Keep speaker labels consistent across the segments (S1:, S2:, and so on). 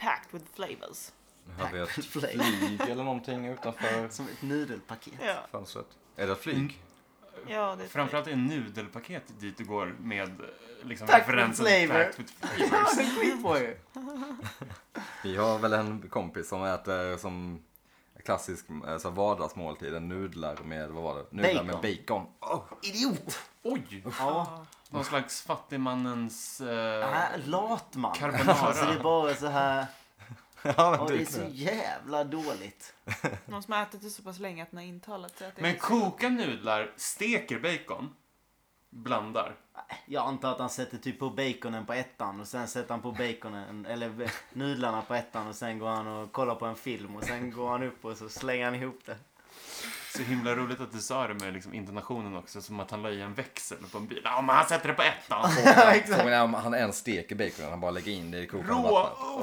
S1: Packed with flavors.
S2: Jag hade ett
S3: Flavor.
S2: flyg eller någonting utanför
S3: Som ett nudelpaket.
S1: Ja,
S2: fönstret. Är det ett flyg?
S1: ja det typ-
S4: Framförallt är nudelpaket dit du går med eh, liksom,
S3: Packed with
S4: referensen
S3: flavor.
S4: packed with flavor.
S3: Ja, det skitbra ju.
S2: Vi har väl en kompis som äter som klassisk eh, så här vardagsmåltid, en nudlar med, vad var det? Nudlar med bacon. Åh,
S3: Idiot!
S4: Oj!
S3: Ja,
S4: Någon slags fattigmannens... Eh,
S3: äh, lat man.
S4: Carbonara.
S3: Alltså det är bara så här.
S2: Ja,
S3: Ja,
S2: men
S3: det är
S2: typ
S3: så
S2: det.
S3: jävla dåligt.
S1: Någon som har ätit det så pass länge att den har intalat sig att det
S4: men
S1: är...
S4: koka nudlar, steker bacon, blandar.
S3: Jag antar att han sätter typ på baconen på ettan och sen sätter han på baconen, eller nudlarna på ettan och sen går han och kollar på en film och sen går han upp och så slänger han ihop det.
S4: Så himla roligt att du sa det med liksom intonationen också, som att han la i en växel på en bil. Ja, men han sätter det på ettan.
S2: Som när han ens steker baconen, han bara lägger in det i kokande Oh,
S4: Rå!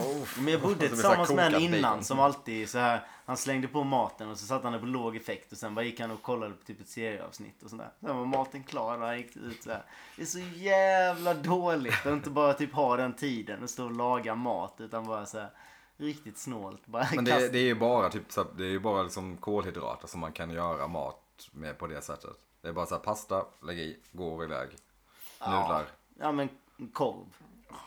S2: vattnet.
S3: Men jag bodde
S2: blir det så här
S3: tillsammans med en
S2: kokat
S3: innan
S2: bacon.
S3: som alltid så här. Han slängde på maten och så satte han det på låg effekt och sen bara gick han och kollade på typ ett serieavsnitt och sådär. Sen var maten klar och han gick ut så här. Det är så jävla dåligt att inte bara typ ha den tiden och stå och laga mat utan bara så här riktigt snålt. Bara
S2: Men det,
S3: kasta-
S2: det är ju bara, typ, så här- det är ju bara liksom kolhydrater som man kan göra mat med på det sättet. Det är bara så här, pasta, lägg i, går iväg. Nudlar.
S3: Ja men korv.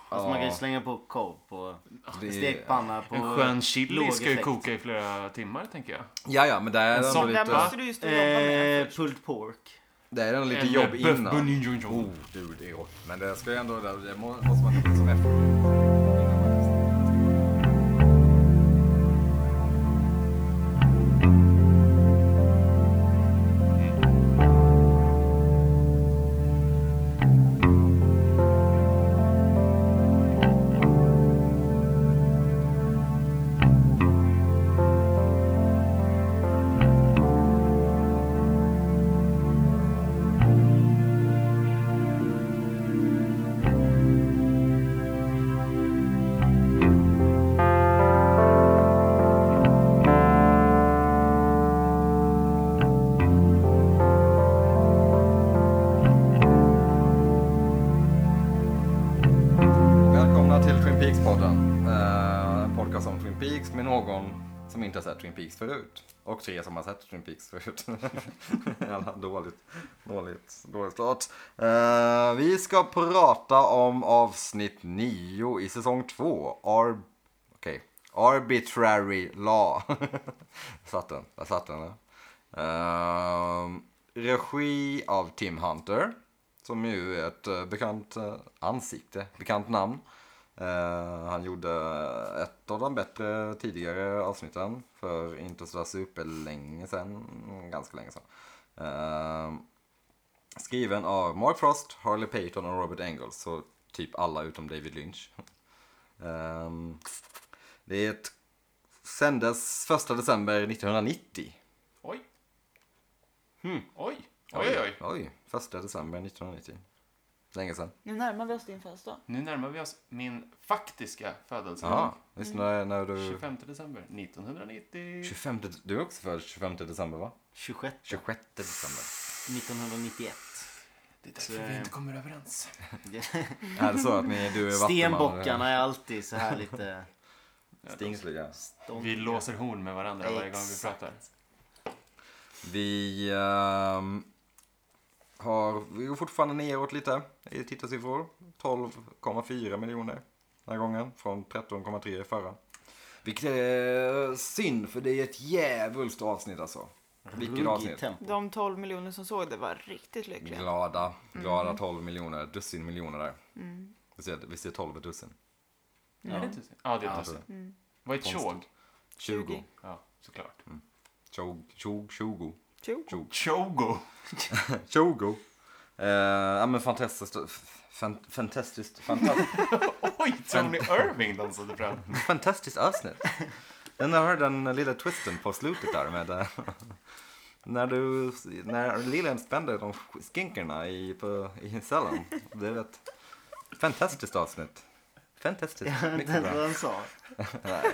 S3: Alltså
S2: Ja.
S3: man kan ju slänga på korv på
S2: Det är-
S3: stekpanna på...
S4: En skön chili
S3: låg
S4: ska ju
S3: effekt.
S4: koka i flera timmar, tänker jag.
S2: Ja, ja, men det är ändå
S4: sån
S1: Där
S2: lite,
S1: måste du ju stå och jobba
S3: Eh,
S1: med först.
S3: pulled pork.
S2: det är ändå lite
S4: Eller
S2: jobb
S4: bœuf
S2: innan.
S4: bourguignon.
S2: Oh, du, det är gott. Men det ska ju ändå, det det må- måste man liksom efter. Välkomna till Twin Peaks-podden. Eh, En podcast om Twin Peaks med någon som inte har sett Twin Peaks förut. Och tre som har sett Twin Peaks förut. Jävla dåligt, dåligt, dåligt start. Eh, vi ska prata om avsnitt 9 i säsong 2. Ar- Okej. Arbitrary Law. satt den, där satt den. ja. Ehm, regi av Tim Hunter. Som ju är ett eh, bekant eh, ansikte, bekant namn. Eh, han gjorde ett av de bättre tidigare avsnitten för inte sådär superlänge sedan, mm, ganska länge sedan. Ehm, skriven av Mark Frost, Harley Payton och Robert Engels, så typ alla utom David Lynch. Ehm, det är ett, sändes 1 december 1990.
S4: Oj. Hmm. Oj. Oj, oj, oj.
S2: Oj, 1 december 1990. Länge sedan.
S1: Nu närmar vi oss din födelsedag.
S4: Nu närmar vi oss min faktiska födelsedag.
S2: Ja, visst när, när du...
S4: 25 december 1990.
S2: 25, du är också född 25 december va?
S3: 26
S2: 26 december.
S3: 1991.
S4: Det är
S3: Så,
S4: därför vi
S3: eh,
S4: inte kommer överens.
S2: Är det så att ni, du är
S3: Stenbockarna är alltid så här lite...
S2: Stingsliga.
S3: stånd-
S4: Vi låser horn med varandra varje gång vi
S3: Exakt.
S4: pratar.
S2: Vi ehm, har, vi går fortfarande neråt lite i tittarsiffror. 12,4 miljoner den här gången från 13,3 i förra. Vilket är eh, synd för det är ett jävulst avsnitt alltså.
S3: Mm.
S2: Vilket
S3: Ruggigt
S2: avsnitt.
S3: tempo.
S1: De 12 miljoner som såg det var riktigt lyckliga.
S2: Glada, glada 12 miljoner, dussin miljoner där. Visst är det- Visst är 12 ett dussin?
S4: Är det tusen? Ja, det är
S2: Ja,
S4: ett
S2: jag tror
S4: dussin. Vad är ett
S2: Konstigt.
S4: tjog?
S2: 20.
S4: Ja, såklart.
S2: Tjog, tjog, tjogo.
S1: Tjo.
S2: Tjog.
S4: Tjogo!
S2: Tjogo. Eh, ja men fantastiskt. Fan, fantastiskt. Fantastiskt.
S4: Oj, Tony Irving dansade fram.
S2: fantastiskt avsnitt. Den har den lilla twisten på slutet där med eh, när du, när Lilian spände de skinkorna i, på, i cellen. Det är ett fantastiskt avsnitt. Fantastiskt.
S3: Jag vet inte
S2: Mycket
S3: vad
S2: bra.
S3: han sa. När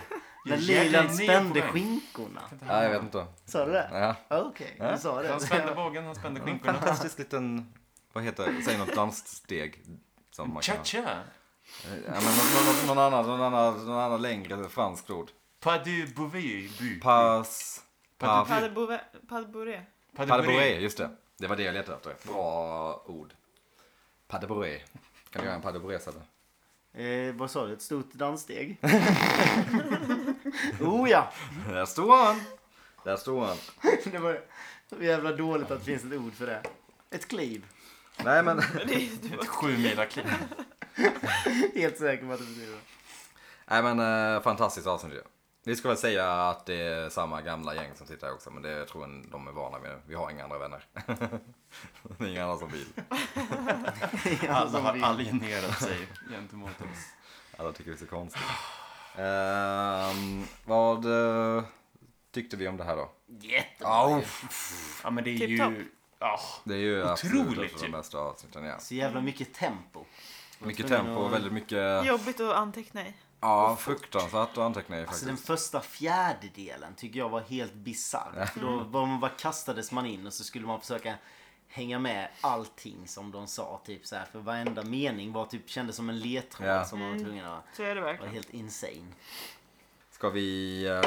S4: Jag
S3: Lilan
S4: jävlar ner
S3: spände
S4: på mig.
S3: skinkorna.
S2: Ja, jag vet inte.
S3: Sa du det?
S2: Ja.
S3: Ja, Okej, du sa det.
S4: Han spände bågen, han spände skinkorna.
S2: Fantastisk liten, vad heter det, säg något danssteg. Som man kan ha.
S4: Cha-cha!
S2: Eh, Ja, men någon, någon, annan, någon, annan, någon annan längre franskt ord.
S4: Pas de Beauvais. bu-
S2: Pass... Paf...
S1: Pas de Bouve- pas de Bourré.
S4: Pas de Beauvais.
S2: Padeboré, just det. Det var det jag letade efter. Bra ord. Padeboré. Kan du göra en padeboré, Sebbe?
S3: Eh, vad sa du? Ett stort danssteg? oh ja!
S2: Där står han! Där står han.
S3: Det var så jävla dåligt att det finns ett ord för det. Ett kliv.
S2: Nej, men...
S1: Men det är ju-
S4: Ett sju mila kliv.
S3: Helt säker på att det betyder det.
S2: Nej men eh, fantastiskt avsnitt ju. Vi ska väl säga att det är samma gamla gäng som sitter här också men det tror jag de är vana vid. Vi har inga andra vänner. det är inga andra som vill.
S4: Alla
S3: som
S4: har
S3: vill.
S4: alienerat sig gentemot oss.
S2: Alla tycker vi är så konstiga. Ehm, vad eh, tyckte vi om det här då?
S3: Jättebra.
S2: Oh,
S4: Ja, men det är
S1: Tipptopp.
S4: ju... Ja,
S2: det är ju
S4: Otroligt
S2: absolut ett av
S4: ju.
S2: de bästa avsnitten ja.
S3: Så jävla mycket tempo.
S2: Mycket tempo och väldigt mycket,
S1: Jobbigt att anteckna i.
S2: ja fruktansvärt att anteckna i
S3: Alltså den
S2: faktiskt.
S3: första fjärdedelen tycker jag var helt bisarr. För Då var man bara kastades man in och så skulle man försöka hänga med allting som de sa. Typ så här, för varenda mening var typ, kändes som en ledtråd
S2: Ja.
S3: som man var tvungen att...
S1: Så är det
S3: Det var
S1: verkligen.
S3: helt insane.
S2: Ska vi, eh,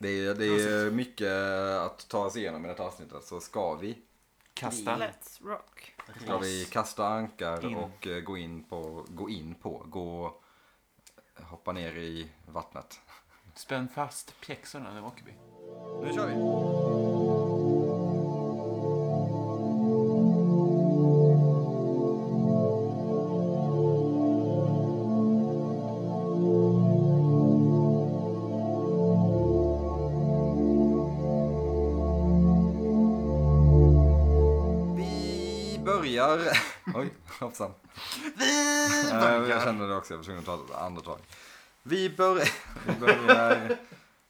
S2: det är, det är mycket att ta sig igenom i detta avsnittet så ska vi
S4: kasta.
S1: Let's rock.
S2: Ska vi kasta ankar
S4: In.
S2: och eh, gå in på, gå in på, gå, hoppa ner i vattnet.
S4: Spänn fast pjäxorna, nu åker vi.
S2: Nu kör vi! Vi börjar... Oj, hoppsan. Vi börjar... Jag kände det också, jag var tvungen att ta ett andetag. Vi börjar... Vi börjar...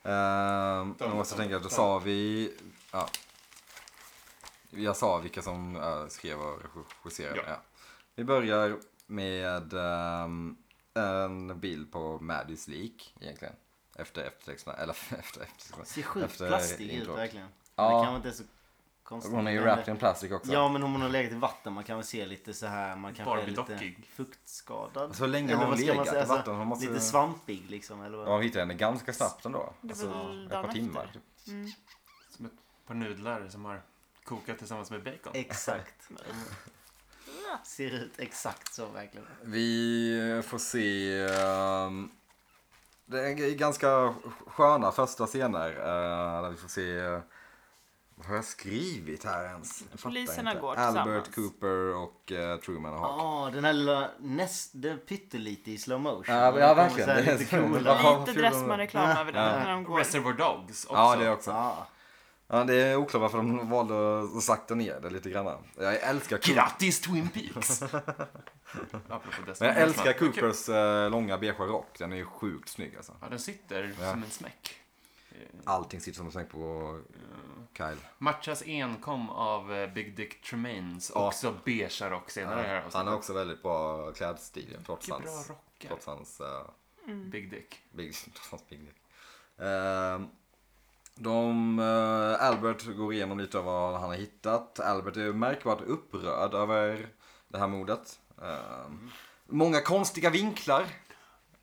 S2: Ehm, jag måste tänka, då sa vi... Ja. Jag sa vilka som eh, skrev och regisserade. Ja.
S4: Ja.
S2: Vi börjar med ehm, en bild på Maddys lik egentligen. Efter eftertexterna, eller efter eftertexterna.
S3: Ser sjukt
S2: Efter
S3: plastig ut
S2: introt.
S3: verkligen.
S2: Ja.
S3: Det kan inte är så konstigt.
S2: Hon är ju
S3: Men-
S2: wrapped in plastic också.
S3: Ja men om hon har legat i vatten man kan väl se lite så här man kanske är lite
S4: Barbie-dockig.
S3: fuktskadad.
S2: Så Alltså, länge
S3: Eller
S2: har hon
S3: vad ska man
S2: legat i
S3: säga? Alltså,
S2: vatten, hon måste-
S3: Lite svampig liksom eller vad?
S2: Ja, hon hittade henne ganska snabbt ändå.
S1: Det
S2: Alltså,
S1: var väl
S2: ett
S1: dagen
S2: par timmar.
S1: efter.
S2: typ.
S4: Som ett par nudlar som har kokat tillsammans med bacon.
S3: Exakt. Ser ut exakt så verkligen.
S2: Vi får se. ehm, det är g- ganska sköna första scener. eh, där vi får se. eh, vad har jag skrivit här ens? Jag fattar
S1: Poliserna
S2: inte.
S1: går
S2: Albert
S1: tillsammans.
S2: Cooper och eh, Truman och Hawk.
S3: Ja, den här lilla näst, den pyttelite i slow motion.
S2: Ja,
S3: Den
S2: ja,
S3: kommer
S2: verkligen.
S3: så här
S2: Det är
S3: lite
S2: så-
S3: coola.
S2: Ja, vad
S1: Lite
S2: kul de-
S1: Dressman-reklam över den när de går.
S4: Reservoir Dogs också.
S2: Ja, det också.
S3: Ja.
S2: Ja, det är oklart varför de valde att sakta ner det lite grann. Jag älskar, Coop-
S4: Grattis Twin Peaks! Apropå
S2: Men
S4: Destiny
S2: jag
S4: Hoffman.
S2: älskar Coopers eh, långa beigea rock. Den är ju sjukt snygg alltså.
S4: Ja, den sitter
S2: Ja.
S4: som en smäck. Eh,
S2: Allting sitter som en smäck på Kyle.
S4: Matchas enkom av eh, Big Dick Tremaines,
S2: Ja.
S4: också beige rock senare här
S2: Han har
S4: avsnittet.
S2: också väldigt bra klädstil trots
S4: Mycket bra
S2: hans,
S4: rockar,
S2: trots hans eh,
S4: Big Dick.
S2: Big, hans Big Dick. Ehm, de, eh, Albert går igenom lite av vad han har hittat. Albert är märkbart upprörd över det här mordet. Ehm,
S4: Mm.
S2: Många konstiga vinklar.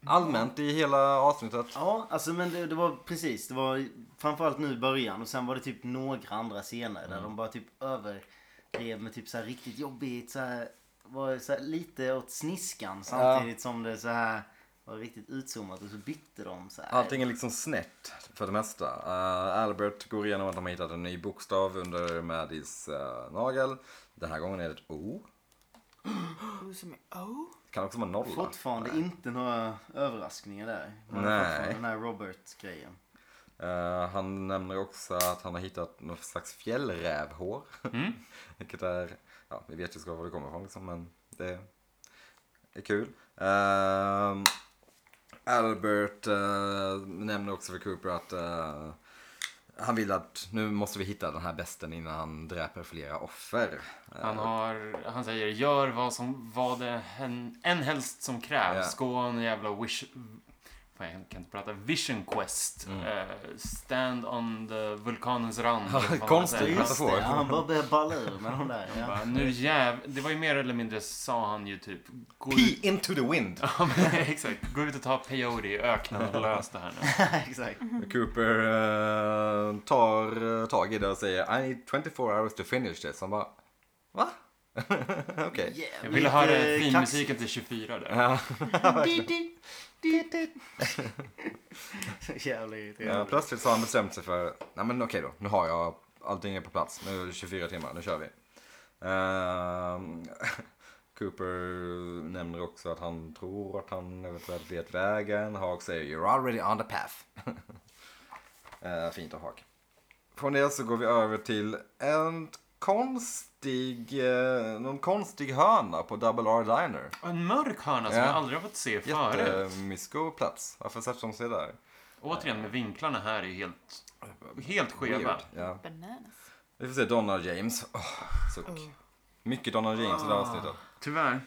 S2: Allmänt i hela avsnittet.
S3: Ja, alltså men det, det var precis. Det var framförallt nu i början och sen var det typ några andra scener
S2: Mm.
S3: där de bara typ överdrev med typ så här riktigt jobbigt så här, var så här lite åt sniskan samtidigt som det så här var riktigt utzoomat och så bytte de så här.
S2: Allting är liksom snett för det mesta. Eh, Albert går igenom att de har hittat en ny bokstav under Maddys eh, nagel. Den här gången är det ett O.
S1: Oh, som är- Oh.
S2: Det kan också vara en nolla.
S3: Fortfarande inte några överraskningar där. Man har
S2: Nej.
S3: fortfarande Den här Robert-grejen.
S2: Eh, han nämner också att han har hittat något slags fjällrävhår.
S4: Mm.
S2: Vilket är, ja vi vet ju såklart var det kommer ifrån liksom, men det är kul. Ehm, Albert eh, nämner också för Cooper att eh, han vill att nu måste vi hitta den här besten innan han dräper flera offer. Eh,
S4: Han, har, han säger gör vad, som, vad det hän, än helst som krävs.
S2: Ja.
S4: Gå en jävla wish, Fan, jag kan inte prata. Vision Quest.
S2: Mm.
S4: eh, stand on the vulkanens rand. eller vad fan man
S2: konstigt.
S4: säger.
S3: Just det, han bara började balla ur med de där. Ja.
S4: Bara, Nu jäv... Det var ju mer eller mindre sa han ju typ. Gå ut...
S2: Pee into the wind.
S4: Ja, men, exakt. Gå ut och ta peyote i öknen och lös det här nu.
S3: Exakt.
S2: Cooper eh, tar eh, tag i det och säger I need 24 hours to finish this. Han bara, va? Okej.
S4: Jag
S3: Jävligt,
S4: ville höra
S3: eh,
S4: finmusiken till 24 där.
S2: Ja,
S3: kaxigt. Jävligt
S2: eh,
S3: irriterande.
S2: plötsligt så har han bestämt sig för, nej men okej då, nu har jag allting är på plats. Nu är det 24 timmar, nu kör vi. Ehm, Cooper nämner också att han tror att han eventuellt vet vägen. Hawk säger You're already on the path. Eh, fint av Hawk. Från det så går vi över till en konstig, eh, någon konstig hörna på Double R Diner.
S4: Och En mörk hörna som
S2: Ja.
S4: jag aldrig har fått se förut.
S2: Jättemysko plats. Varför sätter de sig där?
S4: Återigen med vinklarna här är helt, helt skeva.
S2: Weird. Ja.
S1: Bananas.
S2: Vi får se Donald James. Åh, suck. Mycket Donald James i det här
S3: Ah.
S2: avsnittet.
S4: Tyvärr.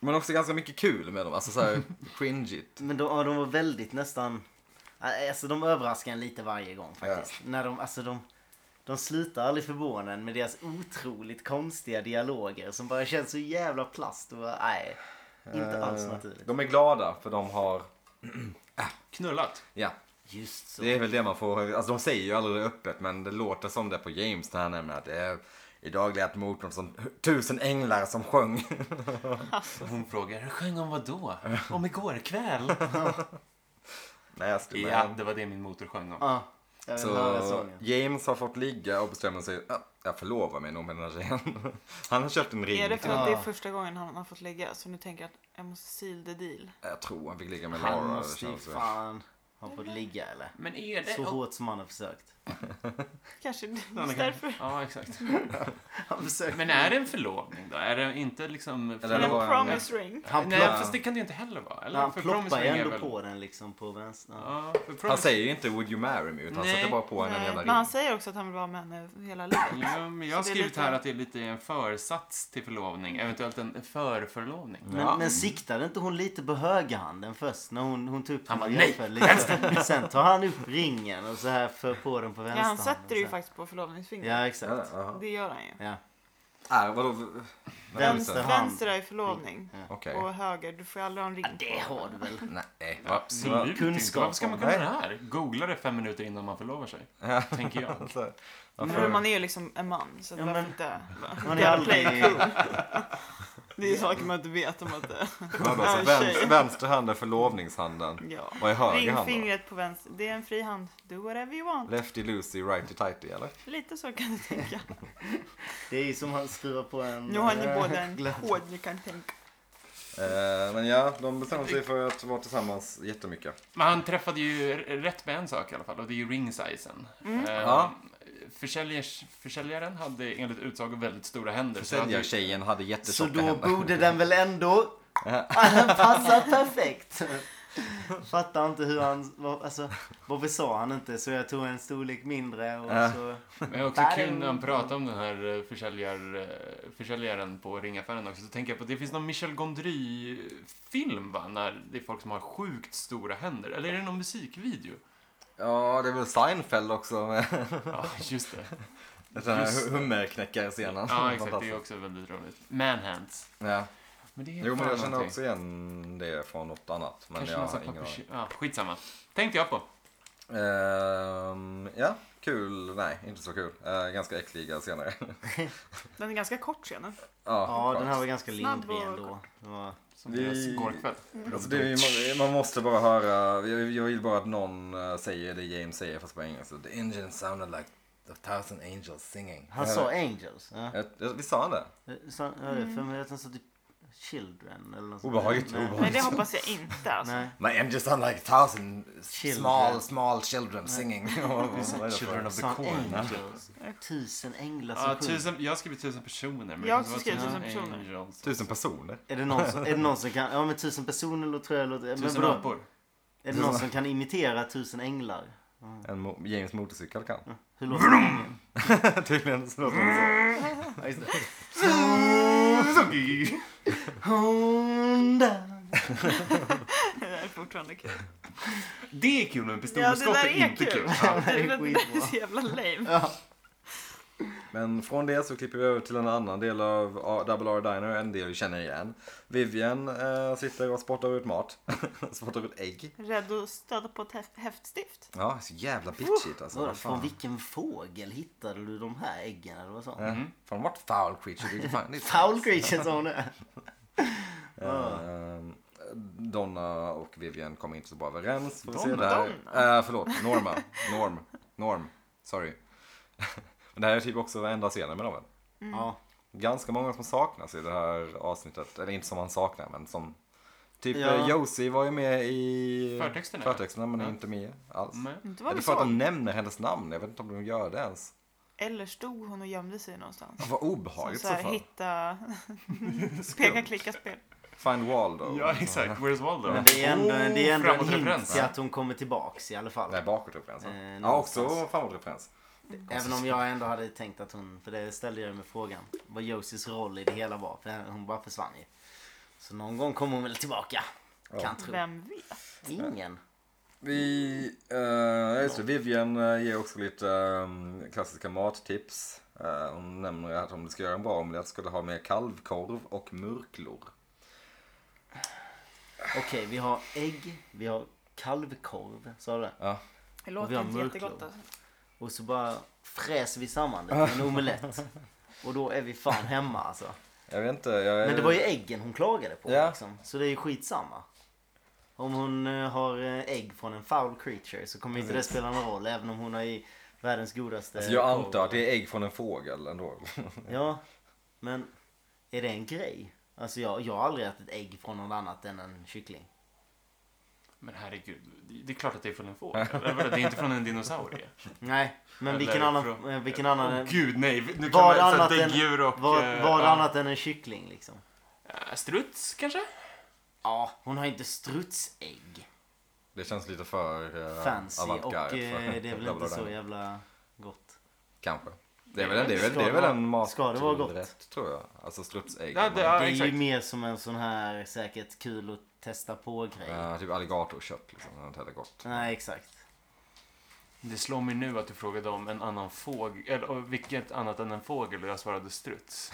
S2: Men också ganska mycket kul med dem. Alltså såhär cringeigt.
S3: Men de, ja, de var väldigt nästan... Alltså de överraskar en lite varje gång faktiskt. När de, alltså de, de slutar aldrig förvåna en med deras otroligt konstiga dialoger som bara känns så jävla plast och bara, nej. Inte alls
S2: Eh,
S3: naturligt.
S2: De är glada för de har,
S4: Knullat.
S2: ja,
S3: Just så.
S2: det är väl det man får, alltså de säger ju aldrig öppet men det låter som det på James när han nämner att det är, idag lät motorn som tusen änglar som sjöng.
S4: Och hon frågar, sjöng om vad då? Om igår kväll?
S2: Nasty
S4: ja,
S2: man.
S4: det var det min motor sjöng om.
S3: Ja, jag vill höra
S2: Så
S3: sången.
S2: James har fått ligga och bestämmer sig, "Ja, jag förlovar mig nog med den här tjejen. Han har köpt en ring.
S1: Är det för
S2: till-
S1: att det är
S3: Ah.
S1: första gången han har fått lägga så nu tänker jag att jag måste seal the deal?
S2: Jag tror han fick ligga med Laura.
S3: Han
S2: det
S3: måste ju
S2: känns så.
S3: fan ha fått ligga eller?
S4: Men är det...
S3: Så hårt som han har försökt.
S1: Kanske just
S4: Ja, det kan-
S1: därför.
S4: Ja, exakt.
S3: Han försökte.
S4: Men är det en förlovning då? Är det inte liksom...
S2: Eller
S1: Men
S2: det
S1: en
S2: var en-
S1: promise ring.
S3: Han,
S4: Nej,
S3: plopp,
S4: fast det kan det ju inte heller vara. Eller?
S3: han
S4: För
S3: ploppar
S4: promise
S3: ju
S4: ring är
S3: ändå
S4: väl-
S3: på den liksom på vänster. Ja.
S4: Ja, för
S2: Han
S4: promise...
S2: säger ju inte would you marry me utan han
S4: Nej.
S2: sätter bara på henne en
S1: Nej,
S2: jävla
S1: men
S2: ring.
S1: han säger också att han vill vara med henne hela livet.
S4: Ja, men jag har
S1: Så det är
S4: skrivit
S1: lite-
S4: här att det är lite en försats till förlovning. Eventuellt en förförlovning.
S3: Men, men siktade inte hon lite på högerhanden först när hon, hon tog upp
S4: Han
S3: sina
S4: bara, nej,
S3: jävlar lite? Sen tar han upp ringen och så här för på den på
S1: Ja,
S3: vänsterhanden.
S1: han sätter ju
S3: så här.
S1: faktiskt på förlovningsfingret.
S3: Ja,
S2: Ja,
S3: exakt.
S2: jaha.
S1: Det gör han ju.
S3: Ja.
S2: Äh, vadå?
S3: Vänster hand.
S1: Vänster är förlovning
S2: Okej.
S1: och höger, du får aldrig ha en ring
S3: Ja, det
S1: på.
S3: har du väl?
S2: Nej.
S4: Absolut inte.
S3: Kunskap
S4: Varför ska man
S3: om-
S4: kunna
S2: Nej.
S4: det här? Googla det fem minuter innan man förlovar sig. Tänker jag.
S2: Alltså,
S1: Men man
S2: varför?
S1: är ju liksom en man, så
S3: Ja,
S1: varför
S3: men-
S1: inte?
S3: Man är aldrig...
S1: Det är ju saker man inte vet om att det
S2: Man bara, så,
S1: Ja, tjej.
S2: vänster, vänster hand är förlovningshanden.
S1: Ja.
S2: Vad är höger hand då?
S1: Ringfingret på vänster, det är en fri hand. Do whatever you want.
S2: Lefty loosey, righty tighty eller?
S1: Lite så kan du tänka.
S3: Det är ju som han skruvar på en...
S1: Nu har ni
S3: eh,
S1: båda en
S3: glöd.
S1: kod ni kan tänka.
S2: Eh, men ja, de bestämmer sig för att vara tillsammans jättemycket.
S4: Men han träffade ju r- rätt med en sak i alla fall och det är ju ringsizen. Eh,
S2: Ja.
S4: försäljers, försäljaren hade enligt utsago väldigt stora händer. så att-
S2: Säljartjejen hade
S3: Så
S2: jättetjocka
S3: då
S2: händer.
S3: borde den väl ändå... Den passar perfekt. Fattar inte hur han... vad- Alltså, varför sa han inte så jag tog en storlek mindre och
S2: Ja.
S3: så...
S4: Men det är också
S3: Bang.
S4: kul när han pratar om den här eh, försäljär, eh, försäljaren på ringaffären också. Så tänker jag på, det finns någon Michel Gondry-film va? När det är folk som har sjukt stora händer. Eller är det någon musikvideo?
S2: Ja, det är väl Seinfeld också med
S4: Ja, just det.
S2: den här
S4: Just
S2: hummerknäckarscenen.
S4: Ja, exakt. Det är
S2: Fantastiskt.
S4: också väldigt roligt. Manhands.
S2: Ja.
S4: Men det är
S2: Jo, men
S4: fan
S2: jag känner
S4: någonting.
S2: också igen det från något annat. Men
S4: Kanske
S2: jag
S4: någon
S2: har
S4: sån
S2: ingen aning.
S4: pappersky- ja, Skitsamma. Tänkte jag på.
S2: Ehm, ja, kul. Nej, inte så kul. Eh, ganska äckliga senare. ja,
S1: Den är ganska kort scenen.
S3: Ja,
S2: skönt.
S3: den här var ganska
S1: Snabb
S3: lindrig
S1: och-
S3: ändå. Det var...
S4: Som
S2: Vi-
S4: deras gårdkväll.
S2: alltså, det, är- man, man måste bara höra. Jag, jag vill bara att någon eh, säger det James säger fast på engelska. The engine sounded like a thousand angels singing.
S3: Han sa Angels. Ja.
S2: Eh, eh, Visst sa han det?
S3: Så, jag
S4: Mm.
S3: hörde för mig att han sa typ Children eller något sånt.
S2: Obehagligt,
S3: Nej.
S2: obehagligt.
S1: Men det hoppas jag inte alltså.
S3: Nej.
S2: My engine sounded like a thousand
S3: Children.
S2: small children singing.
S4: Children of the
S3: Sa han
S4: Corn.
S3: Angels? Tusen änglar som
S4: Ja,
S3: sjunger.
S4: tusen, jag har skrivit tusen personer. Men
S1: Jag har
S4: det kanske
S1: också
S4: var
S1: skrivit tusen personer.
S4: Angels.
S2: Tusen personer.
S3: Är det, någon som, är det någon som kan... Ja men tusen personer låter tror jag låter... men
S4: Tusen
S3: vadå?
S4: apor.
S3: Är det någon som kan imitera tusen änglar?
S2: En mo- James motorcykel kan.
S3: Hur låter sången?
S2: Tydligen så låter det så. Mm.
S3: Ja, just det. Honda.
S1: Det är därför fortfarande kul.
S4: Det är kul men
S1: Ja, det
S4: pistolskott
S1: där
S4: är,
S1: är
S4: inte kul.
S1: kul.
S4: Ja.
S1: Det
S3: det är
S1: är- det är
S3: skitbra.
S1: så jävla lame.
S3: Ja.
S2: Men från det så klipper vi över till en annan del av A- Double R Diner, en del vi känner igen. Vivian eh, sitter och spottar ut mat. spottar ut ägg.
S1: Rädd att stöta på ett häf- häftstift.
S2: Ja, så jävla bitchigt alltså.
S3: Så,
S2: Vad
S3: från
S2: fan.
S3: vilken fågel hittade du de här äggen? Eller vad sa hon?
S2: Eh, Från vart foul creature did you find it?
S3: Foul creature sa hon det.
S2: Eh, Donna och Vivian kommer inte så bra överens. Får vi se
S4: Donna?
S2: det här.
S1: Donna?
S2: Eh, förlåt, Norma. Norm. Norm. Sorry. Men det här är typ också enda scenen med dem. väl?
S4: Mm.
S3: Ja.
S2: Ganska många som saknas i det här avsnittet. Eller inte som man saknar, men som... Typ
S3: Ja.
S2: ja. Josie var ju med i
S4: Förtexterna, ja.
S2: förtexterna men är
S4: Ja.
S2: inte med alls.
S4: Men-
S1: Inte var
S2: Eller
S1: vi
S2: för att de
S1: så.
S2: nämner hennes namn. Jag vet inte om de gör det ens.
S1: Eller stod hon och gömde sig någonstans?
S2: Vad
S1: Som
S2: obehagligt
S1: så
S2: så
S1: här,
S2: fall.
S1: hitta... Peka, klicka, spel.
S2: Find Waldo.
S4: Ja, exakt. Where's Waldo?
S3: Men det är ändå, det är ändå en hint
S4: framåtreferens.
S3: till att hon kommer tillbaks i alla fall.
S2: Nej, bakåtreferens. va?
S3: Eh,
S2: ja, också
S3: någonstans.
S2: framåtreferens.
S3: Även om jag ändå hade tänkt att hon, för det ställde jag mig frågan, vad Josies roll i det hela var. För hon bara försvann ju. Så någon gång kommer hon väl tillbaka. Kan tro.
S1: Vem vet?
S3: Ingen.
S2: Vi, eh, just det, Vivian eh, ger också lite eh, klassiska mattips. Eh, hon nämner att om du ska göra en bra omelett ska du ha med kalvkorv och murklor.
S3: Okej, vi har ägg, vi har kalvkorv, sa du det?
S2: Ja.
S1: Det
S3: Och vi
S1: låter
S3: har
S1: inte
S3: mörklov.
S1: jättegott alltså.
S3: Och så bara fräser vi samman det med en omelett. Och då är vi fan hemma alltså.
S2: Jag vet inte, jag...
S3: Men det var ju äggen hon klagade på
S2: Ja.
S3: liksom. Så det är ju skitsamma. Om hon eh, har eh, ägg från en foul creature så kommer inte det spela någon roll även om hon har i världens godaste...
S2: Alltså jag antar att det är ägg från en fågel ändå.
S3: Ja, men är det en grej? Alltså jag, jag har aldrig ätit ägg från något annat än en kyckling.
S4: Men herregud, det är klart att det är från en fågel. Eller vadå, Det är inte från en dinosaurie.
S3: Nej, men
S4: Eller
S3: vilken annan...
S4: från-
S3: eh, Vilken annan...
S4: Åh, gud, nej. Nu kan
S3: Vad
S4: man säga
S3: annat,
S4: däggdjur
S3: än,
S4: och...
S3: vad,
S4: eh,
S3: vad
S4: ja.
S3: annat än en kyckling liksom?
S4: Eh, Struts, kanske?
S3: Ja, hon har inte strutsägg.
S2: Det känns lite för uh,
S3: Fancy och
S2: alltså.
S3: eh, det är väl inte så jävla gott.
S2: Kanske. Det är väl, det är väl,
S3: Ska
S2: det är
S3: det
S2: väl
S3: vara-
S2: en mat
S3: ska det vara gott?
S2: rätt, tror jag. Alltså strutsägg.
S4: Ja, det- ja,
S3: det är ju
S4: exakt.
S3: mer som en sån här säkert kul att testa på grej.
S2: Ja, typ alligatorkött liksom. Det är inte heller gott.
S3: Nej, exakt.
S4: Det slår mig nu att du frågade om en annan fågel, eller och vilket annat än en fågel och jag svarade struts.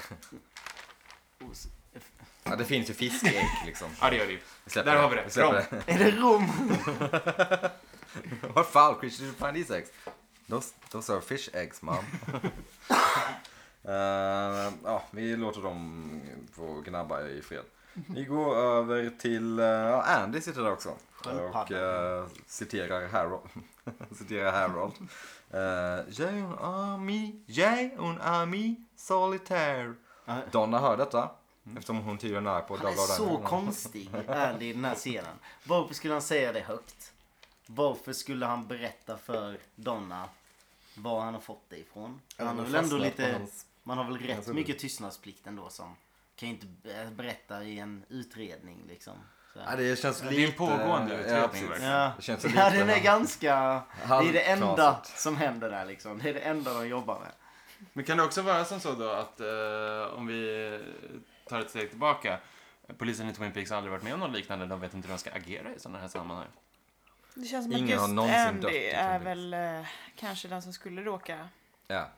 S2: Ja, det finns ju fiskägg liksom.
S4: Ja, det gör det ju.
S2: Vi släpper
S4: Där har vi det.
S2: Vi släpper
S4: Bra.
S2: det.
S3: Är det rom?
S2: What foul creature did you find these eggs? Those, those are fish eggs, mom. Eh, ja, vi låter dem få gnabba i fred. Vi går över till... eh, ja, Andy sitter där också. Och
S3: Sköldpadda.
S2: eh, citerar Harold. citerar Harold. Uh, j'ai un ami, j'ai un ami solitaire.
S3: Ja.
S2: Donna hör detta. Eftersom hon tydligen är på
S3: Han är så konstig, ärlig, i den här scenen. Varför skulle han säga det högt? Varför skulle han berätta för Donna var han har fått det ifrån? Han har väl ändå lite... Man har väl rätt
S2: Alltså-
S3: mycket tystnadsplikt ändå som kan ju inte be- berätta i en utredning liksom. Så.
S2: Ja, det känns
S4: Det är
S2: lite... eh,
S4: en pågående utredning,
S2: precis.
S4: verkligen.
S3: Ja,
S2: Det känns
S3: ja
S2: lite-
S3: den är ganska... Det är det enda
S2: Halvknasigt.
S3: som händer där liksom. Det är det enda de jobbar med.
S4: Men kan det också vara som så då att eh, om vi tar ett steg tillbaka. Polisen i Twin Peaks har aldrig varit med om något liknande. De vet inte hur de ska agera i sådana här sammanhang.
S1: Det känns som
S2: Ingen har
S1: att
S2: någonsin
S1: just
S2: dött
S1: Andy
S2: i
S1: är
S2: Twin Peaks.
S1: väl eh, kanske den som skulle råka...
S2: Ja.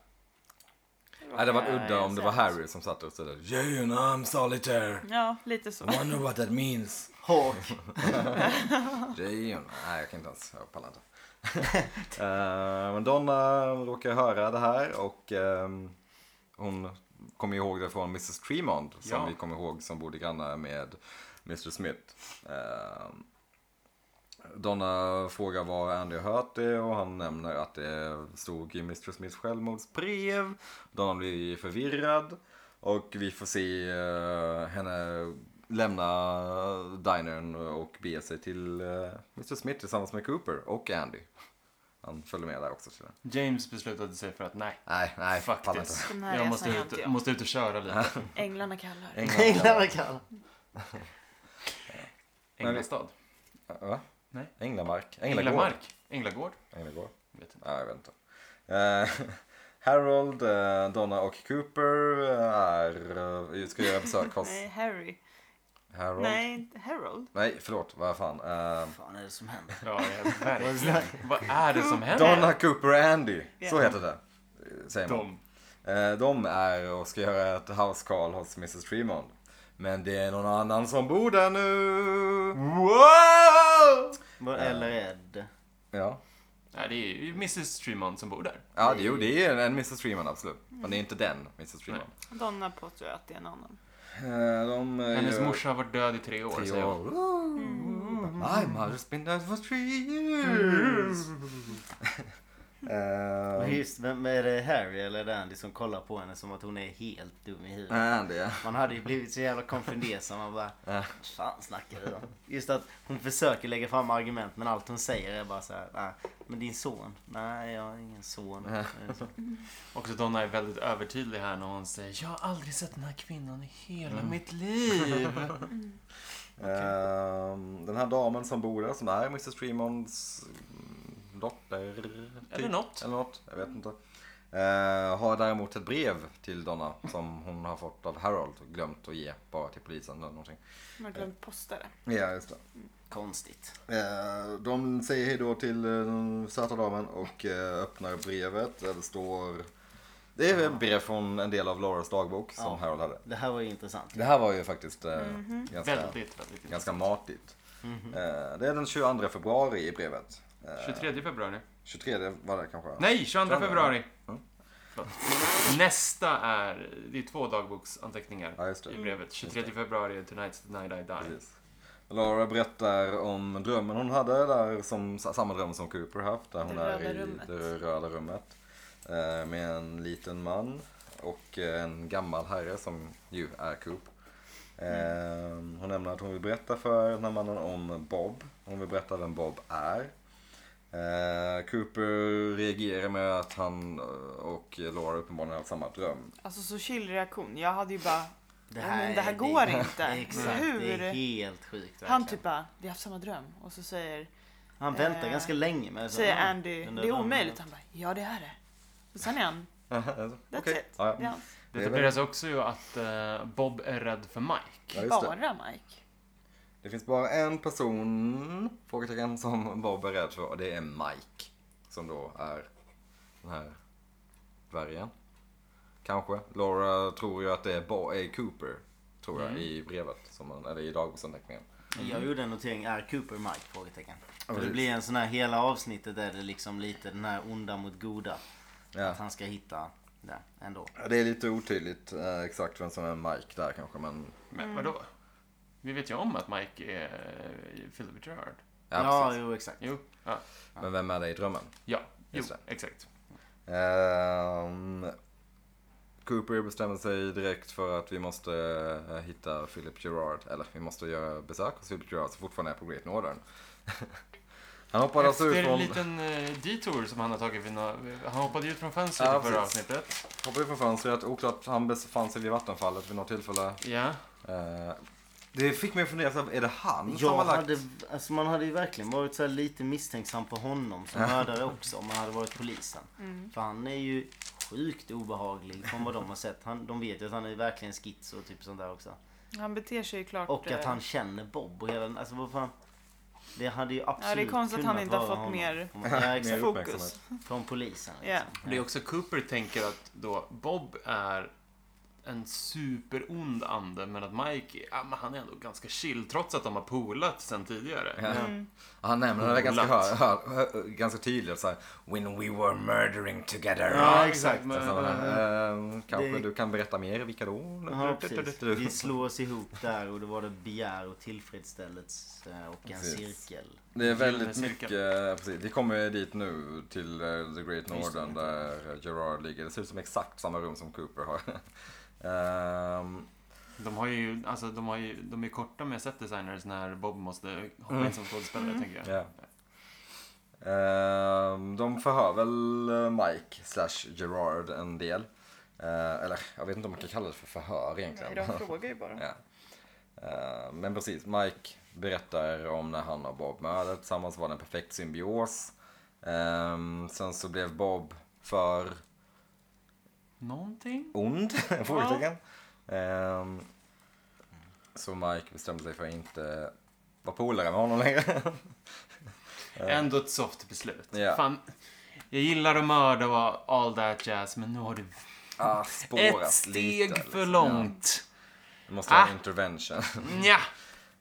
S2: Ja, det var
S1: råka
S2: udda om det var
S1: sämst.
S2: Harry som satt och sådär. Yeah, and I'm solitaire.
S1: Ja, lite så.
S2: Wonder what that means.
S3: Hawk.
S2: Jayon. Nej, jag kan inte ens. Jag pallar inte. Eh, Men Donna råkar höra det här och ehm, hon kommer ihåg det från Mrs Tremond som
S4: Ja.
S2: vi kommer ihåg som bodde grannar med Mr Smith. Ehm, Donna frågar var Andy har hört det och han nämner att det stod i Mr Smiths självmordsbrev. Donna blir förvirrad och vi får se eh, henne lämna dinern och bege sig till eh, Mr Smith tillsammans med Cooper och Andy. Han följer med där också. Så.
S4: James beslutade sig för att nej,
S2: Nej, nej,
S4: fuck
S2: pallar inte.
S4: this.
S1: Den här
S4: Jag måste
S1: resan gör inte
S4: ut,
S1: jag.
S4: måste ut och köra lite.
S1: Änglarna kallar.
S2: England.
S3: Änglarna kallar.
S2: Men vi-
S4: Änglastad.
S2: Va?
S4: Nej.
S2: Änglamark. Änglagård.
S4: Änglamark. Änglagård.
S2: Änglagård.
S4: Vet inte.
S2: Nej, jag vet inte. Eh, Harold, eh, Donna och Cooper är, eh, ska göra besök hos
S1: Nej, Harry.
S2: Harold? Nej.
S1: Nej, inte Harold.
S2: förlåt. Vad fan. Eh,
S3: Vad fan är det som händer?
S4: Ja, jag- verkligen. Vad är det som händer?
S2: Donna Cooper och Andy. Så
S1: Ja.
S2: heter det. eh, Säger man.
S4: De.
S2: Eh, De är och ska göra ett house call hos Mrs Tremond. Men det är någon annan som bor där nu.
S4: Wow!
S3: Vad- Eller är det?
S2: Ja,
S4: Nej, det är ju Mrs Tremont som bor där.
S2: ja det, jo, det är en Mrs Tremond absolut. Men det är inte den Mrs Tremond.
S1: Donna påstår att det är en annan.
S2: Eh, De, eh,
S4: Hennes
S2: gör
S4: morsa har varit död i tre år,
S2: tre
S4: säger
S2: år.
S4: hon.
S2: My mother's been dead for three years.
S3: Och
S2: Eh,
S3: Just, vem är det Harry eller är det Andy som kollar på henne som att hon är helt dum i huvudet?
S2: Andy ja.
S3: Man hade ju blivit så jävla konfundersam. Man bara,
S2: Ja.
S3: vad fan snackar du om? Just att hon försöker lägga fram argument men allt hon säger är bara så här, nej, men din son? Nej, jag har ingen son.
S4: Också Donna är väldigt övertydlig här när hon säger Jag har aldrig sett den här kvinnan i hela
S2: Mm.
S4: mitt liv.
S2: Ehm, den här damen som bor där, som är Mrs Tremonds mm, dotter. typ,
S4: Eller något.
S2: Eller något, jag vet inte. Eh, har däremot ett brev till Donna som hon har fått av Harold och glömt att ge bara till polisen eller någonting.
S1: Man har glömt posta det.
S2: Ja, just det.
S3: Konstigt.
S2: Eh, de säger hej då till eh, den söta damen och eh, öppnar brevet. Där det står... Det är ett brev från en del av Lauras dagbok som
S3: Ja.
S2: Harold hade.
S3: Det här var ju intressant.
S2: Det här var ju faktiskt eh, ganska...
S4: Väldigt, väldigt intressant.
S2: ganska matigt. Eh, Det är den 22 februari i brevet. Eh,
S4: 23 februari.
S2: 23 var det kanske?
S4: Nej, 22
S2: 22.
S4: februari.
S2: Mm.
S4: Förlåt. Nästa är, det är två dagboksanteckningar
S2: Ja, just det.
S4: i brevet. 23 februari, Tonight's the night I die.
S2: Precis. Laura berättar om drömmen hon hade, där som, samma dröm som Cooper haft, där hon
S1: Det
S2: är
S1: röda
S2: i
S1: rummet.
S2: det röda rummet. eh, Med en liten man och eh, en gammal herre som ju är Coop.
S1: Mm.
S2: Eh, Hon nämner att hon vill berätta för den här mannen om Bob. Hon vill berätta vem Bob är. Eh, Cooper reagerar med att han eh, och Laura uppenbarligen har haft samma dröm.
S1: Alltså så chill reaktion. Jag hade ju bara,
S3: Det
S1: Ja, men det här går inte.
S3: Exakt, det är
S1: Hur?
S3: helt sjukt
S1: han
S3: verkligen.
S1: typ bara, vi har haft samma dröm. Och så säger,
S3: Han väntar
S1: Eh,
S3: ganska länge med det. Så,
S1: säger
S3: ja,
S1: Andy,
S3: Alltså, den
S1: det
S3: där
S1: är
S3: drömmen.
S1: omöjligt. Han bara, ja det är det. Och sen är han,
S2: Okej.
S1: that's it.
S2: Ja,
S1: Det är han.
S4: Det
S2: Det är väl-
S4: etableras också ju att eh, Bob är rädd för Mike.
S2: ja, just det.
S1: Bara Mike.
S2: Det finns bara en person, frågetecken, som Bob är rädd för och det är Mike. Som då är den här dvärgen. Kanske. Laura tror ju att det är, Bo- är Cooper. Tror jag i brevet, som man, eller i dagboksanteckningen.
S3: Jag gjorde en notering, är Cooper Mike? Frågetecken. För det
S2: precis.
S3: blir en sån här, hela avsnittet är det liksom lite den här onda mot goda.
S2: Ja.
S3: Att han ska hitta det ändå.
S2: Ja, Det är lite otydligt eh, exakt vem som är Mike där kanske men...
S4: Men vadå? Vi vet ju om att Mike är eh, Philip Gerard.
S2: Ja,
S3: Ja,
S2: precis.
S3: jo exakt.
S4: Jo, ja,
S2: Men vem är det i drömmen?
S4: ja jo,
S2: Just
S4: exakt.
S2: Ehm, Cooper bestämmer sig direkt för att vi måste eh, hitta Philip Gerard. Eller vi måste göra besök hos Philip Gerard som fortfarande är på Great Northern. han hoppade alltså ut
S4: Efter en
S2: från,
S4: liten eh, detour som han har tagit vid nå- Han hoppade ju ut från fönstret
S2: Ja,
S4: i förra
S2: precis.
S4: avsnittet.
S2: hoppade ut från fönstret. Oklart, han befann sig vid vattenfallet vid något tillfälle.
S4: Ja.
S2: Eh, det fick mig att fundera, så här, är det han som
S3: Jag
S2: har lagt...
S3: hade, alltså man hade ju verkligen varit så här lite misstänksam på honom som mördare också om man hade varit polisen.
S1: Mm.
S3: För han är ju sjukt obehaglig från vad de har sett. Han, de vet ju att han är verkligen schizo och typ sånt där också.
S1: Han beter sig ju klart.
S3: Och att
S1: eh,
S3: han känner Bob och hela den, alltså vad fan. Det hade ju absolut
S1: Ja, det är konstigt att han
S3: kunnat
S1: inte har
S3: vara
S1: fått
S3: honom.
S1: mer-
S3: Ja, exakt.
S1: Fokus.
S3: Från polisen. liksom.
S1: Ja.
S4: Det är också Cooper tänker att då Bob är en superond ande, men att Mike är, ja, men han är ändå ganska chill, trots att de har polat sen tidigare. Mm.
S2: Ja.
S1: Mm.
S2: Han nämner det där ganska,
S4: Coolat.
S2: hö, hö, hö, ganska tydligt. Så här, When we were murdering together.
S3: Ja, exakt.
S4: Men,
S2: Så, ehm, kanske
S3: eh, Det-
S2: du kan berätta mer, vilka då?
S3: Ja, precis. Vi slås ihop där och då var det begär och tillfredsställelse och en
S2: Precis.
S3: cirkel.
S2: Det är
S4: Gyllene
S2: väldigt mycket,
S4: cirkeln.
S2: eh, precis. Vi kommer ju dit nu till eh, The Great
S3: Just det.
S2: Northern där Gerard ligger. Det ser ut som exakt samma rum som Cooper har. Ehm,
S4: De har ju, alltså de har ju, de är korta med setdesigners när Bob måste hoppa
S3: Mm.
S4: in som skådespelare, tänker jag.
S2: ja. Ehm, de förhör väl eh, Mike slash Gerard en del. Eh, eller jag vet inte om man kan kalla det för förhör egentligen.
S1: Nej, de frågar ju bara.
S2: Ja. Eh, Men precis, Mike berättar om när han och Bob mördade tillsammans var det en perfekt symbios. Ehm, sen så blev Bob för
S4: Någonting?
S2: ond, frågetecken. Ehm, Så Mike bestämde sig för att inte vara polare med honom längre.
S4: Ändå ett soft beslut.
S2: Ja.
S4: Fan, jag gillar att mörda och all that jazz, men nu har du
S2: Ah, spårat
S4: ett steg
S2: lite,
S4: för
S2: liksom.
S4: långt.
S2: Ja, det måste vara
S4: Ah.
S2: en intervention.
S4: Nja.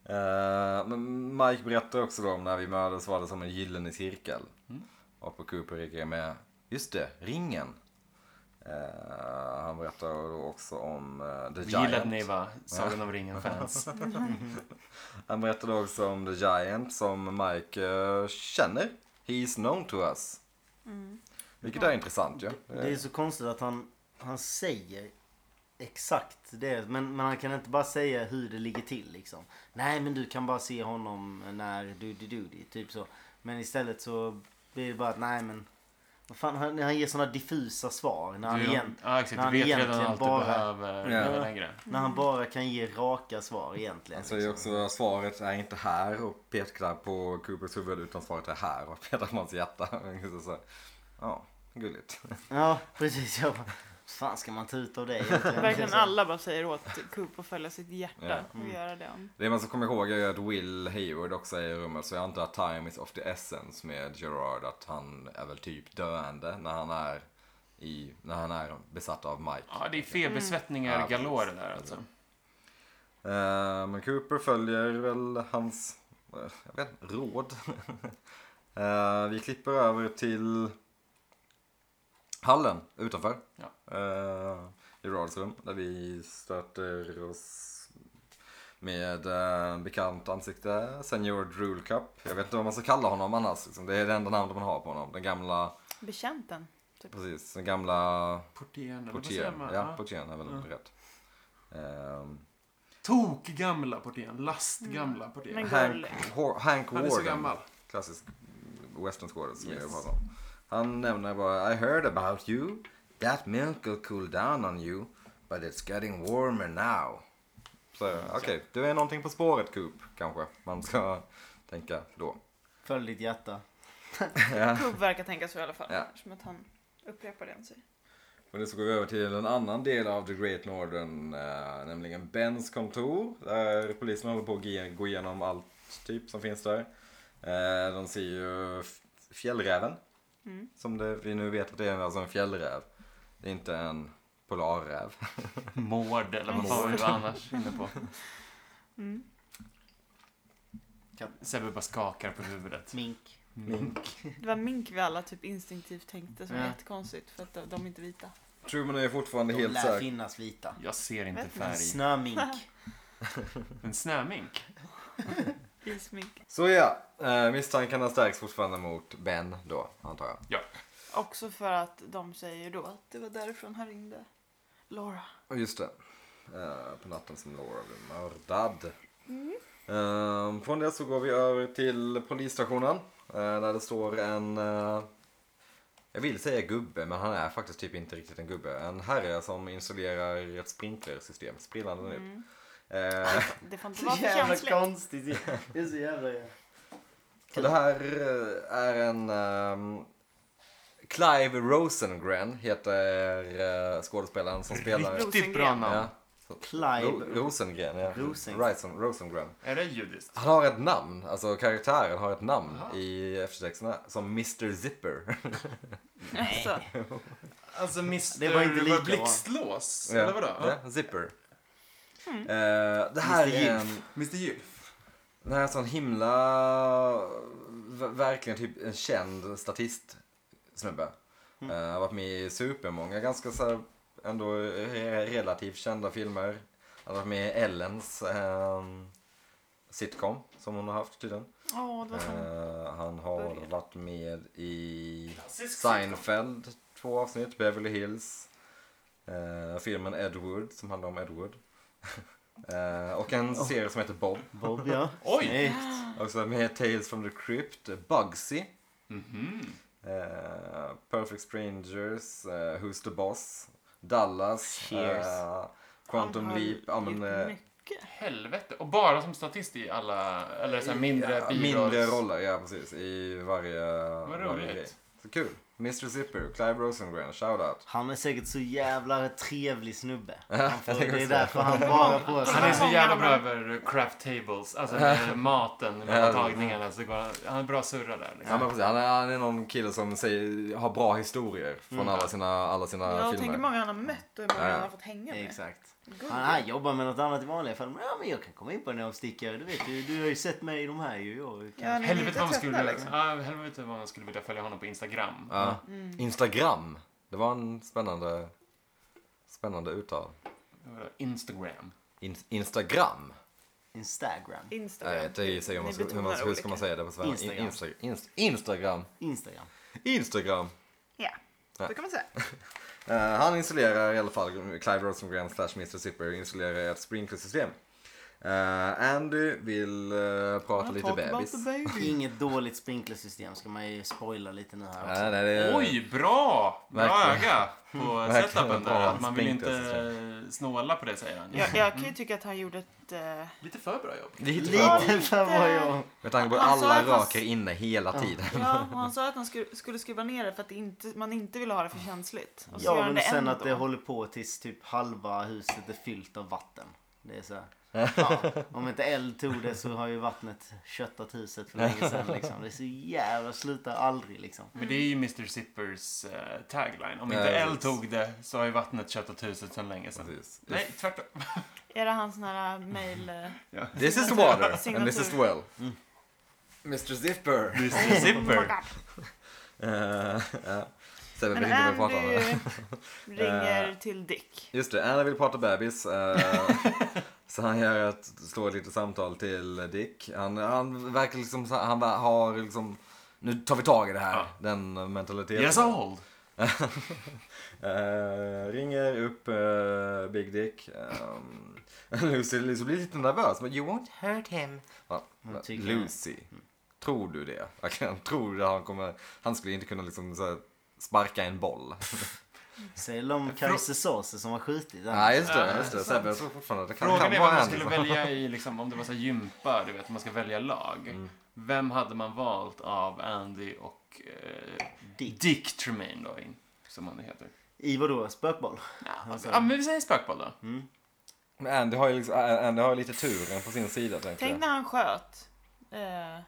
S2: Eh, men Mike berättade också då om när vi mördades var det som en gyllene cirkel.
S4: Mm.
S2: Och på Cooper reagerade med, just det, ringen. Eh, han berättade då också om eh, The
S4: Vi gillar att ni
S2: Giant.
S4: var Sagan om ringen-fans.
S2: Han berättade också om The Giant som Mike eh, känner. He's known to us. Vilket är intressant ju. Ja.
S3: Det är så konstigt att han, han säger exakt det. Men, men han kan inte bara säga hur det ligger till liksom. Nej men du kan bara se honom när du du du du, typ så. Men istället så blir det bara att nej men. Vad fan, han, han ger sådana diffusa svar. När han,
S4: Du,
S3: igen,
S4: ja, exakt.
S3: när han
S4: Du vet redan
S3: egentligen
S4: allt
S3: bara-
S4: du behöver
S2: Ja.
S4: yeah. längre.
S3: när han bara kan ge raka svar egentligen. liksom.
S2: Han säger också att svaret är inte här och pekar på Coopers huvud utan svaret är här och petar på hans hjärta. Så, så, ja, gulligt.
S3: Ja precis. Jag bara, "Vad fan ska man ta ut av det egentligen?
S1: Verkligen
S3: Så-
S1: alla bara säger åt Coop att följa sitt hjärta
S2: Ja.
S1: och göra det han...
S2: Det man ska komma ihåg är ju att Will Hayward också är i rummet så jag antar att time is of the essence med Gerard att han är väl typ döende när han är, i, när han är besatt av Mike.
S4: Ja, det är febersvettningar
S2: Mm. Ja, precis.
S4: galore där alltså.
S2: Eh, Men Cooper följer väl hans eh, jag vet, inte, råd. Eh, Vi klipper över till hallen utanför.
S4: Ja.
S2: Eh, I Rards rum där vi stöter oss med eh, en bekant ansikte. Senior Drool Cup. Jag vet inte vad man ska kalla honom annars. Liksom. Det är det enda namnet man har på honom. Den gamla,
S1: Bekänten.
S2: precis, den gamla
S4: Portieren, eller vad säger
S2: portieren.
S4: man?
S2: Ja,
S4: Ja.
S2: portieren är väl rätt. Ehm,
S4: Tokgamla portieren. Lastgamla portieren.
S1: Men
S2: Hank,
S1: gullig.
S2: Hor- Hank
S4: Han är
S2: Warden.
S4: så gammal.
S2: Klassisk westernskådis som
S4: Yes.
S2: jag pratar om. Han nämner bara I heard about you. That milk will cool down on you. But it's getting warmer now. Så okej, du är någonting på spåret Coop kanske man ska tänka då.
S3: Följ ditt hjärta.
S1: Coop verkar tänka så i alla fall.
S2: Ja.
S1: Eftersom att han upprepar det han säger.
S2: Och nu så går vi över till en annan del av The Great Northern, eh, nämligen Bens kontor. Där polisen håller på att ge- gå igenom allt typ som finns där. Eh, de ser ju f- fjällräven.
S1: Mm.
S2: Som det, vi nu vet att det är alltså en fjällräv. Det är inte en polarräv.
S4: Mård, eller vad fan var vi annars inne på?
S1: Mm.
S3: Katt.
S4: Sebbe bara skakar på huvudet.
S3: Mink.
S1: Det var mink vi alla typ instinktivt tänkte som var
S3: Ja.
S1: jättekonstigt för att de de är inte vita.
S2: Truman är fortfarande
S3: De
S2: helt
S3: lär
S2: säker.
S3: finnas vita.
S4: Jag ser inte
S1: Vet
S4: färg.
S3: Snömink.
S4: En snömink?
S1: Ismink.
S2: Så ja, eh, misstankarna stärks fortfarande mot Ben då, antar jag.
S1: Också för att de säger då att det var därifrån han ringde. Laura.
S2: Och just det. Eh, på natten som Laura blev mördad.
S3: Mm.
S2: Eh, från det så går vi över till polisstationen. eh, där det står en... eh, jag vill säga gubbe, men han är faktiskt typ inte riktigt en gubbe. En herre som installerar ett sprinklersystem. Sprillande nytt.
S3: Mm.
S2: Eh,
S1: Det får inte
S3: Så
S1: vara för
S3: jävla
S1: känsligt.
S3: konstigt. Det är så jävla...
S2: och det här eh, är en... ehm, Clive Rosengren heter eh, skådespelaren som spelar...
S4: Riktigt bra namn.
S2: Ja.
S3: Clive.
S2: Ro- Rosengren, ja.
S3: Rosengren.
S2: Rison- Rosengren.
S4: Är det judiskt?
S2: Han har ett namn, alltså karaktären har ett namn i eftertexterna som Mr Zipper.
S1: Alltså,
S4: Alltså Mr...
S3: Det var inte lika bra.
S4: Blixtlås? Eller vadå? Mm. Ja.
S2: Ja, Zipper. Eh, det här
S3: Mr.
S2: är en,
S4: Mr Gylf?
S2: den här är en sån himla, v- verkligen typ en känd statist snubbe. Eh, har varit med i supermånga ganska så här, ändå re- relativt kända filmer. Han har varit med i Ellens ehm, sitcom som hon har haft tydligen.
S1: åh det var så.
S2: Eh, han har
S1: Börjar.
S2: varit med i
S4: Klassisk
S2: Seinfeld, två avsnitt, Beverly Hills, eh, filmen Edward som handlar om Edward. Eh, och en serie som heter Bob,
S3: Bob ja.
S4: Oj!
S3: Snyggt.
S2: också med Tales from the Crypt, Bugsy,
S4: Mhm.
S2: eh, Perfect Strangers, eh, Who's the Boss, Dallas,
S3: Cheers.
S2: eh,
S1: Han
S2: Quantum
S1: har
S2: Leap, ja, men,
S1: gjort
S2: eh,
S1: mycket.
S4: Helvete. Och bara som statist i alla... Eller så här mindre
S2: ja,
S4: birolls-
S2: mindre roller, ja precis, i varje,
S4: Vad
S2: varje
S4: roligt.
S2: Så kul. Mr Zipper, Clive Rosengren, shoutout.
S3: Han är säkert så jävla trevlig snubbe.
S2: jag
S3: Han får,
S2: tänker
S3: det är
S2: också.
S3: därför han bara får
S4: Han är så
S1: Många
S4: jävla
S1: av
S4: bra
S1: dem.
S4: över craft tables, alltså med maten, med tagningarna. Så går han, han är bra surra där.
S2: Ja,
S4: Liksom.
S2: men precis. Han, är, han är någon kille som säger, har bra historier från
S4: Mm.
S2: alla sina, alla sina
S1: Jag
S2: eh, filmer.
S1: tänker många han har mött och hur många
S2: Ja.
S1: han har fått hänga med.
S3: Exakt.
S1: Gud,
S3: Han, han jobbar med något annat i vanliga fall. Men, ja, men jag kan komma in på den här och sticka. Du vet, du, du har ju sett mig i de här ju. Jag kan...
S1: Ja, ni är
S4: Helvete
S1: lite
S4: vad man
S1: trötta,
S4: skulle,
S1: liksom.
S4: ja, helvete vad man skulle vilja följa honom på Instagram.
S2: Ja.
S1: Mm.
S2: Instagram. Det var en spännande, spännande uttal.
S4: Instagram.
S2: In, Instagram.
S3: Instagram.
S1: Instagram.
S2: Nej, det säger man,
S1: Ni
S2: hur, man,
S1: betonar
S2: hur ska man
S1: olika.
S2: säga det på svenska?
S3: Instagram.
S2: Insta, inst, Instagram.
S3: Instagram.
S2: Instagram.
S1: Ja,
S2: Ja.
S1: så kan man säga.
S2: Eh, han installerar i alla fall, Clive Rosengren slash Mr Zipper installerar ett sprinklersystem. Eh, Andy vill eh, prata lite
S1: Talk about
S2: bebis.
S1: the baby.
S3: Inget dåligt sprinklersystem ska man ju spoila lite nu här också.
S2: Ja, nej, det är-
S4: Oj, bra! Bra
S2: Eh, Verkligen.
S4: öga på
S2: Verkligen
S4: setupen
S2: bra.
S4: där. Att man vill
S2: Spinkt,
S4: inte
S2: alltså,
S4: eh, snåla på det, säger han.
S1: Jag, jag kan ju tycka att han gjorde ett... eh,
S4: Lite för bra jobb.
S2: Lite bra.
S3: Lite för vad jag...
S2: Med tanke på att
S1: Han sa
S2: alla
S1: att han-
S2: röker inne hela tiden.
S1: ja, och han sa att han skulle, skulle skruva ner det för att det inte, man inte ville ha det för känsligt. Och så gör
S3: Ja,
S1: han
S3: men
S1: det
S3: sen
S1: ändå.
S3: att det håller på tills typ halva huset är fyllt av vatten. Det är så här. Ja, om inte eld tog det så har ju vattnet köttat huset för länge sedan liksom. Det är så jävla, slutar aldrig liksom.
S4: Men det är ju Mr Zippers eh, tagline. Om
S2: Ja,
S4: inte eld
S2: precis.
S4: tog det så har ju vattnet köttat huset sedan länge sedan.
S2: Precis.
S4: Nej, tvärtom.
S1: Är det hans sån här mail... eh,
S4: Ja.
S2: This is water and
S1: Signatur. Mm.
S2: this is well. Mr Zipper.
S4: Mr Zipper.
S2: Eh, ja. Ställer vi
S1: Men
S2: hinner väl prata om det.
S1: Andy
S2: Eh,
S1: ringer till Dick.
S2: Just det, Anna vill prata bebis. eh, så han gör ett, slår ett litet samtal till Dick. Han, han verkar liksom, så- han har liksom, nu tar vi tag i det här.
S4: Ja.
S2: Den mentaliteten.
S4: Yes, old.
S2: Eh, ringer upp eh, Big Dick. Um, Lucy, Lucy blir lite nervös. Men you won't hurt him. Ja,
S3: Hon tycker-
S2: Lucy,
S4: Mm.
S2: tror du det? Verkligen, tror du att han kommer... Han skulle inte kunna liksom så här, sparka en boll.
S3: Säg om Kajse Sase som har skjutit den.
S2: Nej, just det.
S4: Ja,
S2: Just det.
S4: sant.
S2: Sebbe, jag tror fortfarande att det kan,
S4: Frågan
S2: kan
S4: är
S2: vara
S4: vem man
S2: han.
S4: skulle välja i, liksom, om det var så här gympa, du vet, man ska välja lag. Vem hade man valt av Andy och eh,
S3: Dick.
S4: Dick Tremaine då, in, som han heter.
S3: I vadå? Spökboll?
S4: Ja, alltså, ja, men vi säger spökboll då.
S2: Men Andy har ju liksom, Andy har ju lite turen på sin sida, tänker
S1: Tänk
S2: jag.
S1: när han sköt. Eh,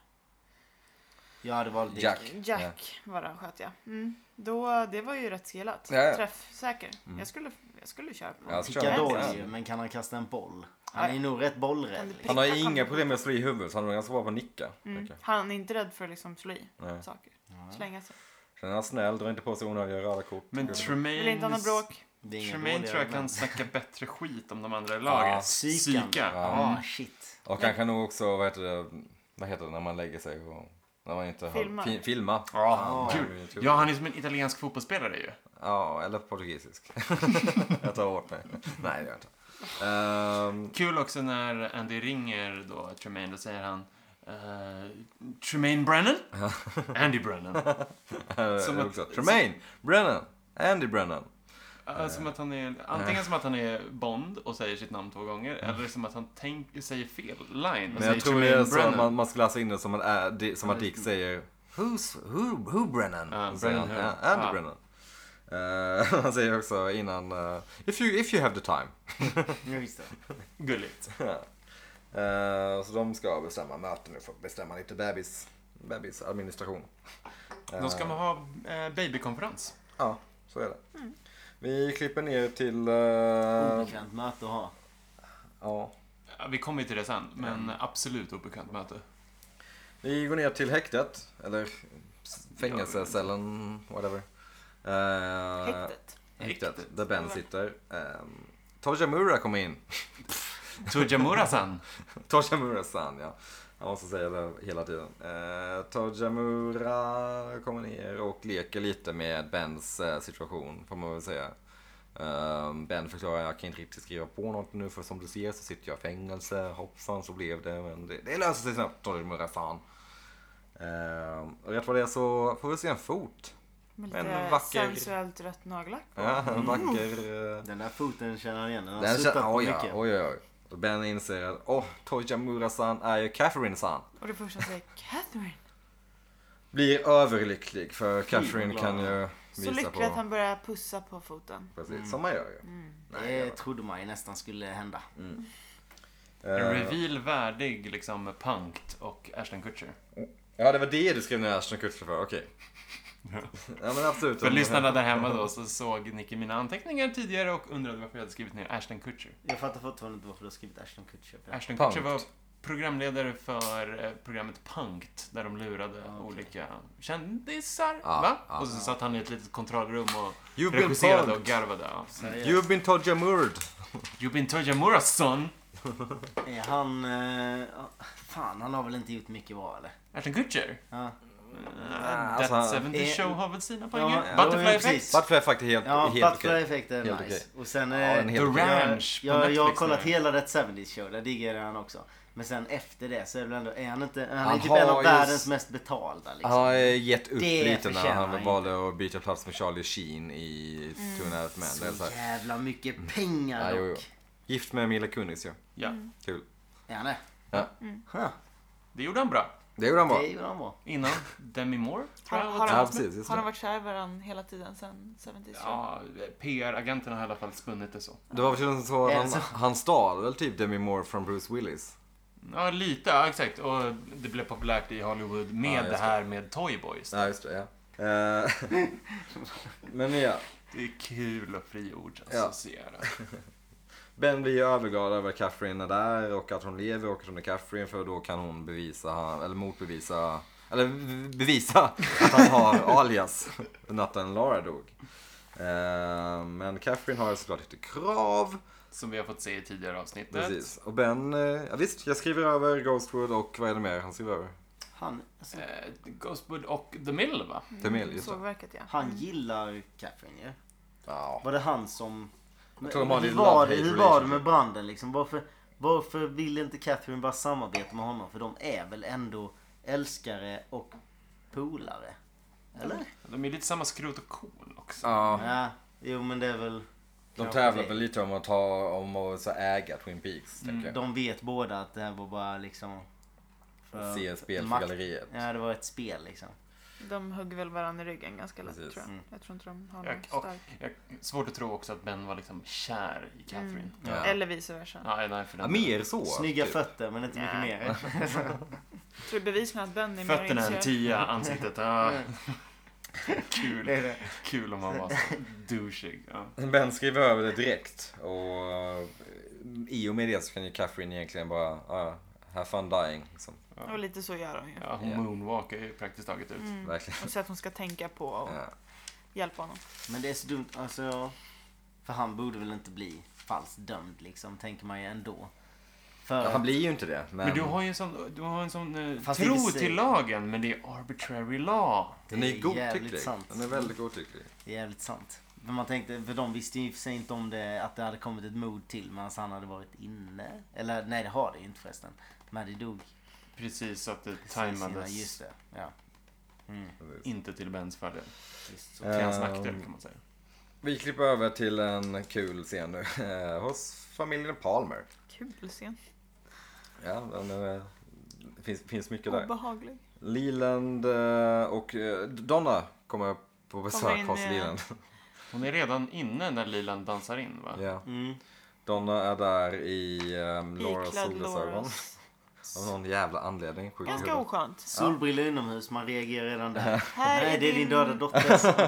S3: Jag hade valt Dick.
S2: Jack.
S1: Jack var det han sköt ja. Mm. Då, det var ju rätt skrillat.
S2: Ja, ja.
S1: Träffsäker. Jag, skulle, jag skulle köra på
S2: Ja,
S1: honom.
S2: så kör han.
S3: Picadoll ju, men kan han kasta en boll? Han är
S1: Nej.
S3: ju nog rätt bollrädd.
S1: Kan du
S3: liksom.
S2: Han har ju
S1: pricka
S2: inga
S1: fram-
S2: problem med att slå i huvudet, så han är ganska bra på att nicka.
S1: Mm.
S2: tänker jag.
S1: Han är inte rädd för att liksom slå i
S2: Nej.
S1: saker. Slänga sig.
S2: Sen är han snäll, drar inte på sig onödiga röda kort.
S4: Men
S1: Vill inte ha något
S4: Tremaines...
S1: bråk.
S3: Det är ingen
S4: Tremaine
S3: dålig
S4: tror jag kan
S3: argument.
S4: snacka bättre skit om de andra i laget.
S2: Ja,
S3: psykan.
S2: Ja.
S3: Ah, shit.
S2: Och han kan nog också, vad heter det, vad heter det när man lägger sig och... När man inte
S1: Filma.
S2: har... Fi, filma.
S4: Ja,
S2: Ja,
S4: gud.
S2: YouTube.
S4: ja, han är som en italiensk fotbollsspelare ju.
S2: Ja, eller portugisisk. jag tar åt mig. Nej, det gör jag inte. Ehm,
S4: Kul också när Andy ringer då Tremaine, då säger han eh, Tremaine Brennan? Andy Brennan. Som
S2: eh,
S4: att-
S2: också. Tremaine, Brennan, Andy Brennan.
S4: Eh, som att han är, antingen som att han är Bond och säger sitt namn två gånger, eller som att han tänk, säger fel line. och
S2: Mm. Men
S4: säger
S2: jag tror det
S4: Tremaine
S2: är så att
S4: Brennan.
S2: man, man ska läsa in det som att, äh, di, som att Dick säger Who's, who, who Brennan?
S4: Ja,
S2: Och så säger
S4: Brennan
S2: han,
S4: who?
S2: "Ja, Andy
S4: Ja.
S2: Brennan. Eh, han säger också innan eh, if, you, if you have the time.
S3: Jag visste.
S4: Gulligt.
S2: Eh, så de ska bestämma möten nu för att bestämma lite bebis, bebisadministration.
S4: Då ska man ha eh, babykonferens.
S2: Ja, så är det. Vi klipper ner till... eh,
S3: Obekvämt möte att ha.
S2: ja.
S4: Ja, Vi kommer ju till det sen, men absolut obekvämt möte.
S2: Vi går ner till häktet, eller fängelsecellen, whatever. Eh,
S1: Häktet.
S2: Häktet, där Ben sitter. Um, Tojamura kommer in.
S4: Tujamura-san.
S2: Tojamura-san, ja. Han måste säga det hela tiden. Uh, Tojamura kommer ner och leker lite med Bens eh, situation, får man väl säga. Ehm, ben förklarar, jag kan inte riktigt skriva på något nu för som du ser så sitter jag i fängelse. Hoppsan så blev det, men det, det löser sig snabbt Tojamura-san. Ehm, och rätt vad det är så får vi se en fot.
S1: Med
S2: Men
S1: lite
S2: vacker-
S1: sensuellt rött nagellack.
S2: Ja, en vacker... eh,
S3: Den där foten känner han igen. Den har
S2: Den
S3: suttit
S2: känner,
S3: på
S2: oj, ja,
S3: mycket.
S2: oj, oj, oj. Och Ben inser att, åh, Toja Murasan är ju Catherine-san.
S1: Och det första säger Catherine.
S2: Blir överlycklig för Catherine
S3: glad.
S2: kan ju
S1: Så
S2: visa
S1: lycklig
S2: på...
S1: att han börjar pussa på foten.
S2: Precis, som man gör ju.
S3: Mm.
S2: Nej,
S3: det
S2: jag-
S3: trodde man ju nästan skulle hända.
S4: En
S2: Eh,
S4: reveal värdig liksom Punkt och Ashton Kutcher.
S2: Ja, det var det du skrev ner Ashton Kutcher för, okej. Ja, men absolut.
S4: För lyssnarna där hemma då så såg Nicky mina anteckningar tidigare och undrade varför jag hade skrivit ner Ashton Kutcher.
S3: Jag fattar fortfarande inte varför du har skrivit Ashton Kutcher. på det.
S4: Ashton
S2: Punkt.
S4: Kutcher var programledare för eh, programmet Punkt där de lurade
S3: Ah, okej.
S4: olika kändisar.
S2: Ah,
S4: va?
S2: ah.
S4: och så satt han i ett litet kontrollrum och
S2: You've been
S4: regisserade och
S2: punked.
S4: garvade. Ja.
S3: Seriöst.
S2: You've been Todja Murd.
S4: You've been Toja Muras son,
S3: Är han... eh, fan, han har väl inte gjort mycket bra eller?
S4: Ashton Kutcher.
S3: Ja,
S4: Uh,
S2: alltså,
S4: That 70
S3: Ah, eh,
S4: show har väl sina
S3: ja,
S4: poänger?
S3: ja,
S4: Butterfly
S3: ja,
S4: Effect?
S3: precis.
S2: Butterfly är faktiskt helt,
S3: ja
S2: helt
S3: Butler
S2: okej.
S3: Effect är
S2: Helt
S3: nice.
S2: okej.
S3: Och sen...
S2: Ja, den
S3: eh,
S2: är
S4: The
S2: helt okej.
S4: Ranch på
S3: jag, jag, jag har
S4: Netflix
S3: kollat
S4: nu.
S3: hela Rätt 70s show, där diggar jag han också. Men sen efter det så är det väl ändå, är han inte, han,
S2: Han
S3: är typ en av
S2: har just-
S3: världens mest betalda liksom.
S2: Han har gett upp
S3: Det
S2: lite när
S3: förtjänar han
S2: han
S3: inte. Mm.
S2: valde att byta plats med Charlie Sheen i Two and a Half Men. Det är så
S3: Så
S2: här, Mm.
S3: jävla mycket pengar
S2: Ja, jo, jo.
S3: dock.
S2: gift med Mila Kunis ju.
S4: Ja,
S2: Kul.
S3: Är han det?
S2: Ja.
S3: Huh.
S4: det gjorde han bra.
S2: Det gjorde han bra.
S3: Det gjorde han bra.
S4: Innan Demi Moore, tror
S1: Har,
S4: jag.
S1: har,
S4: var
S1: de,
S2: Ja, precis, just
S1: har de
S2: det.
S1: varit kära i varandra hela tiden sen 70s?
S4: Ja, PR-agenterna har i alla fall spunnit det så.
S2: Det var väl så att
S3: Är det
S2: han,
S3: så?
S2: han stal väl typ Demi Moore från Bruce Willis.
S4: Ja, lite. Ja, exakt. Och det blev populärt i Hollywood
S2: Ja,
S4: med
S2: just
S4: det här med Toy Boys.
S2: Ja, just det. Ja. Eh, Men ja,
S4: Det är kul att friordsassociera.
S2: Ben blir ju överglad över att Catherine är där och att hon lever och att hon är Catherine för då kan hon bevisa, eller motbevisa, eller bevisa att han har alias natten Laura dog. Eh, Men Catherine har såklart lite krav.
S4: Som vi har fått se i tidigare avsnittet.
S2: Precis. Och Ben, eh, ja, visst, jag skriver över Ghostwood och vad är det mer han skriver över?
S3: Han, alltså,
S4: Eh, Ghostwood och The Mill, va?
S2: Tamil, just det.
S1: Sågverket ja.
S3: han gillar Catherine ju.
S2: Ja.
S3: Var det han som...
S2: tror de har
S3: hur,
S2: en
S3: var
S2: love-hate
S3: det, hur var det med
S2: relationship.
S3: branden liksom? Varför, varför vill inte Catherine bara samarbeta med honom? För de är väl ändå älskare och polare? Eller?
S4: De är lite samma skrot och korn också.
S2: Ja,
S3: Ja, jo men det är väl...
S2: de
S3: kanske
S2: tävlar
S3: det.
S2: väl lite om att ta, om att så äga Twin Peaks, tänker jag.
S3: De vet båda att det här var bara liksom... för-
S2: Se ett spel för
S3: makt-
S2: galleriet.
S3: Ja, det var ett spel liksom.
S1: De hugger väl varandra i ryggen ganska lätt
S2: Precis.
S1: tror jag.
S3: Mm.
S1: Jag tror inte de har någon
S4: Jag, och,
S1: stark.
S4: jag, svårt att tro också att Ben var liksom kär i Catherine.
S2: Ja.
S1: Eller vice versa.
S4: Ja, nej, för
S2: Ja,
S4: den
S2: mer så.
S3: Snygga
S2: typ.
S3: fötter men inte mycket
S1: Ja.
S3: mer.
S1: Så det är bevisligen att Ben är mer
S4: Fötterna är en
S1: intresserad.
S4: tia, ansiktet... Ah.
S3: Det är
S4: kul,
S3: det.
S4: kul om man var så douchig. Ja.
S2: Ben skriver över det direkt och eh, i och med det så kan ju Catherine egentligen bara uh, have fun dying. Liksom.
S1: Och lite så gör de ju.
S4: Ja, hon
S2: Ja.
S4: moonwalkar ju praktiskt taget ut.
S2: Verkligen.
S1: Och så att hon ska tänka på och
S2: Ja.
S1: hjälpa honom.
S3: Men det är så dumt, alltså. ja. För han borde väl inte bli falskt dömd liksom, tänker man ju ändå. För...
S2: Ja, han blir ju inte det. Men,
S4: Men du har ju en sån, du har en sån eh,
S3: Fast i och
S4: tro
S3: för sig-
S4: till lagen, men det är arbitrary law.
S2: den är
S3: Det är
S2: ju godtycklig.
S3: jävligt sant.
S2: Den är väldigt godtycklig.
S3: Det är jävligt sant. För man tänkte, för de visste ju i och för sig inte om det, att det hade kommit ett mord till medan han hade varit inne. Eller nej, det har det ju inte förresten. Men det dog
S4: Precis, så att det
S3: precis innan, just
S4: tajmades
S3: det. Ja,
S4: inte till Bens fördel.
S3: just så.
S2: Eh.
S4: Till hans
S2: Ehm.
S4: nackdel kan man säga.
S2: Vi klipper över till en kul scen nu eh, hos familjen Palmer.
S1: Kul scen.
S2: Ja, den, eh, det finns, finns mycket där.
S1: Obehaglig.
S2: Leland eh, och eh, Donna kommer på
S1: Kommer
S2: besök
S1: in,
S2: hos
S1: eh,
S2: Leland.
S4: Hon är redan inne när Lilan dansar in, va?
S2: Ja.
S3: Mm.
S2: Donna är där i um, Lauras
S1: Iklädd
S2: solglasögon.
S1: Loras.
S2: Av någon jävla anledning. Sjuk i
S1: Ganska
S2: huvudet.
S1: oskönt.
S3: Solbrillor inomhus, man reagerar redan där.
S1: Här
S3: nej,
S1: är
S3: det är
S1: din-
S3: din döda dotter. Okej, ja,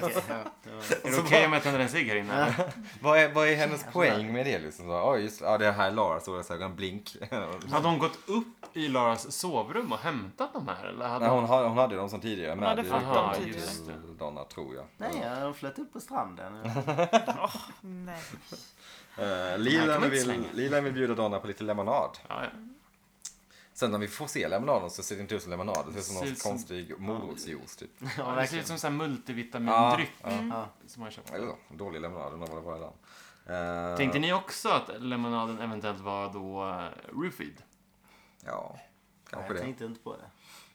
S3: okej, ja, det var-
S4: Är det okej om jag tänder en cigg här inne?
S2: Vad är, vad är hennes poäng med det liksom? Så, oh, just, ja, det här är Laras solglasögon, blink.
S4: Hade hon gått upp i Laras sovrum och hämtat de här? Eller hade
S2: Nej, hon, ha- hon hade dem som tidigare. med
S1: hade
S2: i-
S1: fått
S4: dem
S2: i
S4: tidigare.
S2: Donna, tror jag. Eh,
S3: Nej, jag har flöt upp på stranden.
S1: Nej.
S2: Uh,
S4: Den här kan
S2: Lilan,
S4: man inte
S2: vill,
S4: slänga.
S2: Lilan vill bjuda Donna på lite lemonad.
S4: Ja, ja.
S2: Sen när vi får se lemonaden så ser det inte ut som lemonad. Det ser ut som någon
S4: Ser ut som-
S2: konstig morotsjuice typ. Ah,
S3: Ja,
S4: det ser
S3: verkligen.
S4: ut som sån här multivitamindryck
S3: Ja.
S4: som man köpt.
S2: Eller så, dålig lemonad, undrar vad det var i den. Eh,
S4: Tänkte ni också att lemonaden eventuellt var då eh, roofied?
S2: Ja, kanske
S3: Jag
S2: det.
S3: tänkte inte på det.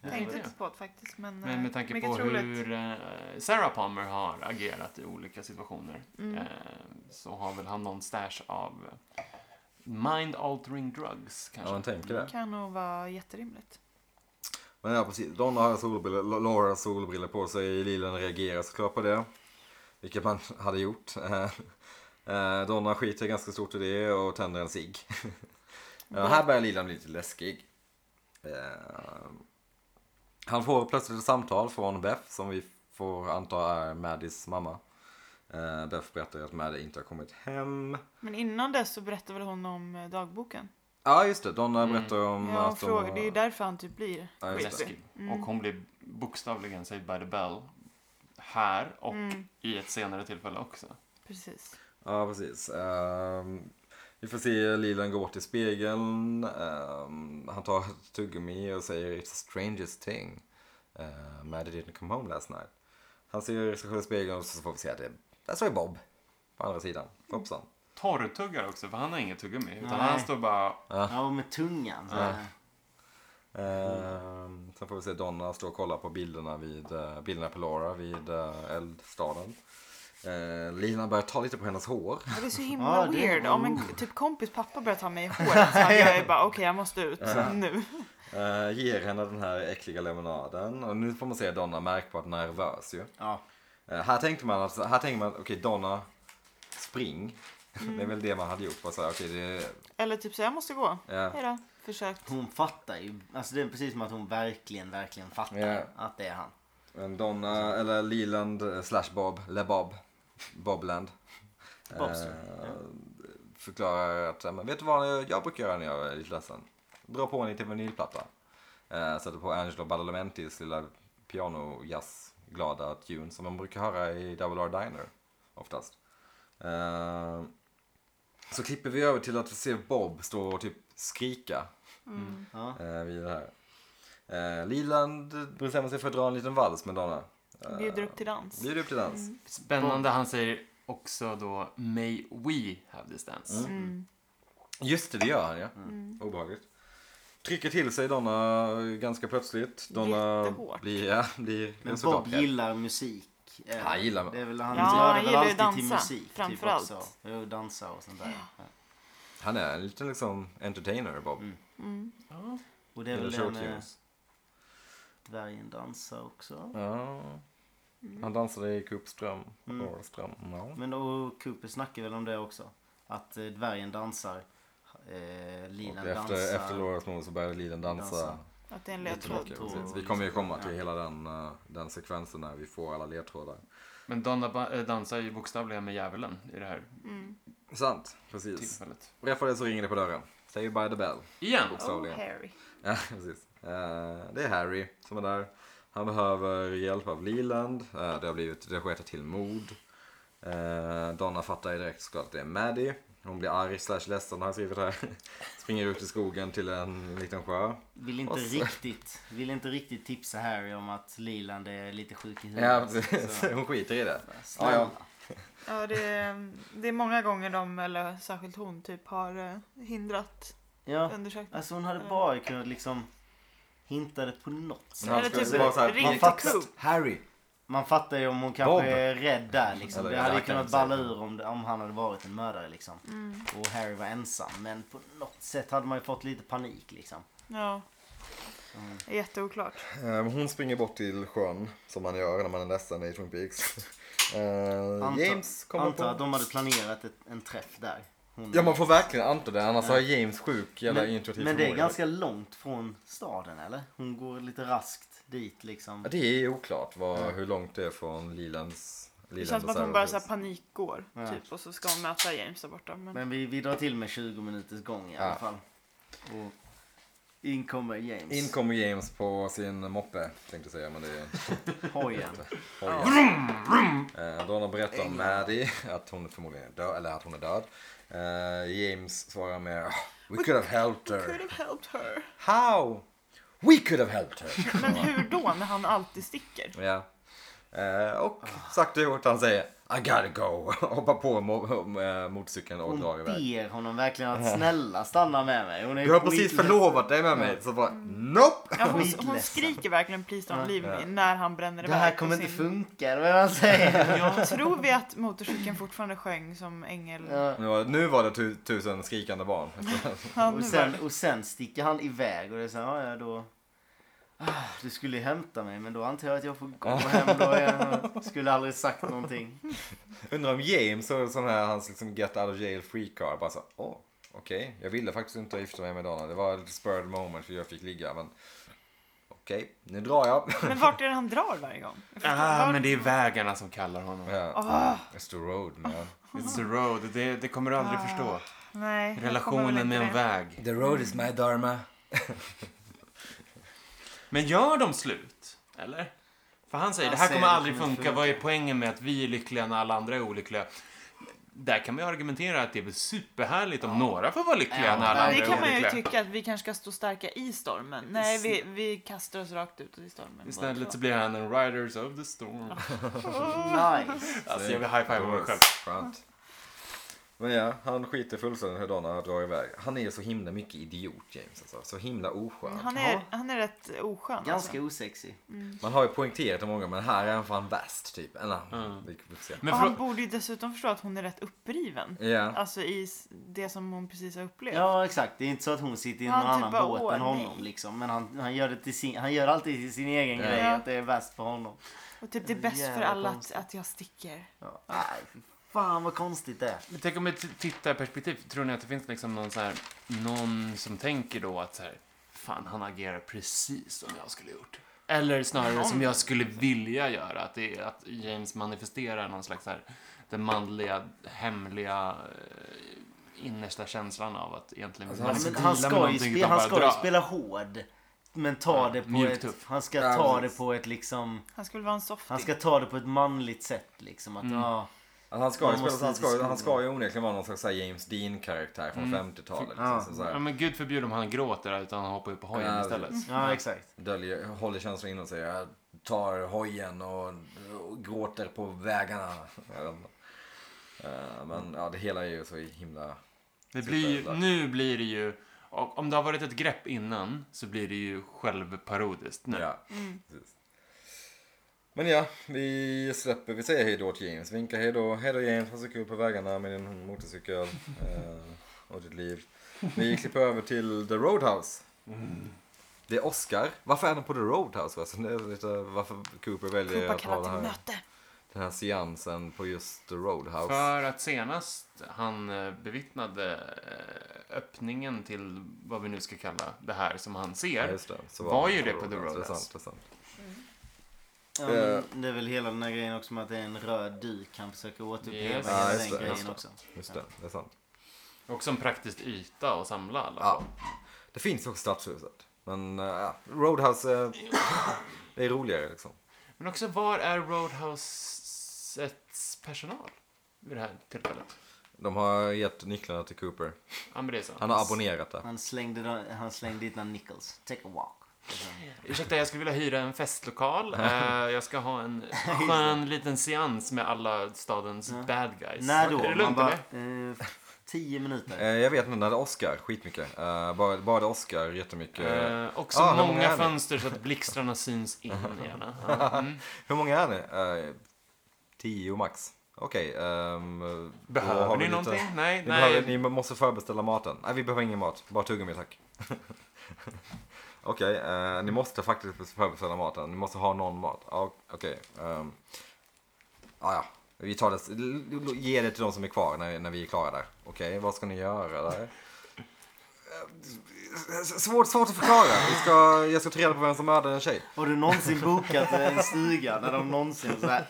S1: Jag
S4: Ja,
S1: tänkte
S4: det.
S1: inte på det faktiskt. Men,
S4: Men
S1: eh,
S4: med tanke
S1: mycket
S4: på
S1: troligt.
S4: hur eh, Sarah Palmer har agerat i olika situationer
S3: Mm.
S1: Mm.
S4: eh, så har väl han någon stash av mind altering drugs
S2: Ja,
S4: kanske.
S2: man tänker det.
S1: Kan nog vara jätterimligt.
S2: Men ja, precis. Donna har solbriller, L- Laura har solbriller på sig. Lilan reagerar såklart på det. Vilket man hade gjort. Eh, eh, Donna skiter ganska stort i det och tänder en cigg. Ja, här börjar Lilan bli lite läskig. Eh, Han får plötsligt ett samtal från Beth som vi får anta är Maddys mamma. Eh, Beth berättar att Maddie inte har kommit hem.
S1: Men innan dess så berättar väl hon om eh, dagboken?
S2: Ja just det, Donna berättar om
S1: ja, hon
S2: att de
S1: frågar.
S2: har-
S1: Det är ju därför han typ blir
S2: Ja, just det.
S1: creepy.
S4: Läskig. Och hon blir bokstavligen saved by the bell. Här och i ett senare tillfälle också.
S1: Precis.
S2: Ja, precis. Ehm, vi får se Lilan gå bort till spegeln. Ehm, han tar ett tuggummi och säger It's the strangest thing. Uh, Maddie didn't come home last night. Han ser sig själv i spegeln och så får vi se att det där står ju Bob. På andra sidan. Hoppsan.
S4: Torrtuggar också, för han har inget tuggummi. Utan
S3: Nej.
S4: han står bara...
S3: Ja, och med tungan. Så här.
S2: Ehm, sen får vi se Donna stå och kolla på bilderna, vid, eh, bilderna på Laura vid eh, eldstaden. Uh, Lilan börjar ta lite på hennes hår.
S1: Ja, det är så himla
S3: Ja, det-
S1: weird. Om en k- typ kompis pappa börjar ta mig i håret så hade jag ju bara okej jag måste ut nu.
S2: Eh, ger henne den här äckliga lemonaden. Och nu får man se Donna märkbart nervös ju.
S3: Ja.
S2: Eh, Här tänkte man alltså, här tänkte man att okej Donna, spring. Det är väl det man hade gjort. Bara så här, okej, det,
S1: Eller typ så jag måste gå.
S2: Ja.
S1: Hejdå. Försökt.
S3: Hon fattar ju. Alltså det är precis som att hon verkligen, verkligen fattar
S2: Ja.
S3: att det är han.
S2: men Donna, eller Leland eh, slash Bob, Le Bob, Bobland.
S3: Bobström,
S2: eh, Förklarar att, eh, men vet du vad jag brukar göra när jag är lite ledsen? Dra på en liten vinylplatta. Eh, Sätter på Angelo Badalamenti's lilla piano jazz glada tune som man brukar höra i Double R Diner oftast. Eh, Så klipper vi över till att vi ser Bob stå och typ skrika
S3: Ja.
S2: eh, vid det här. Eh, Liland bestämmer sig för att dra en liten vals med Donna.
S1: Bjuder upp till dans.
S2: Bjuder upp till dans.
S4: Spännande, han säger också då May we have this dance.
S2: Just det, det gör han ja.
S3: Mm.
S2: Obehagligt. Trycker till sig Donna ganska plötsligt. Donna
S1: Jättehårt.
S2: blir, ja, blir
S3: Men
S2: såklart
S3: Bob
S2: rädd.
S3: gillar musik. eh,
S2: Han gillar-
S3: det är väl, han
S1: Ja,
S3: gillar
S1: han
S3: väl
S1: gillar ju
S3: alltid till
S1: dansa,
S3: musik.
S1: framförallt.
S3: Typ också. Jo, dansa och sånt där. Ja.
S2: Han är en liten liksom entertainer Bob.
S3: Mm. Och det är
S2: Gillar
S3: väl
S2: short
S3: den eh,
S2: tunes.
S3: dvärgen dansar också.
S2: Ja. Han dansade i Kuppström.
S3: Mm.
S2: Norrström. Ja.
S3: Men och Cooper snackar väl om det också. Att eh, dvärgen dansar. Eh,
S2: Och
S3: Linan dansar.
S2: efter, efter Lauras mord så började Liden dansa.
S3: Dansa.
S1: Att det är en
S2: Tråkigt,
S1: ledtråd.
S3: Ledtråd.
S2: precis. Vi kommer ju komma till hela den, eh, den sekvensen när vi får alla ledtrådar.
S4: Men Donna ba- eh, dansar ju bokstavligen med djävulen i det här
S2: Sant,
S3: Typ.
S2: precis.
S4: tillfället.
S2: Och efter det så ringer det på dörren. Say by the bell.
S4: Igen!
S1: Oh,
S2: Bokstavligen.
S1: Harry.
S2: Ja, precis. Eh, det är Harry som är där. Han behöver hjälp av Leland. Eh, det har blivit, det har skett ett till mord. Eh, Donna fattar ju direkt såklart att det är Maddie. Hon blir arg slash ledsen har jag skrivit här. Springer ut i skogen till en liten sjö.
S3: Vill
S2: Och
S3: inte,
S2: så-
S3: riktigt, vill inte riktigt tipsa Harry om att Liland är lite sjuk i
S2: Ja,
S3: huvudet.
S2: precis.
S3: Så,
S2: Eh, Hon skiter i det. Ja,
S3: snälla.
S2: ja.
S1: Ja, det, är- det är många gånger de, eller särskilt hon, typ har eh, hindrat
S3: Ja,
S1: undersökningen.
S3: alltså hon hade bara kunnat liksom hinta det på något sätt.
S2: Men han
S1: Eller
S2: skulle
S1: typ
S2: vara så här,
S1: ring
S2: man
S1: till
S2: fattar-
S1: Coop.
S2: Harry!
S3: Man fattar ju om hon kanske
S2: Bob.
S3: är rädd där liksom.
S2: Eller
S3: det hade ju
S2: Jack
S3: kunnat
S2: Dempsey.
S3: balla ur om, det- om han hade varit en mördare liksom. Och Harry var ensam. Men på något sätt hade man ju fått lite panik liksom.
S1: Ja. Det är jätteoklart.
S2: Eh, Hon springer bort till sjön, som man gör när man är ledsen i Twin Peaks. Eh,
S3: Anta,
S2: James kommer
S3: anta
S2: på...
S3: att de hade planerat ett, en träff där. Hon,
S2: Ja, man får verkligen anta det. Annars har James sjuk jävla
S3: men,
S2: intuitiv
S3: men det är
S2: förmåga.
S3: ganska långt från staden eller? Hon går lite raskt dit liksom.
S2: Ja, det är oklart vad, hur långt det är från Lilands...
S1: Det
S2: Liland
S1: känns som
S2: och
S1: att hon
S2: Sarahs
S1: bara så här
S2: hus.
S1: panikgår.
S3: Ja.
S1: Typ, och så ska hon möta James där borta. Men...
S3: Men vi, vi drar till med 20 minuters gång i alla
S2: Ja.
S3: fall. Och in kommer James.
S2: In kommer James på sin moppe, tänkte jag säga. Men det är...
S3: Hojen.
S2: Hojen. Eh, Donna berättar om Maddie, att hon förmodligen är död. Eller att hon är död. Eh, James svarar med "Ah, We could have helped
S1: Could
S2: her.
S1: have helped her.
S2: How? We could have helped her.
S1: Men hur då när han alltid sticker?
S2: Ja. Eh, och sagt och gjort, han säger I gotta go. Hoppar på mo- eh, motorcykeln och drar
S3: Hon
S2: iväg.
S3: ber honom verkligen att snälla stanna med mig. Hon är
S2: Du har precis
S3: skitledsen.
S2: förlovat dig med mig. Så bara, nope!
S1: Ja, hon, hon
S3: Skitledsen.
S1: skriker verkligen please don't leave me när han bränner
S3: Det här
S1: på
S3: kommer inte
S1: sin-
S3: funka. Vad han säger.
S1: Tror vi att motorcykeln fortfarande sjöng som ängel?
S3: Ja.
S2: Nu var, nu var det tu, tusen skrikande barn.
S1: Ja, nu
S3: Och
S1: var
S3: sen,
S1: det.
S3: och sen sticker han iväg och det är så här, ja, ja då. "Ah, Du skulle ju hämta mig men då antar jag att jag får gå hem då igen. och Skulle aldrig sagt någonting.
S2: Undrar om James och sån här, hans liksom get out of jail free card bara så, åh, okej, jag ville faktiskt inte gifta mig med Donna. Det var ett spurred moment för jag fick ligga, men okej, nu drar jag.
S1: Men vart är det han drar varje gång? Jag förstår-
S4: Ah,
S1: var-
S4: men det är vägarna som kallar honom.
S2: Ja,
S1: Åh,
S2: It's the road man.
S4: It's the road. Det, det kommer du aldrig förstå.
S1: nej, jag kommer väl
S4: Relationen med
S1: inte
S4: en
S1: det.
S4: väg.
S2: The road is my dharma.
S4: Men gör de slut? Eller? För han säger,
S3: Han
S4: det här
S3: säger
S4: kommer
S3: det
S4: aldrig
S3: kommer
S4: funka.
S3: funka."
S4: Vad är poängen med att vi är lyckliga när alla andra är olyckliga? Där kan man ju argumentera att det är väl superhärligt om några får vara lyckliga
S3: Ja,
S4: när alla
S1: Det
S4: andra
S1: kan
S4: är
S1: man ju
S4: olyckliga.
S1: tycka att vi kanske ska stå starka i stormen. Nej, vi, vi kastar oss rakt ut i stormen.
S4: Istället så blir han en Riders of the Storm.
S3: Nice.
S4: Alltså jag vill high-fiva mig själv.
S2: Skönt. Men ja, han skiter fullständigt hur Donna drar iväg. Han är så himla mycket idiot James alltså. Så himla oskön.
S1: Han är, han är rätt oskön. alltså.
S3: Ganska osexig.
S2: Man har ju poängterat det många men här är han fan värst typ. Eller,
S4: Mm.
S2: vi får se.
S4: Men
S1: Och han
S4: frå-
S1: borde ju dessutom förstå att hon är rätt uppriven.
S2: Ja,
S1: Alltså i s- det som hon precis har upplevt.
S3: Ja exakt, det är inte så att hon sitter i någon
S1: Han typ
S3: annan
S1: bara,
S3: båt
S1: "Åh,
S3: än honom
S1: nej."
S3: liksom. Men han, han, gör det till sin, han gör alltid till sin egen
S2: Ja.
S3: grej
S1: Ja.
S3: att det är värst för honom.
S1: Och typ det är
S3: Jävla
S1: bäst för alla att,
S3: konstigt.
S1: att jag sticker.
S3: Ja. Nej, fy fan vad konstigt det är.
S4: Men tänk om ett tittarperspektiv, tror ni att det finns liksom någon, så här, någon som tänker då att så här, fan han agerar precis som jag skulle gjort? Eller snarare som jag skulle vilja göra, att, det är, att James manifesterar någon slags så här, den manliga, hemliga, eh, innersta känslan av att egentligen
S2: Alltså,
S4: man
S2: han-
S4: ska
S3: Men
S4: deala
S3: han
S4: med
S3: ska, ju
S4: någonting
S3: spela,
S4: utan
S3: han
S4: bara
S3: ska ju
S4: dra.
S3: spela hård. Men ta
S4: Ja,
S3: det på
S4: mjuk
S3: ett...
S4: tuff.
S3: Han ska
S2: Ja,
S3: ta det
S2: precis.
S3: på ett liksom...
S1: Han skulle vara en softie.
S3: Han ska ta det på ett manligt sätt liksom. Att,
S4: Mm.
S3: ja,
S2: Alltså, han, ska ju
S3: Man
S2: spela,
S3: måste
S2: han, ska, ju-
S3: diskutera.
S2: han ska ju onekligen vara någon slags så här James Dean-karaktär från 50-talet. Liksom,
S3: Mm. Ja. Mm.
S2: som så här,
S4: Ja, men gud förbjude om han gråter utan han hoppar upp på hojen
S2: Ja,
S4: istället.
S3: ja exakt.
S2: döljer, håller känslor inom sig. Jag tar hojen och, och gråter på vägarna. Jag vet inte. Eh, men ja, det hela är ju så himla...
S4: Det blir ju,
S2: Superbra.
S4: nu blir det ju, och om det har varit ett grepp innan så blir det ju självparodiskt nu.
S2: Ja,
S1: Mm.
S2: precis. Men ja, vi släpper. Vi säger hej då till James. Vinkar hej då. Hej då James, ha så kul på vägarna med din motorcykel eh, och ditt liv. Vi klipper över till The Roadhouse. Mm. Det är Oscar. Varför är han på The Roadhouse? förresten? Det är lite varför Cooper väljer
S1: Cooper
S2: att ha
S1: kallar
S2: den
S1: till
S2: här,
S1: möte.
S2: den här seansen på just The Roadhouse.
S4: För att senast han eh, bevittnade eh, öppningen till vad vi nu ska kalla det här som han
S2: Ja,
S4: ser.
S2: just det. Så
S4: Var
S2: han
S4: ju det på The
S2: Det är
S4: Roadhouse.
S2: sant, det är sant.
S3: Ja,
S2: Eh.
S3: men det är väl hela den här grejen också med att det är en röd duk. Han försöker återuppleva
S4: Yes.
S2: Ja,
S3: hela
S2: just det,
S3: den grejen
S4: just det.
S3: också.
S2: Just det, det är sant.
S4: Också en praktisk yta att samla alla
S2: Ja.
S4: på.
S2: Det finns också Stadshuset. Men eh, ja, Roadhouse, eh, det är roligare liksom.
S4: Men också, var är Roadhousets personal? Vid det här tillfället.
S2: De har gett nycklarna till Cooper.
S4: Ja, men det är sant.
S2: Han har abonnerat det.
S3: Han slängde, då- han slängde dit några nickels. Take a walk.
S4: Ursäkta, jag skulle vilja hyra en festlokal. Eh, jag ska ha en skön liten seans med alla stadens
S3: Ja.
S4: bad guys.
S3: När
S4: Är det
S3: då? Man
S4: lugnt,
S3: bara...
S4: eller?
S3: Eh, tio minuter.
S2: Eh, jag vet inte, när det är Oscar, skitmycket. Eh, bara, bara det är Oscar, jättemycket.
S4: Eh, och så
S2: Ah, hur
S4: många,
S2: många är ni?
S4: fönster så att blixtarna syns in gärna. Ja, mm.
S2: Hur många är ni? Eh, tio max. Okej. ehm, då har
S4: Behöver
S2: vi
S4: ni
S2: lite-
S4: någonting? Nej,
S2: Ni,
S4: nej.
S2: behöver, ni måste förbeställa maten. Nej, vi behöver ingen mat. Bara tuggummi tack. Okej, eh, ni måste faktiskt förbeställa maten. Ni måste ha någon mat. Ja, Okej. ehm, ah, ja, vi tar det. l- l- Ge det till de som är kvar när, när vi är klara där. Okej, vad ska ni göra där? Eh, s- Svårt, svårt att förklara. Vi ska, jag ska ta reda på vem som mördade en tjej.
S3: Har du någonsin bokat en stuga när de någonsin så här,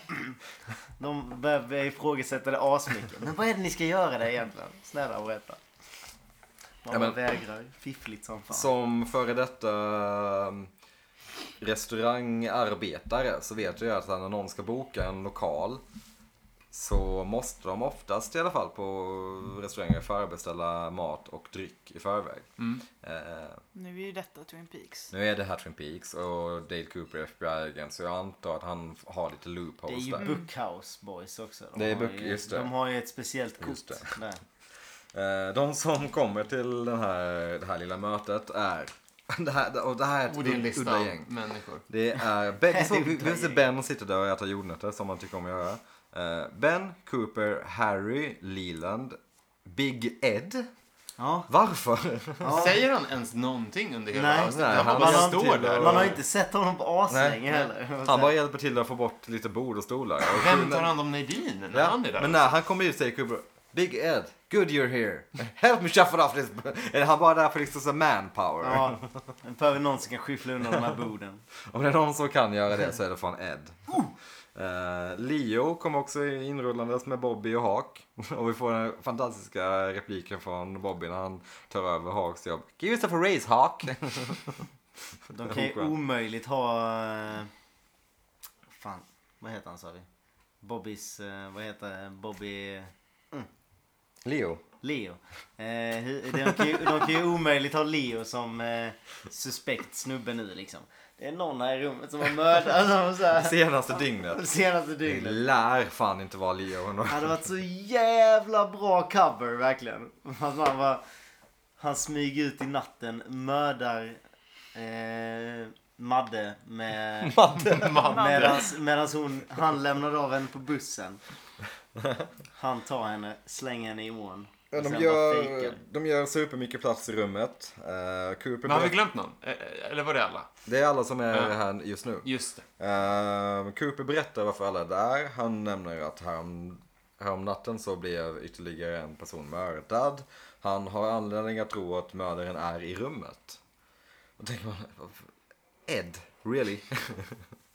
S3: De börjar börjar ifrågasätta det asmycket. Men vad är det ni ska göra där egentligen? Snälla berätta. Man
S2: Ja, men-
S3: vägrar. Fiffligt som fan.
S2: Som före detta ehm, restaurangarbetare så vet jag ju att när någon ska boka en lokal så måste de oftast i alla fall på restauranger förbeställa mat och dryck i förväg.
S4: Mm.
S2: Eh,
S1: Nu är ju detta Twin Peaks.
S2: nu är det här Twin Peaks och Dale Cooper är FBI-agent så jag antar att han har lite
S3: det är
S2: loopholes
S3: ju
S2: där.
S3: Bookhouse Boys också. De
S2: Det är
S3: har
S2: Book-
S3: ju,
S2: just det.
S3: De har ju ett speciellt kort.
S2: Just det.
S3: Där.
S2: Eh, de som kommer till den här, det här lilla mötet är det här, och det här är ett
S4: Och det är en
S2: ud-
S4: lista
S2: udda
S4: av
S2: gäng.
S4: människor.
S2: Det är Ben, vi, såg, vi, vi ser
S3: Herregud.
S2: Ben sitta där och äta jordnötter som han tycker om att göra. Eh, ben, Cooper, Harry, Leland, Big Ed
S3: Ja.
S2: Varför?
S3: ja.
S4: Säger han ens någonting under hela
S3: Nej.
S4: avsnittet?
S2: Nej,
S4: Han
S2: han
S4: bara
S2: har
S4: står
S2: inte-
S4: där.
S3: Man har inte sett honom på
S2: Nej.
S3: aslänge heller.
S2: Han bara hjälper till att få bort lite bord och stolar. Och-
S4: Vem tar hand om Nadine när
S2: Ja,
S4: han är där?
S2: men när han kommer ut säger Kubro Big Ed, good you're here. Help me shuffle off this. Eller han bara där för liksom så manpower.
S3: Ja, vi behöver någon som kan skyffla undan de här borden.
S2: Om det är någon som kan göra det så är det fan Ed. Eh, Leo kom också inrullandes med Bobby och Hawk. Och vi får den fantastiska repliken från Bobby när han tar över Hawks jobb. Give yourself a raise Hawk.
S3: De kan ju
S2: Oskön.
S3: omöjligt ha... eh, Fan, vad heter han sa vi? Bobbys... eh, Vad heter det? Bobby...
S2: Leo.
S3: Leo. Eh, hur- de, kan ju, de kan ju omöjligt ha Leo som eh, suspekt snubbe nu liksom. Det är någon här i rummet som har mördat honom så här,
S2: Senaste dygnet.
S3: det senaste
S2: Det
S3: dygnet.
S2: lär fan inte vara Leo. ändå.
S3: Det hade varit så jävla bra cover verkligen. Att man bara, han smyger ut i natten, mördar eh, Madde med... Medans, medans hon, han lämnar av henne på bussen. Han tar henne, slänger henne i ån.
S2: Ja,
S3: och sen
S2: de,
S3: bara
S2: gör,
S3: fejkar.
S2: de gör supermycket plats i rummet. Eh, Cooper
S4: Men har vi
S2: ber-
S4: glömt någon? Eh, Eller var det alla?
S2: det är alla som är
S4: Ja.
S2: här just nu.
S4: Just det.
S2: Eh, Cooper berättar varför alla är där. Han nämner att härom, härom natten så blev ytterligare en person mördad. Han har anledning att tro att mördaren är i rummet. Då tänker man, Ed, really?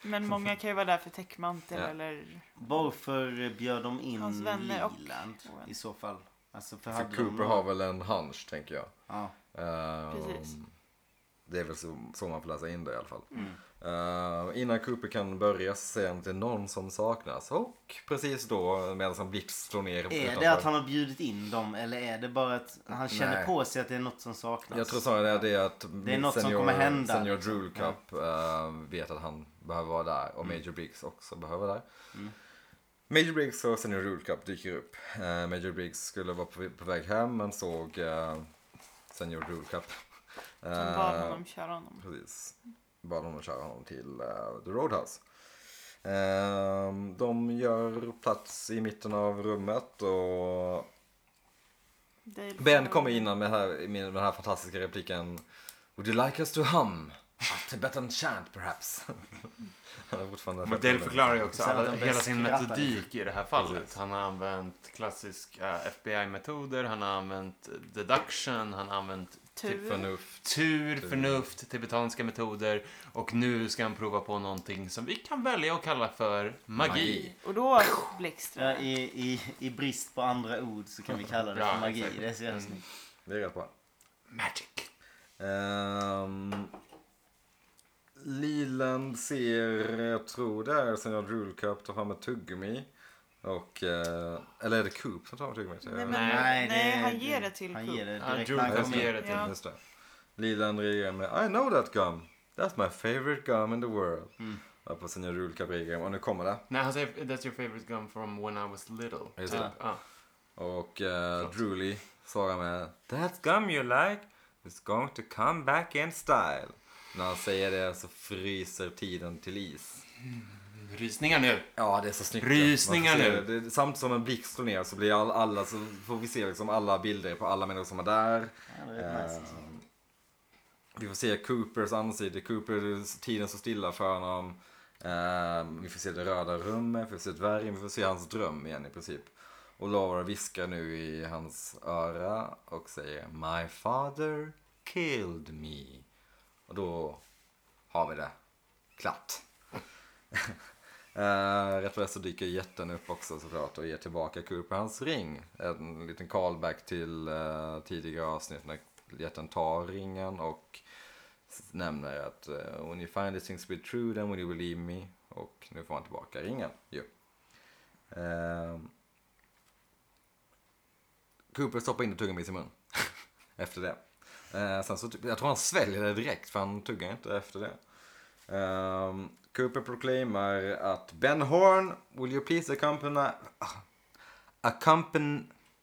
S1: Men många kan ju vara där för täckmantel
S2: Mm. Ja.
S1: eller...
S3: Varför bjöd de in
S1: Hans vänner och-
S3: Leland i så fall? Alltså
S2: För
S3: för hade
S2: Cooper
S3: de...
S2: har väl en hunch, tänker jag.
S3: Ja.
S2: Eh,
S1: Precis.
S2: Det är väl så, så man får läsa in det i alla fall. Eh, innan Cooper kan börja så säger han att det är någon som saknas. Och precis då, medan en blixt slår ner
S3: Är
S2: utanför-
S3: det att han har bjudit in dem eller är det bara att han känner
S2: Nej.
S3: på sig att det är något som saknas?
S2: Jag tror snarare det är att
S3: är något som kommer hända,
S2: Senior
S3: liksom.
S2: Drool Cup eh, vet att han behöver vara där och
S3: Mm.
S2: Major Briggs också behöver vara där. Major Briggs och Senior Drool Cup dyker upp. Eh, Major Briggs skulle vara på, på väg hem men såg eh, Senior Drool Cup.
S1: Som
S2: Eh,
S1: bad honom köra honom.
S2: Precis. Bad honom köra honom till eh, The Roadhouse. Ehm, de gör plats i mitten av rummet och
S1: Dale
S2: Ben
S1: får-
S2: kommer innan med, här, med den här fantastiska repliken Would you like us to hum? A Tibetan chant perhaps? Han är fortfarande
S4: Modell förklarar ju också
S3: Sen
S4: alla,
S3: att de
S4: hela sin
S3: skrattar lite.
S4: metodik i det här fallet. Han har använt klassiska eh, FBI-metoder, han har använt deduction, han har använt
S2: typ
S1: Tur.
S2: Förnuft.
S4: tur, förnuft, tibetanska metoder och nu ska han prova på någonting som vi kan välja att kalla för magi.
S2: Magi.
S1: Och då blixtrar
S3: Ja,
S1: det.
S3: i, i, I brist på andra ord så kan vi kalla det
S4: Ja,
S3: för magi.
S4: exakt.
S3: Det är så jävla
S4: Mm.
S3: snyggt.
S2: Det är rätt bra.
S4: Magic.
S2: Um, Liland ser, jag tror det är Senior Drool Cup, tar fram ett tuggummi. Och, eh, eller är det Coop som tar fram tuggummit?
S1: Nej, men,
S4: Nej,
S1: Mm. nej,
S3: det-
S1: han ger det till
S3: Han
S1: Coop.
S3: ger det
S4: Ja,
S3: direkt
S4: Drew
S3: när han
S4: kan
S2: just
S3: kommer
S4: ge
S3: in.
S4: det till
S1: Ja.
S2: Just det. Liland reagerar med I know that gum. That's my favorite gum in the world. Mm. På sina rullkabrier. Och nu kommer det.
S4: Nej, han säger that's your favorite gum from when I was little.
S2: Just
S4: typ.
S2: det.
S4: Ja.
S2: Och uh, Drooly svarar med That gum you like is going to come back in style. När han säger det så fryser tiden till is.
S4: Rysningar nu.
S2: Ja, det är så snyggt.
S4: Rysningar
S2: Man får se
S4: nu.
S2: det. Det- Samtidigt som en blixt slår ner så blir all, alla, så får vi se liksom alla bilder på alla människor som är där.
S3: Ja, det är nice.
S2: Eh, Vi får se Coopers ansikte, Cooper, tiden står stilla för honom. Eh, vi får se det röda rummet, vi får se dvärgen, vi får se hans dröm igen i princip. Och Laura viskar nu i hans öra och säger My father killed me. Och då har vi det. Klart. Eh, rätt vad det är så dyker jätten upp också såklart och ger tillbaka Cooper hans ring. En liten callback till eh, tidigare avsnitt när jätten tar ringen och s- nämner att eh, When you find these things to be true then will you believe me. Och nu får han tillbaka ringen ju. Ehm. Cooper stoppar inte tuggummi i sin mun. efter det. Eh, sen så, typ- jag tror han sväljer det direkt för han tuggar inte efter det. Ehm, Cooper proclaimar att Ben Horn, will you please accompany, ah, accompany,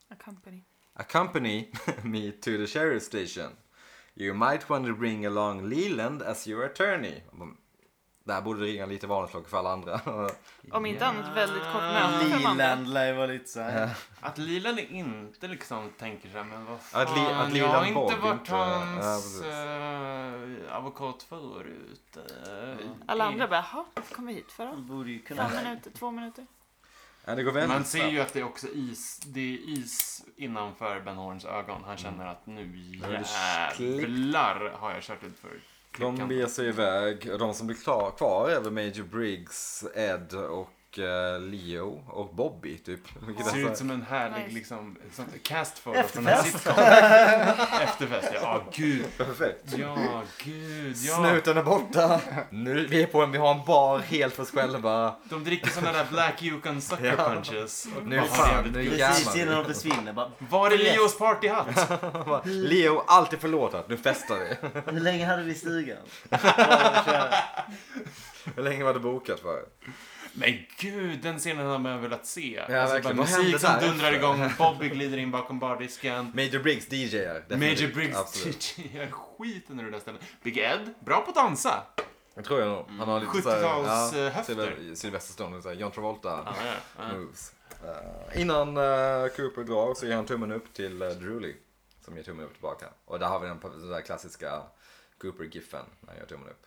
S1: A company.
S2: accompany me to the sheriff station? You might want to bring along Leland as your attorney. Det här borde ringa lite varningsklocka för alla andra.
S1: Om inte annat väldigt kort möte för de andra.
S3: Liland lär ju vara lite så här.
S4: Att Lilan är inte liksom tänker så här, men vad fan,
S2: Att li- att
S4: jag
S2: Lilan
S4: har inte
S2: Bob
S4: varit
S2: inte- ja,
S4: hans
S2: precis.
S4: eh, avokat förut. eh,
S2: Mm.
S1: Alla
S4: i-
S1: andra bara, jaha, varför kom vi hit för då?
S3: De borde ju kunna...
S1: Fem minuter, två minuter.
S2: Ja, det går väldigt
S4: Man ser
S2: snabbt.
S4: ju att det är också is, det är is innanför Ben Horns ögon. Han
S2: Mm.
S4: känner att nu
S2: det är
S4: jävlar har jag kört ut för
S2: De beger sig iväg. De som blir klar, kvar är väl Major Briggs, Ed och eh, Leo och Bobby typ. Vilket är så
S4: Ser
S2: här-
S4: ut som en härlig
S1: Nice.
S4: liksom, sånt cast photo från en
S3: Efterfest.
S4: sitcom. Efterfest, ja. Ah, gud.
S2: Perfekt.
S4: Ja, gud. Ja.
S2: Snuten är borta. Nu, vi, är på en, vi har en bar helt för oss själva.
S4: De dricker sådana där Black Yukon Sucker
S2: Ja.
S4: Punches. Och
S2: Nu
S4: bara har
S2: fan,
S4: jävligt
S2: nu
S4: gött.
S3: Precis innan de försvinner bara...
S4: Var är Leos partyhatt?
S2: Leo, alltid förlåtat. Nu festar vi.
S3: Hur länge hade vi stugan?
S2: Hur länge var det bokat för?
S4: Men gud, den scenen har man velat se. Alltså,
S2: verkligen. Vad hände
S4: musik som
S2: där?
S4: dundrar igång, Bobby glider in bakom bardisken.
S2: Major Briggs DJar. definitivt.
S4: Major Briggs
S2: Absolut.
S4: DJar skiten ur det där stället. Big Ed, bra på att dansa.
S2: Det tror jag nog. Han har lite
S4: 70-tals,
S2: såhär,
S4: eh, höfter.
S2: Sylve- Sylvester Stallone, såhär John Travolta
S4: Ja, ja, ja.
S2: moves. Eh, innan eh, Cooper drar så ger han tummen upp till uh, Drooly. Som ger tummen upp tillbaka. Och där har vi den p- den där klassiska Cooper-giffen när han gör tummen upp.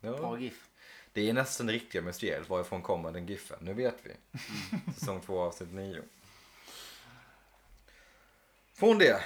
S2: Ja.
S3: Bra GIF.
S2: Det är nästan det riktiga mysteriet. Varifrån kommer den giffen? Nu vet vi. Säsong 2 avsnitt 9. Från det.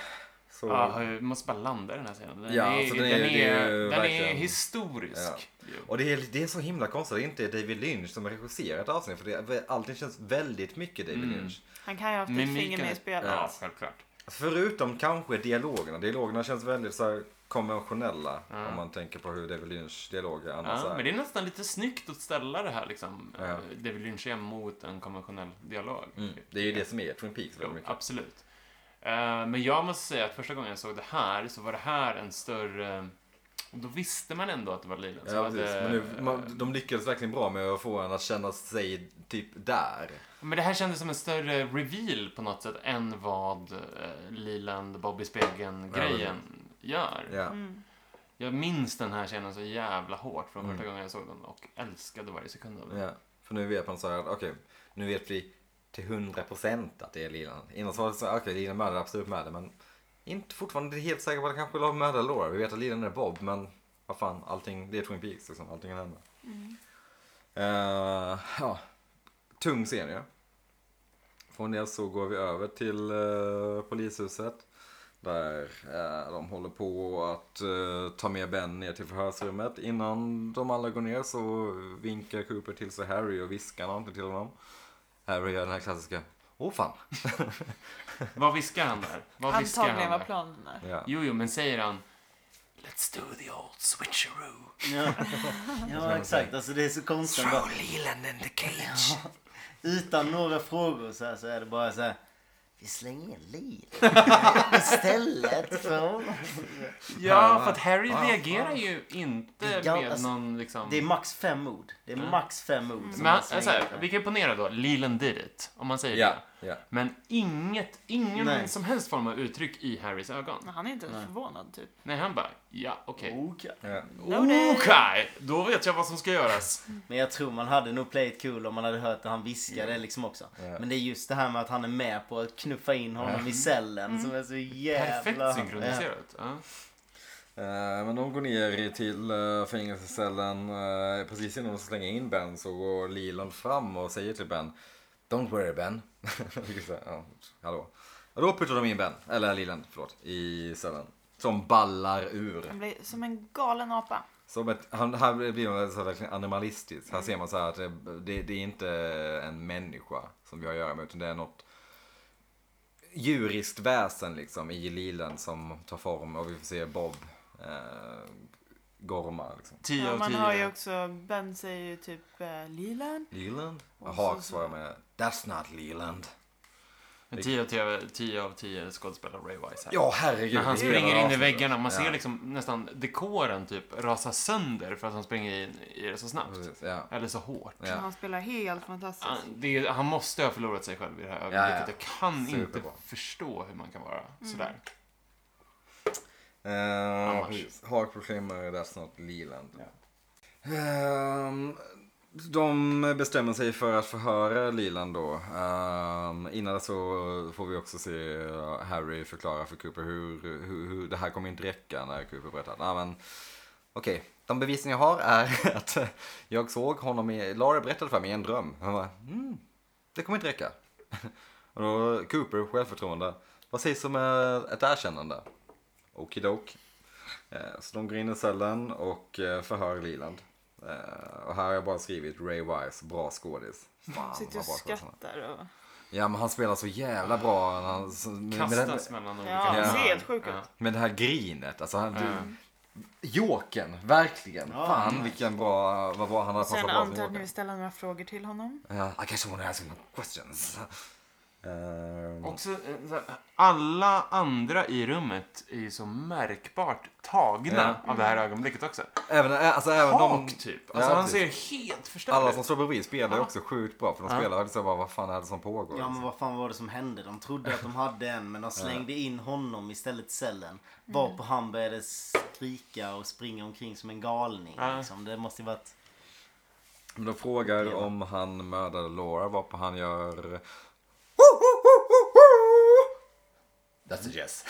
S2: Så,
S4: Ja, jag måste bara landa i den här scenen. Den,
S2: Ja,
S4: är,
S2: alltså den är-
S4: den,
S2: det är
S4: är,
S2: ju
S4: den är
S2: verkligen- Ja.
S4: historisk. ju.
S2: Och det är, det är så himla konstigt att det inte är David Lynch som har regisserat avsnittet. För det, allting känns väldigt mycket David
S4: Mm.
S2: Lynch.
S1: Han kan ju ha haft ett
S4: Mimiken-
S1: finger med i spelet.
S4: Ja, självklart.
S2: Förutom kanske dialogerna. Dialogerna känns väldigt så här konventionella.
S4: Ja.
S2: Om man tänker på hur David Lynch dialoger annars
S4: Ja,
S2: är.
S4: men det är nästan lite snyggt att ställa det här liksom.
S2: Ja.
S4: eh, David Lynch är mot en konventionell dialog.
S2: Mm. det är ju det som är Twin Peaks väldigt
S4: Jo,
S2: mycket.
S4: absolut. Eh, Men jag måste säga att första gången jag såg det här så var det här en större... Då visste man ändå att eh, det var Lilan som
S2: Ja,
S4: hade...
S2: precis. Men nu, man, de lyckades verkligen bra med att få en att känna sig typ där.
S4: Men det här kändes som en större reveal på något sätt än vad eh, Liland, Bobby Spegeln-grejen gör.
S2: Ja.
S1: Mm.
S4: Jag minns den här scenen så jävla hårt från första
S2: Mm.
S4: gången jag såg den och älskade varje sekund av den.
S2: Ja, för nu vet man så här, okej, nu vet vi till 100% att det är Lilan. Innan så var det så här, okej, Lilan mördar absolut mördare, men inte fortfarande inte helt säker på att det kanske var mördare Laura. Vi vet att Lilan är Bob, men vad fan, allting, det är Twin Peaks liksom, allting kan hända. Eh, ja, tung scen ja. Från det så går vi över till eh, polishuset. Där eh, de håller på att eh, ta med Ben ner till förhörsrummet. Innan de alla går ner så vinkar Cooper till sig Harry och viskar någonting till honom. Harry gör den här klassiska Åh fan!
S4: Vad viskar han där? Vad viskar
S1: Antagligen
S4: han
S1: var
S4: där?
S1: planen där.
S2: Ja.
S4: Jo, jo, men säger han Let's do the old switcheroo.
S3: Ja, ja exakt. Alltså det är så konstigt. Bara,
S2: Leland in the cage!
S3: utan några frågor så, här, så är det bara så här. Vi slänger in Lilan istället för
S4: Ja, för att Harry
S2: Ja,
S4: reagerar ju inte
S3: Det är gam-
S4: med
S3: alltså,
S4: någon liksom...
S3: Det är max fem ord. Det är max fem ord. Som
S4: men alltså,
S3: man slänger
S4: han, så här,
S3: in.
S4: vi kan ju ponera då, Leland did it, om man säger
S2: Ja,
S4: det.
S2: ja.
S4: Men inget, ingen
S3: Nej.
S4: som helst form av uttryck i Harrys ögon.
S1: Men han är inte ens förvånad typ.
S4: Nej, han bara, ja, okej.
S3: Okej.
S2: ja.
S4: Okej, då vet jag vad som ska göras.
S3: Men jag tror man hade nog play it cool om man hade hört att han viskade liksom också.
S2: Ja.
S3: Men det är just det här med att han är med på att knuffa in honom i cellen som är så jävla...
S4: Perfekt synkroniserat. Ja.
S2: Eh, Men de går ner till eh, fängelsecellen. eh, Precis innan de ska slänga in Ben så går Leland fram och säger till Ben Don't worry Ben. Vilket så här, ja, hallå. Och då puttar de in Ben, eller Leland, förlåt, i cellen. Som ballar ur.
S1: Han blir som en galen apa.
S2: Som ett, han, här blir man så här verkligen animalistisk. Här ser man så här att det, det, det är inte en människa som vi har att göra med utan det är något djuriskt väsen liksom i lilen som tar form och vi får se Bob eh, gorma liksom.
S4: Tio
S1: Ja,
S4: av
S1: man
S4: tio.
S1: har ju också, Ben säger ju typ eh, Lilan.
S2: Leland? Och
S1: Och
S2: Hawk
S1: så-
S2: svarar med That's not Leland.
S4: Men tio av tio, tio, av tio skådespelare Ray Wise här.
S2: Ja herregud.
S4: När han
S2: det är
S4: springer
S2: det
S4: in i
S2: avsnittet.
S4: väggarna, man
S2: Ja,
S4: ser liksom nästan dekoren typ rasa sönder för att han springer in i det så snabbt.
S2: precis, Ja.
S4: Eller så hårt.
S1: som
S2: Ja.
S1: Han spelar helt fantastiskt.
S4: Han, det är, han måste ha förlorat sig själv i det här ögonblicket.
S2: ja.
S4: Jag kan
S2: Superbra.
S4: inte förstå hur man kan vara
S1: Mm.
S4: sådär.
S2: Eh,
S4: Annars.
S2: precis. Hawk proclaimar That's not Leland.
S4: Ja.
S2: Ehm, De bestämmer sig för att förhöra Leland då. Ehm, innan så får vi också se eh, Harry förklara för Cooper hur, hur, hur det här kommer inte räcka när Cooper berättar att "Ah, men okej, de bevisning jag har är att jag såg honom i, Lara berättade för mig i en dröm. Han bara, mm, det kommer inte räcka. Och då Cooper, självförtroende, vad sägs om eh, ett erkännande? Okidok. Eh, Så de går in i cellen och eh, förhör Leland. Eh, Och här har jag bara skrivit Ray Wise, bra skådis. Fan,
S1: Sitter och
S2: vad bra skådis.
S1: skrattar och...
S2: Ja men han spelar så jävla bra. Han, så- med, med, det-
S4: Kastas mellan olika...
S1: Ja,
S2: det ser
S1: helt sjukt ut. Mm.
S2: med det här grinet. Alltså, han,
S4: Ja.
S2: Jokern, verkligen.
S3: Ja.
S2: Fan vilken bra, vad bra han har passat
S1: Sen
S2: bra
S1: antar
S2: som
S1: jag att ni
S2: Jokern.
S1: vill ställa några frågor till honom.
S2: Ja, I guess I wanna ask some questions. Ehm,
S4: Också, eh, så här, alla andra i rummet är ju så märkbart tagna av det här ögonblicket också.
S2: även, ä- alltså, även de,
S4: Hak, typ. Alltså,
S2: Ja,
S4: han ser
S2: precis.
S4: helt
S2: alla
S4: förstörd
S2: som
S4: ut.
S2: står bredvid spelar ju
S4: Ja.
S2: också sjukt bra för de
S4: Ja.
S2: spelar liksom bara vad fan är det som pågår?
S3: Ja men vad fan var det som hände? De trodde att de hade en men de slängde in honom istället i cellen. Varpå han började skrika och springa omkring som en galning.
S4: Ja.
S3: Liksom. Det måste ju varit...
S2: Men de frågar
S3: Ja.
S2: om han mördade Laura varpå han gör That's a yes.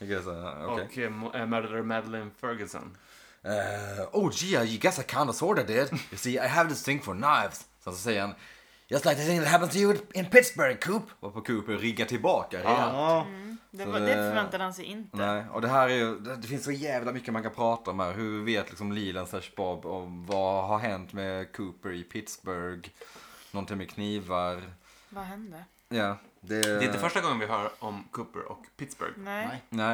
S2: I guess, uh, okay.
S4: Och eh, mo- eh, mördade Madeleine
S2: Eh.
S4: Ferguson.
S2: Uh, oh gee, I guess I kinda sorta did. You see, I have this thing for knives. Så så säger han, just like the thing that happened to you in Pittsburgh, Coop. Och på Coop riggar tillbaka rejält.
S3: Ja.
S1: Det,
S2: Så
S1: var,
S2: det-
S1: det förväntade han sig inte.
S2: Nej, och det här är ju, det, det finns så jävla mycket man kan prata om här. Hur vet liksom Leland slash Bob om vad har hänt med Cooper i Pittsburgh? Någonting med knivar.
S1: Vad hände?
S2: Ja, det...
S4: Det är inte första gången vi hör om Cooper och Pittsburgh.
S1: Nej.
S3: Mm. Nej.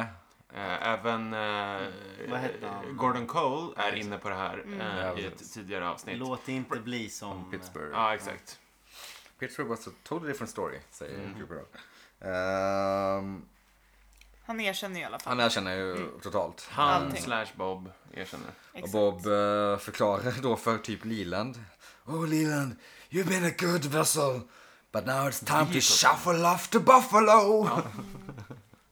S2: Nej.
S4: Eh, Även eh,
S3: Vad hette han? Mm.
S4: Gordon Cole är inne på det här eh,
S2: Ja,
S4: i ett
S2: precis.
S4: tidigare avsnitt.
S3: Låt det inte bli som...
S2: Om Pittsburgh.
S4: Ja, exakt.
S2: Ah. Pittsburgh was a totally different story, säger Cooper då. Ehm, Mm.
S1: Han erkänner i alla fall.
S2: han erkänner ju totalt. Ehm,
S4: Han
S1: Allting.
S4: slash Bob erkänner.
S2: Och
S1: Exakt.
S2: Bob eh, förklarar då för typ Leland. Oh Leland, you've been a good vessel. But now it's time to
S4: Vehicle.
S2: shuffle off to Buffalo.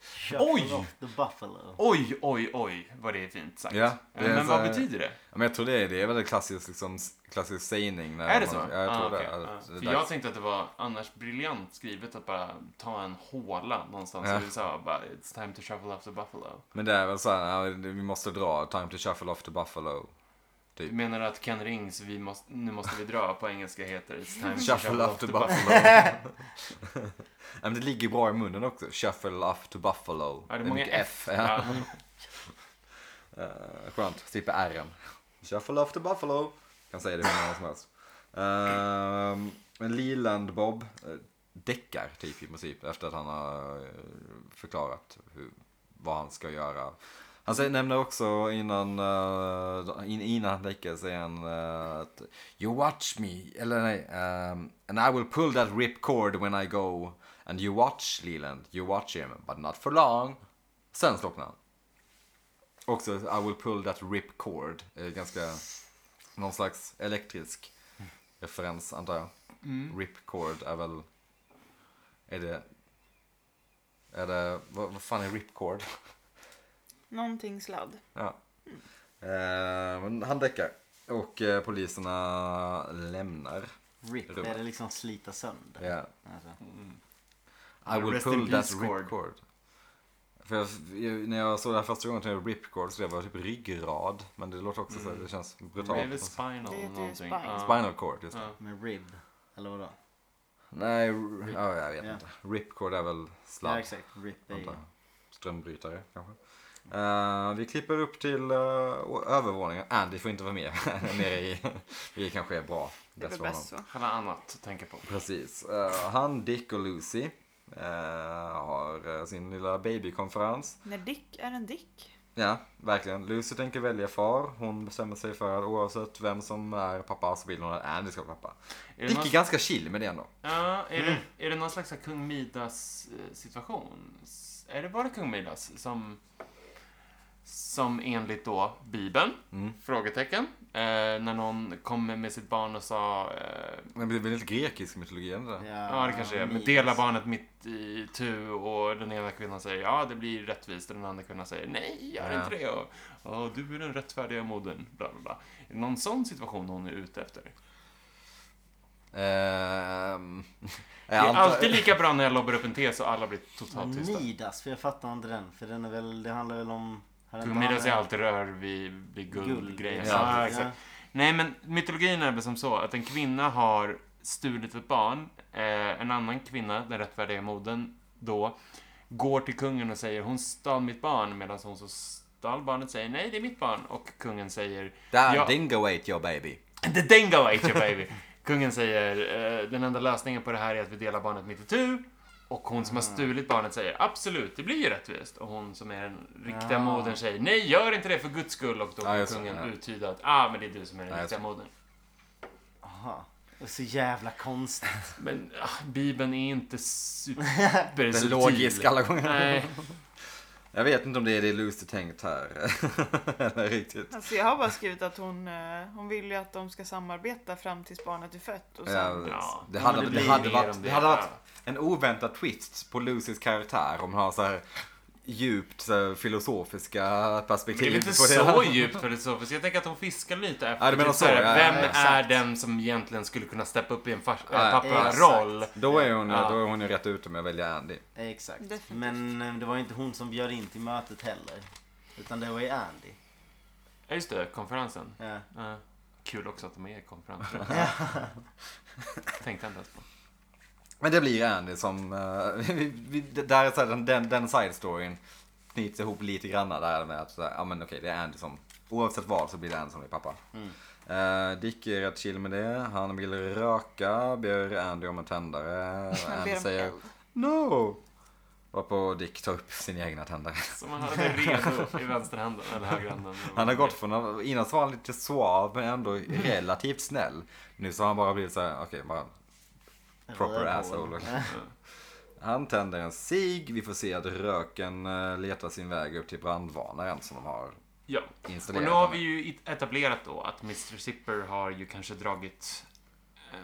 S3: Shuffle
S4: Oj!
S3: off The Buffalo.
S4: Oj, oj, oj vad det är fint sagt. Eh,
S2: Ja, det är
S4: Men
S2: så
S4: vad
S2: här-
S4: betyder det?
S2: Ja, men jag tror det är, det är väl en klassisk, liksom, klassisk sägning. När
S4: Är det
S2: man-
S4: så? Ah,
S2: Ja, jag tror
S4: okej.
S2: det.
S4: Ja.
S2: Att det är
S4: För
S2: dags-
S4: jag tänkte att det var annars briljant skrivet att bara ta en håla någonstans
S2: Ja.
S4: i USA och bara It's time to shuffle off the Buffalo.
S2: Men det är väl så här, ja, vi måste dra. Time to shuffle off to Buffalo.
S4: Du menar att Ken Rings vi måste, Nu måste vi dra på engelska heter It's time to
S2: Shuffle, off to Buffalo. ja, men det ligger bra i munnen också. Shuffle off to Buffalo.
S4: Ja, det är många
S2: mycket
S4: F.
S2: Ja.
S4: Ja.
S2: Eh, skönt, slipper R'n. Shuffle off to Buffalo. Kan säga det hur många som helst. Ehm, Men Leland Bob eh, däckar typ i princip efter att han har eh, förklarat hur, vad han ska göra. Han säger, nämner också innan, eh, in, innan han däckar säger han eh, att You watch me, eller nej, ehm, and I will pull that ripcord when I go. And you watch Leland, you watch him, but not for long. Sen slocknar han. Också I will pull that ripcord. Eh, Ganska, någon slags elektrisk referens antar jag.
S4: Mm.
S2: Ripcord är väl, är det, är det, vad, vad fan är ripcord?
S1: Någonting sladd.
S2: Ja. Eh, men han däckar och eh, poliserna lämnar.
S3: Rip.
S2: Rummet.
S3: Det är det liksom slita sönder.
S2: Ja.
S3: Alltså.
S4: Mm.
S2: I will
S4: Rest in
S2: pull that
S4: peace cord.
S2: ripcord. För jag, jag- när jag såg det här första gången tänkte jag ripcord så det var typ ryggrad. Men det låter också
S4: Mm.
S2: så, här, det känns brutalt.
S4: Rave is
S1: Det heter
S4: final
S1: ju
S4: någonting.
S1: spine.
S4: Ja.
S2: Spinal cord, just det.
S4: Ja.
S3: Med rib. Eller vadå?
S2: Nej, r- ja, jag vet
S3: Ja.
S2: inte. Ripcord är väl sladd.
S3: Ja exakt. Rip är ju...
S2: antar jag. Strömbrytare kanske. Eh, vi klipper upp till uh, övervåningen. Andy får inte vara med. Nere i, vi kanske är bra.
S1: Det är
S2: Bäst
S1: väl
S2: för honom.
S1: bäst så.
S4: Han har annat att tänka på.
S2: Precis. Eh, han, Dick och Lucy eh, har eh, sin lilla babykonferens.
S1: När Dick är en Dick.
S2: Ja, verkligen. Lucy tänker välja far. Hon bestämmer sig för att oavsett vem som är pappa så vill hon att Andy ska vara pappa.
S4: Är det,
S2: Dick
S4: någon,
S2: är ganska chill med det ändå.
S4: ja, är
S2: Mm.
S4: det, är det någon slags så här kung Midas eh, situation? S- Är det bara kung Midas som, som enligt då Bibeln,
S2: Mm.
S4: frågetecken, eh, när någon kommer med sitt barn och sa eh,
S2: Vem blir väldigt grekisk mytologi ändå. Ja.
S4: Ja, det kanske är. Men dela barnet mitt i tu och den ena kvinnan säger ja, det blir rättvist. Och den andra kvinnan säger nej, gör
S2: Ja.
S4: inte det. Och, "Ja, du är den rättfärdiga modern. Bla, bla, bla. Är det någon sån situation hon är ute efter?
S2: Ehm, jag
S4: det är
S2: antar-
S4: alltid lika bra när jag lobbar upp en tes och alla blir totalt tysta.
S3: Nidas, för jag fattar inte den. För den är väl, det handlar väl om... har inte
S4: Midas är
S3: han-
S4: alltid rör vid, vid guldgrejer.
S2: Ja,
S4: Ja, exakt. Nej, men mytologin är väl som så att en kvinna har stulit ett barn. Eh, en annan kvinna, den rättfärdiga modern då, går till kungen och säger hon stal mitt barn medan hon som stal barnet säger nej, det är mitt barn. Och kungen säger
S2: Där,
S4: Ja.
S2: dingo ate your baby.
S4: The dingo ate your baby. Kungen säger eh, den enda lösningen på det här är att vi delar barnet mitt itu. Och hon som har
S2: Mm.
S4: stulit barnet säger absolut, det blir ju rättvist. Och hon som är den riktiga
S3: Ah.
S4: modern säger nej, gör inte det för guds skull. Och då
S2: Ja,
S4: kan
S2: just det,
S4: kungen
S2: ja.
S4: uttyda att ah, men det är du som är den
S2: Ja, just
S4: riktiga
S2: det.
S4: modern.
S3: Aha. Det är så jävla konstigt.
S4: Men ah, Bibeln är inte super
S2: Den logiska alla gånger.
S4: Nej,
S2: Jag vet inte om det är det Lucy tänkt här. Eller riktigt.
S1: Alltså jag har bara skrivit att hon, eh, hon vill ju att de ska samarbeta fram tills barnet är fött. Och sen,
S2: Ja,
S4: Ja,
S2: det,
S4: men
S2: hade,
S4: det
S2: det,
S4: blir
S2: hade
S4: mer
S2: varit,
S4: om
S2: det
S4: det.
S2: hade varit
S4: Ja.
S2: en oväntad twist på Lucys karaktär om hon har så här djupt så här, filosofiska
S4: det är
S2: perspektiv.
S4: väl inte
S2: på det.
S4: så djupt filosofiskt. Jag tänker att hon fiskar lite efter
S2: Ja, du menar
S4: typ här,
S2: så, ja, ja,
S4: vem
S2: ja,
S4: är
S2: exakt.
S4: den som egentligen skulle kunna steppa upp i en fars-
S2: Ja,
S4: äh,
S3: exakt.
S4: papparoll.
S2: Då är hon,
S4: Ja.
S2: då är hon ju rätt ute med att välja Andy.
S3: Exakt.
S1: Definitivt.
S3: Men eh, det var ju inte hon som bjöd in till mötet heller. Utan det var ju Andy.
S4: Ja, just det, konferensen.
S3: Ja.
S4: Ja. Kul också att de är i konferensen. Tänkte jag inte ens på.
S2: Men det blir Andy som, eh, vi, vi, det- där är så här, den, den, den side storyn knyts ihop lite granna där med att, så här, ja men okej det är Andy som, oavsett vad så blir det Andy som blir pappa.
S3: Mm.
S2: Eh, Dick är rätt chill med det, han vill röka, ber Andy om en tändare.
S1: sen
S2: Andy
S1: blir de
S2: säger
S1: eld.
S2: No! Varpå Dick tar upp sin egna tändare.
S4: Som han hade redo i vänsterhanden, eller högerhanden.
S2: Han har gått från, innan så var han lite suav men ändå relativt snäll. Nu så har han bara blivit så här, okej bara Proper
S3: Rödhål.
S2: asshole.
S3: Ja.
S2: Han tänder en cig. Vi får se att röken eh, letar sin väg upp till brandvarnaren som de har
S4: Ja. Och
S2: installerat.
S4: nu har vi ju it- etablerat då att Mr Zipper har ju kanske dragit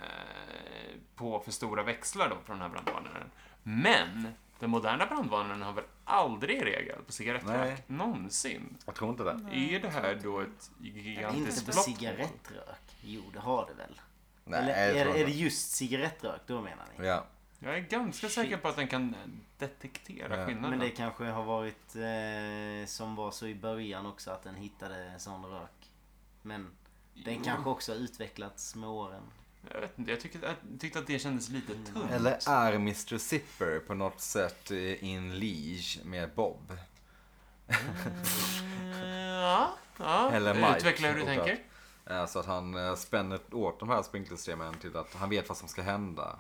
S4: eh, på för stora växlar då på den här brandvarnaren. Men den moderna brandvarnaren har väl aldrig i regel på
S2: Nej.
S4: cigarettrök? Någonsin?
S2: Jag tror inte det.
S4: Är det här då ett
S3: Inte
S4: gigantiskt
S3: på
S4: block?
S3: cigarettrök. Jo, det har det väl?
S2: Nej,
S3: Eller
S2: jag
S3: är,
S2: tror
S3: är det
S2: inte
S3: just cigarettrök? Då menar ni?
S2: Ja.
S4: Jag är ganska säker på att den kan eh, detektera
S2: Ja.
S4: skillnaden.
S3: Men det kanske har varit eh, som var så i början också att den hittade sån rök. Men den kanske också har utvecklats med åren.
S4: Jag vet inte, jag tyckte, jag tyckte att det kändes lite tunt. Eh,
S2: Eller är Mr Zipper på något sätt eh, in liege med Bob?
S4: Eh, Ja, ja.
S2: Eller Mike,
S4: Utveckla hur du
S2: oklart.
S4: tänker.
S2: Eh, Så att han eh, spänner åt de här sprinklersystemen till att han vet vad som ska hända.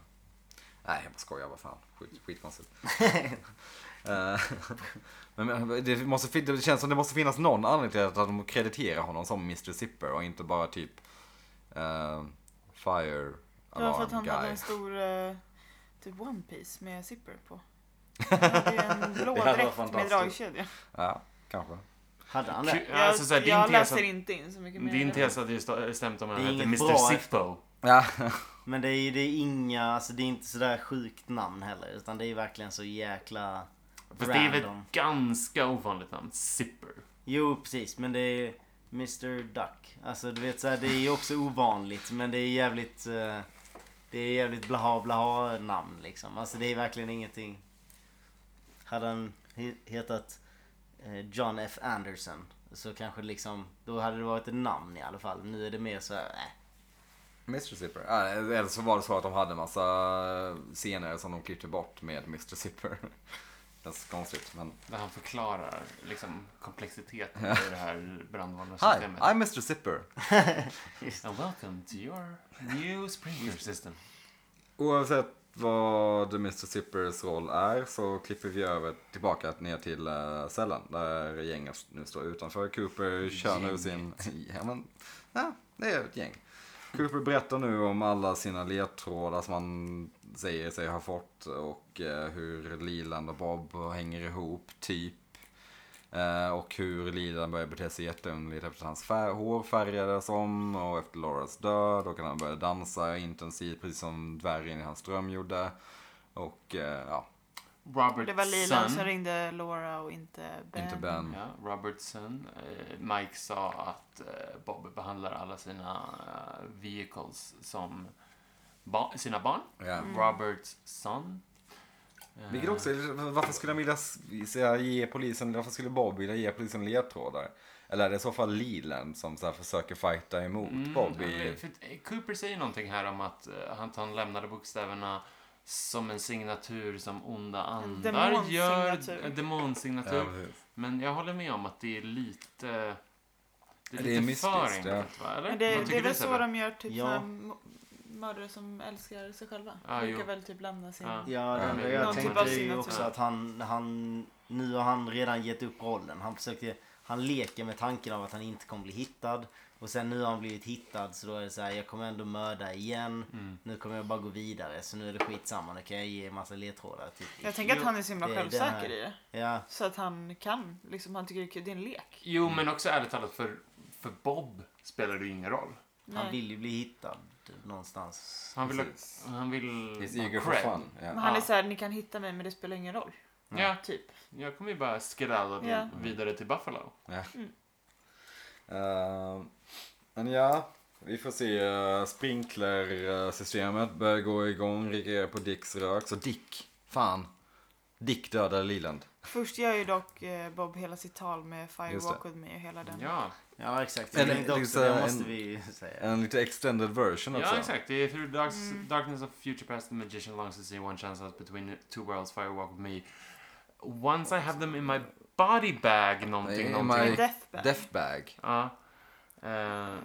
S2: Nej, jag bara skojar. Vad fan. Skit, skitkonstigt. Eh, men- Men det, måste, fin- det känns som det måste finnas någon anledning till att de krediterar honom som Mr Zipper och inte bara typ eh, Fire
S1: Det var för att
S2: Alarm
S1: han hade
S2: Guy.
S1: en stor eh, typ One Piece med zipper på. Han hade en blå
S2: Det hade varit
S1: dräkt med
S2: fantastiskt.
S1: dragkedja.
S2: Ja, kanske.
S3: Hade han det?
S4: Kul-
S1: Jag,
S4: Alltså, så här, din
S1: jag
S4: tes
S1: läser
S4: att-
S1: inte in så mycket mer.
S4: Din tes hade ju sta- stämt om han
S3: Det är
S4: hette
S3: inget
S4: Mr
S3: bra.
S4: Zippo.
S2: Ja,
S3: Men det är ju det är inga, alltså det är inte sådär sjukt namn heller. Utan det är verkligen så jäkla...
S4: Fast det är väl
S3: Random.
S4: ett ganska ovanligt namn, Zipper.
S3: Jo precis, men det är Mr Duck. Alltså du vet såhär, det är ju också ovanligt. Men det är jävligt... eh, Det är jävligt blaha blaha namn liksom. Alltså det är verkligen ingenting. Hade han he- hetat eh, John F Anderson. Så kanske liksom, då hade det varit ett namn i alla fall. Nu är det mer såhär, äh.
S2: Mr Zipper. Ja, Eller så var det så att de hade en massa scener som de klippte bort med Mr Zipper. Ganska konstigt, men...
S4: Där han förklarar liksom komplexiteten i det här
S2: Hi,
S4: brandvarnarsystemet.
S2: I'm Mr Zipper.
S3: eh.
S4: And welcome to your new sprinkler system.
S2: Oavsett vad Mr Zippers roll är så klipper vi över tillbaka ner till eh, cellen där gänget nu står utanför. Cooper kör nu sin... Ja, men, ja, det är ett gäng. Cooper berättar nu om alla sina ledtrådar som han säger sig ha fått och eh, hur Leland och Bob hänger ihop, typ. Eh, Eh, och hur Lidan börjar bete sig jätteunderligt efter att hans fär- hår färgades om och efter Lauras död. Och att han började dansa intensivt precis som dvärgen i hans dröm gjorde. Och eh, ja,
S4: Robert
S1: Det var Lilan som
S4: Sun.
S1: ringde Laura och inte Ben.
S2: inte
S3: Um.
S2: Ben.
S4: Ja, Robertson. Eh, Mike sa att eh, Bob behandlar alla sina eh, vehicles som ba- sina barn.
S2: Ja.
S3: Um.
S4: Robertson. Eh,
S2: Vilket också, är- varför skulle han vilja s- säga, ge polisen, varför skulle Bob vilja ge polisen ledtrådar? Eller är det i så fall Leland som så här försöker fighta emot
S4: mm,
S2: Bob?
S4: ja, men
S2: I,
S4: för att, eh, Cooper säger någonting här om att eh, han, han lämnade bokstäverna som en signatur som onda
S1: En
S4: andar gör.
S1: demonsignatur.
S4: En
S2: ja,
S4: demonsignatur.
S2: precis.
S4: Men jag håller med om att det är lite... Det är
S2: Det är
S4: lite för
S2: mystiskt, ja.
S4: enkelt, va? Eller?
S1: Men
S4: Vad
S1: det, det
S4: tycker
S1: är
S4: du,
S1: väl
S4: Sebbe?
S1: så de gör typ
S3: Ja.
S1: ja. mördare som älskar sig själva.
S4: Ja,
S1: Brukar
S4: Ah, jo. Ah.
S1: väl typ lämna sin...
S4: Ja.
S3: Ja, det
S2: Ja.
S3: enda jag
S1: Någon
S3: tänkte
S1: typ av
S3: är ju
S1: signatur.
S3: också att han, han... Nu har han redan gett upp rollen. Han försökte... Han leker med tanken av att han inte kommer bli hittad. Och sen nu har han blivit hittad så då är det så här, jag kommer ändå mörda igen.
S4: Mm.
S3: Nu kommer jag bara gå vidare så nu är det skitsamma. Nu kan jag ge en massa ledtrådar. Typ.
S1: Jag tänker att han är så himla
S3: Det är det här.
S1: självsäker i det.
S3: Ja,
S1: Så att han kan. Liksom, han tycker det är kul. Det är en lek.
S4: Jo, men också ärligt talat, för, för Bob spelar det ju ingen roll.
S3: han
S1: Nej.
S3: vill ju bli hittad någonstans.
S4: Han vill...
S2: Precis.
S4: Han vill...
S2: He's
S4: ha
S2: eager for
S4: cred.
S2: fun.
S1: Men
S2: Ja.
S1: han
S4: Ja.
S1: är såhär, ni kan hitta mig men det spelar ingen roll.
S4: Ja,
S1: Typ.
S4: jag kommer ju bara skedaddla till-
S1: Ja.
S4: vidare till Buffalo.
S2: Eh, men ja, vi får se. eh, Sprinklersystemet börjar gå igång, reagerar på Dicks rök. Så Dick, fan. Dick dödade Leland.
S1: Först gör ju dock eh, Bob hela sitt tal med
S2: Just
S1: Firewalk
S2: det.
S1: with me och hela den.
S4: Ja,
S3: Ja, exakt.
S2: Eller,
S3: Jag tänkte också,
S2: liksom,
S3: det måste
S2: en-
S3: vi ju säga.
S2: En lite extended version också.
S4: ja exakt. Det är through the darks, darkness of future past the magician longs to see one chance out between two worlds firewalk with me. Once I have them in my body bag någonting,
S2: In
S4: någonting.
S2: my-
S1: Deathbed.
S2: Deathbag.
S4: Ja. Eh, bla,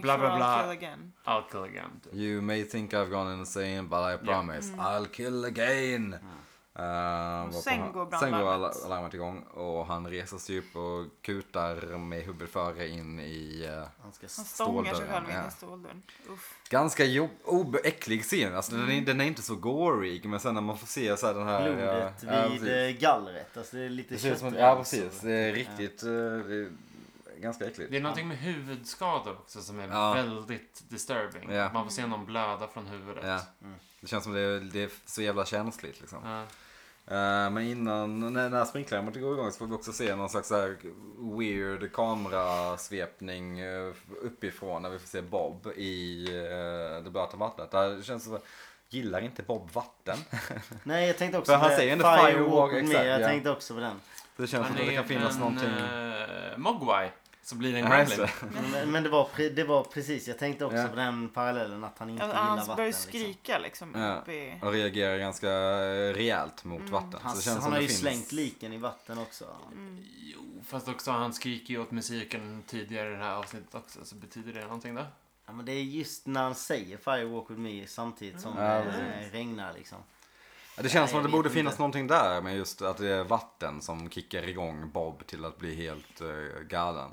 S1: I'll kill
S4: bla, bla.
S1: again.
S4: I'll kill again. typ.
S2: You may think I've gone insane but I promise I'll kill again. Eh, varpå
S1: sen går
S2: han-
S1: brandlarmet.
S2: sen går alla- alarmet igång och han reser sig upp och kutar med huvudet före in i eh,
S3: Han ska
S1: Han stångar sig
S2: Ståldörren,
S1: själv in
S2: ja.
S1: i ståldörren. Uff.
S2: Ganska jobb- obeäcklig scen. Alltså, den, är, den är inte så gorig, men sen när man får se så här den här...
S3: blodet
S2: ja, ja,
S3: vid
S2: precis.
S3: eh, gallret. Alltså det är lite
S2: det ser ut som,
S3: köttremsor.
S2: Ja, precis. Det är riktigt... eh, Det är ganska äckligt.
S4: alltså. Det är någonting med huvudskador också som är
S2: Ja.
S4: väldigt disturbing.
S2: Ja.
S4: Man får se någon blöda från huvudet.
S2: Ja.
S3: Mm.
S2: Det känns som det är, det är så jävla känsligt liksom.
S4: Ja.
S2: Eh, men innan, när, när sprinklarmet går igång så får vi också se någon slags så här weird kamerasvepning eh, uppifrån när vi får se Bob i eh, det blöta vattnet. Det känns som, gillar inte Bob vatten?
S3: Nej, jag tänkte också
S2: För han
S3: det.
S2: säger ändå
S3: Firewalk
S2: Firewalk,
S3: with me.
S2: exakt,
S3: Jag
S2: ja.
S3: tänkte också på den.
S2: Det känns som
S4: Han
S2: att det
S4: är
S2: kan finnas
S4: en
S2: någonting...
S4: eh, mogwai som blir en
S2: Ja, just
S4: gremlin.
S2: det.
S3: Men, men det, var, pre- det var precis, jag tänkte också
S2: Ja.
S3: på den parallellen att han inte
S1: Alltså,
S3: gillar
S1: han
S3: vatten.
S1: börjar ju
S3: liksom.
S1: skrika liksom.
S2: Ja.
S1: Upp i...
S2: Och reagerar ganska eh, rejält mot vatten.
S3: Han,
S2: Så det känns
S3: han
S2: som
S3: har
S2: det
S3: ju
S2: finns...
S3: slängt liken i vatten också.
S1: Mm.
S4: Jo, fast också han skriker ju åt musiken tidigare i det här avsnittet också. Så betyder det någonting då?
S3: Ja, men det är just när han säger Firewalk with me samtidigt som
S2: Ja,
S3: eh,
S2: precis.
S3: regnar liksom.
S2: Ja, Det känns som att det
S3: Nej, jag
S2: borde
S3: vet
S2: finnas
S3: inte.
S2: någonting där med just att det är vatten som kickar igång Bob till att bli helt uh, galen.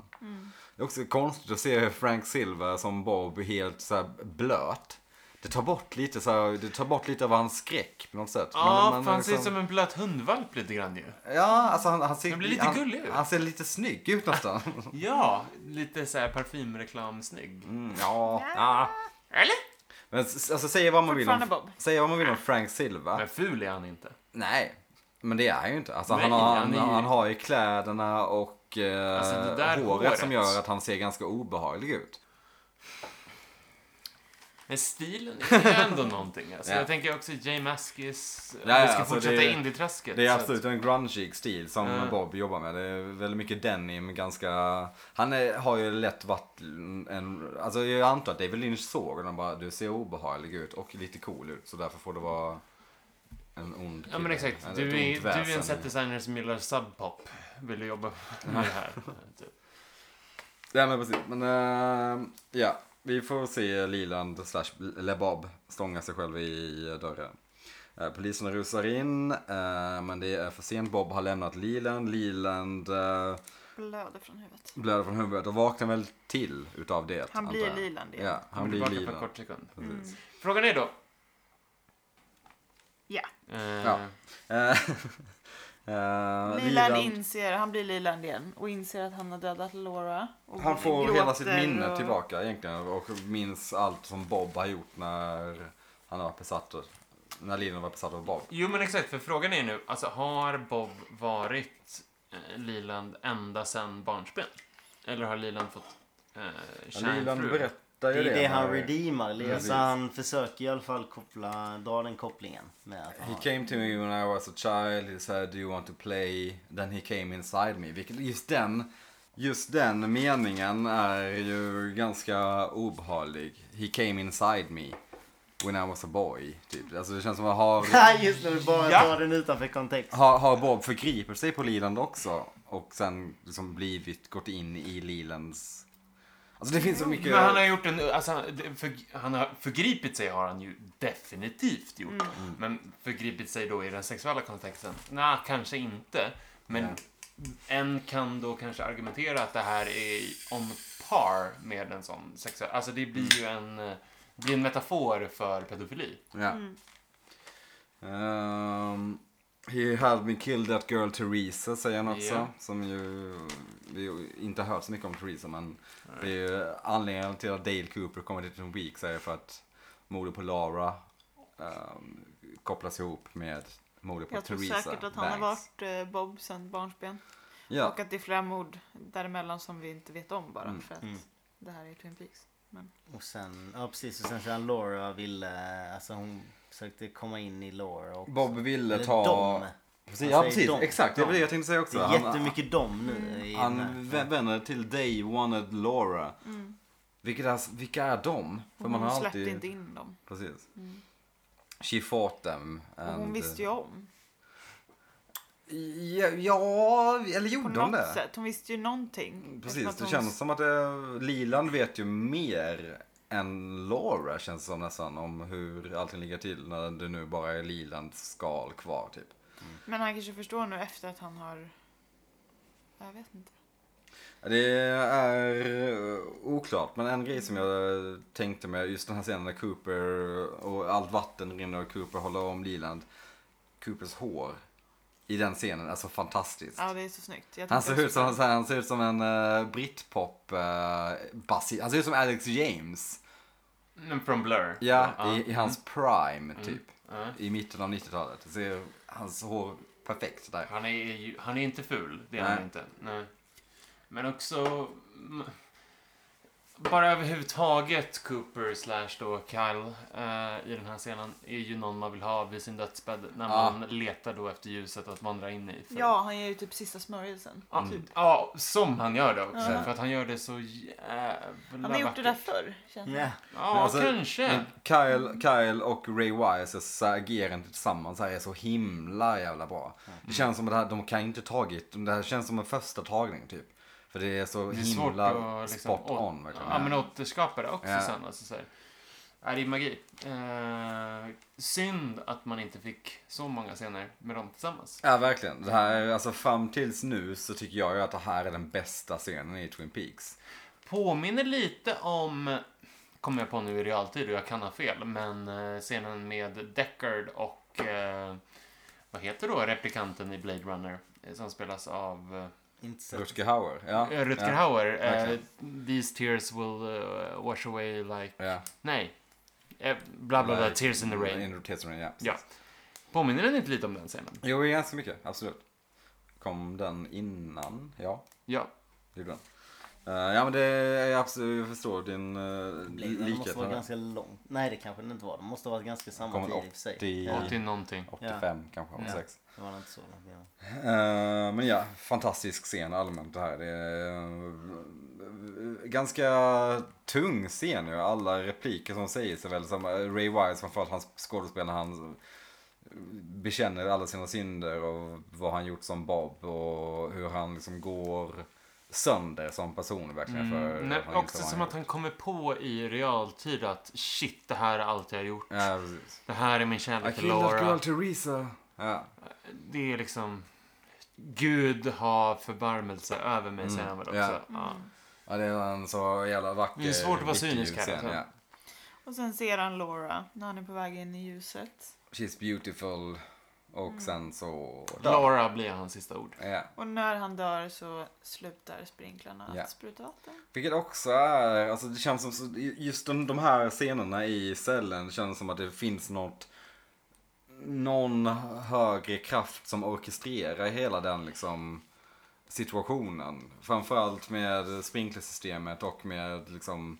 S2: Det är också konstigt att se Frank Silver som Bob helt så här blöt. Det tar bort lite så här, det tar bort lite av hans skräck på något sätt.
S4: Ja,
S2: Men- men
S4: för han ser ut
S2: liksom-
S4: som en blöt hundvalp lite grann ju.
S2: Ja, alltså han, han ser...
S4: Han blir lite
S2: han,
S4: gullig ut.
S2: Han ser lite snygg ut nästan.
S4: Ja, lite så här parfymreklam-snygg.
S2: Mm, ja.
S1: Ja.
S4: Eller?
S2: Men s- alltså säga vad man vill om...
S1: Fortfarande Bob.
S2: Säga vad man vill om Frank Silver.
S4: Men ful är han inte.
S2: Nej, men det är han ju inte. Alltså,
S4: Nej,
S2: han, har,
S4: han
S2: han,
S4: är ju-
S2: han har ju kläderna och eh,
S4: Alltså, det där
S2: håret,
S4: håret.
S2: som gör att han ser ganska obehaglig ut.
S4: Men stilen är ändå någonting. Alltså.
S2: Ja.
S4: Jag tänker också Jay Maskis... Om
S2: Ja, ja,
S4: vi ska
S2: alltså,
S4: fortsätta
S2: det är-
S4: indie-träsket.
S2: Det är
S4: så-
S2: absolut en grungeig stil som
S4: Ja.
S2: Bob jobbar med. Det är väldigt mycket denim, ganska... Han är, har ju lätt varit en... Alltså jag antar att David Lynch såg honom bara, du ser obehaglig ut och lite cool ut så därför får du vara en ond
S4: Ja men
S2: kille."
S4: exakt.
S2: Eller ett
S4: Du är,
S2: ont
S4: du är
S2: väsen.
S4: en setdesigner som gillar subpop. Vill du jobba med det här? Typ.
S2: Ja men precis. Men eh, ja, vi får se Liland slash LeBob stånga sig själv i dörren. Eh, Poliserna rusar in, eh, men det är för sent. Bob har lämnat Liland. Liland eh,
S1: Blöder från huvudet.
S2: blöder från huvudet och vaknar väl till utav det.
S1: Han
S2: antar
S1: blir
S2: jag.
S1: Liland igen.
S2: Ja,
S4: Han
S2: han
S4: blir
S2: blir
S4: tillbaka för en
S2: Liland.
S4: kort sekund.
S1: Mm.
S4: Frågan är då.
S1: Ja.
S4: Eh,
S2: Ja. Eh, Eh,
S1: Mm. Leland inser, han blir Leland igen och inser att han har dödat Laura. Och
S2: han får
S1: gråter
S2: hela sitt minne
S1: och-
S2: tillbaka egentligen och minns allt som Bob har gjort när han var besatt av, när Leland var besatt av Bob.
S4: Jo, men exakt. För frågan är nu, alltså har Bob varit eh, Liland ända sedan barnsben? Eller har Liland fått eh,
S2: Leland
S4: kärnfru?
S2: berättar
S3: Det
S2: ju
S3: är
S2: det.
S3: det
S2: när-
S3: han redeemar.
S2: Ja,
S3: Lea. Så
S2: precis.
S3: han försöker i alla fall koppla, dra den kopplingen. Med att
S2: He
S3: han,
S2: came to me when I was a child, he said do you want to play? Then he came inside me. Vilket, just, den, just den meningen är ju ganska obehaglig. He came inside me when I was a boy. Typ. Alltså det känns som att har,
S3: Nej, just när vi bara
S4: Ja.
S3: tar den utanför kontext.
S2: har, har Bob förgripit sig på Leland också och sen liksom blivit, gått in i Lelands... Alltså det finns så mycket...
S4: Men han har gjort en... Alltså, han- det- för, han har förgripit sig har han ju definitivt gjort.
S2: Mm.
S4: Men förgripit sig då i den sexuella kontexten? Nej, kanske inte. Men en kan då kanske argumentera att det här är on par med en sån sexuell... Alltså det
S2: Mm.
S4: blir ju en, eh, det blir en metafor för pedofili.
S2: Ja.
S1: Mm,
S2: Um, he had me kill that girl Teresa säger han också.
S4: Ja.
S2: Som ju, vi ju inte har hört så mycket om Teresa men det är ju anledningen till att Dale Cooper kommer till Twin Peaks är för att mordet på Laura ehm, kopplas ihop med mordet på
S1: Jag tror
S2: Teresa
S1: säkert att han har
S2: Banks.
S1: varit eh, Bob sedan barnsben.
S2: Ja,
S1: Och att det är flera mord däremellan som vi inte vet om bara
S2: Mm.
S1: för att
S3: Mm.
S1: det här är Twin Peaks. Men
S3: Och sen, ja precis. Och sen så här Laura ville, alltså hon försökte komma in i Laura också.
S2: Bob ville
S3: Eller
S2: ta...
S3: dom.
S2: Precis,
S3: Han
S2: ja,
S3: säger
S2: precis.
S3: dom.
S2: Exakt, det var
S3: Dom.
S2: det jag tänkte säga också.
S3: Det är
S2: Han- Mm.
S3: jättemycket dom nu. I den här.
S2: Han vä- vänder till They wanted Laura.
S1: Mm.
S2: Vilket är, vilka är de? För
S1: hon
S2: man har
S1: släppte
S2: alltid...
S1: inte in dem.
S2: Precis. She fought them.
S1: Mm. Och hon
S2: and- eh,
S1: visste ju om.
S2: Ja, ja eller
S1: På
S2: gjorde hon
S1: något
S2: det?
S1: sätt. Hon visste ju någonting. Eftersom
S2: Precis,
S1: att
S2: det
S1: hon-
S2: känns som att det, Lilan vet ju mer än Laura känns det som nästan om hur allting ligger till när det nu bara är Lilands skal kvar typ.
S1: Men han kanske förstår nu efter att han har... Jag vet inte.
S2: Det är eh, oklart, men en grej som jag tänkte med just den här scenen när Cooper och allt vatten rinner och Cooper håller om Liland. Coopers hår i den scenen är så fantastiskt.
S1: Ja, det är så snyggt. Jag
S2: Han
S1: tänkte
S2: ser ut
S1: också-
S2: som, han, han ser ut som en uh, britpop uh, basist. Han ser ut som Alex James.
S4: Men Mm, Från Blur.
S2: Ja,
S4: ja. Mm.
S2: I, i hans prime typ.
S4: ja.
S2: I mitten av 90-talet. Det Ser hans hår perfekt där.
S4: Han är ju, han är inte ful, det är han
S2: Nej.
S4: inte. Nej. Men också... mm, Bara överhuvudtaget Cooper slash då Kyle eh, i den här scenen är ju någon man vill ha vid sin dödsbädd när
S2: Ja.
S4: man letar då efter ljuset att vandra in i. för-
S1: Ja, han ger ju typ sista smörjelsen.
S4: Ja,
S2: Mm.
S4: ja, som han gör det också.
S1: Ja.
S4: För att han gör det så jävla
S1: Han har gjort det
S4: vackert.
S1: där förr, känns det.
S3: Ja.
S4: Ja,
S2: Men alltså,
S4: kanske.
S2: Men Kyle, Kyle och Ray Wise så här agerande tillsammans här är så himla jävla bra. Det känns som att det här, de kan inte tagit, det här känns som en första tagning typ. För det är så
S4: Det är svårt
S2: himla
S4: att liksom,
S2: spot on verkligen.
S4: Ja, men återskapa det också
S2: Ja.
S4: sen. Alltså, så här. Ja, det är magi. Eh, synd att man inte fick så många scener med dem tillsammans.
S2: Ja, verkligen. Det här, alltså fram tills nu så tycker jag ju att det här är den bästa scenen i Twin Peaks.
S4: Påminner lite om, kommer jag på nu i realtid och jag kan ha fel, men eh, scenen med Deckard och eh, vad heter då replikanten i Blade Runner eh, som spelas av eh,
S3: Inte så.
S2: Rutger Hauer. Ja.
S4: Eh, Rutger
S2: ja.
S4: Hauer. Eh,
S2: verkligen.
S4: These tears will eh, wash away like...
S2: Ja.
S4: Nej. Eh, bla, bla, bla.
S2: Like-
S4: Tears in the rain.
S2: In the tears in the rain, ja.
S4: Ja. Påminner den inte lite om den scenen?
S2: Jo, ganska mycket. Absolut. Kom den innan? Ja.
S4: Ja.
S2: Det gjorde den. Eh, ja men det är absolut, jag förstår din uh,
S3: Den måste
S2: likhet.
S3: vara
S2: här.
S3: ganska lång. Nej det kanske den inte var. Den måste ha varit ganska samma
S2: Kommer
S3: tid i och för sig.
S2: 80
S3: Ja,
S4: 80 någonting.
S2: 85 kanske,
S3: Ja.
S2: 86.
S3: Det var inte så långt. Ja.
S2: Eh, men ja, fantastisk scen allmänt det här. Det är eh, ganska tung scen ju. Alla repliker som sägs är väl som eh, Ray Wise, framförallt hans skådespel när han bekänner alla sina synder och vad han gjort som Bob och hur han liksom går sönder som person verkligen. För
S4: Mm,
S2: vad
S4: nej,
S2: han gjort
S4: också
S2: vad
S4: som
S2: han
S4: att han kommer på i realtid att shit, det här är allt jag har gjort.
S2: gjort. Ja, precis.
S4: Det här är min
S2: I
S4: kärlek till
S2: killed that girl
S4: Laura.
S2: Teresa. Ja.
S4: Det är liksom... Gud har förbarmelse över mig, säger han väl också.
S2: Mm. ja. Mm.
S4: Ja.
S2: ja, det är en så jävla vacker.
S4: Det är svårt att vara
S2: viktig
S4: cynisk här,
S2: scen,
S4: alltså.
S2: ja.
S1: Och sen ser han Laura när han är på väg in i ljuset.
S2: She's beautiful. Och sen så...
S4: Laura blir hans sista ord.
S2: Ja.
S1: Och när han dör så slutar sprinklarna
S2: Ja.
S1: att spruta vatten.
S2: Vilket också är, alltså det känns som, så- just de, de här scenerna i cellen känns som att det finns något, någon högre kraft som orkestrerar hela den liksom situationen. Framförallt med sprinklersystemet och med liksom,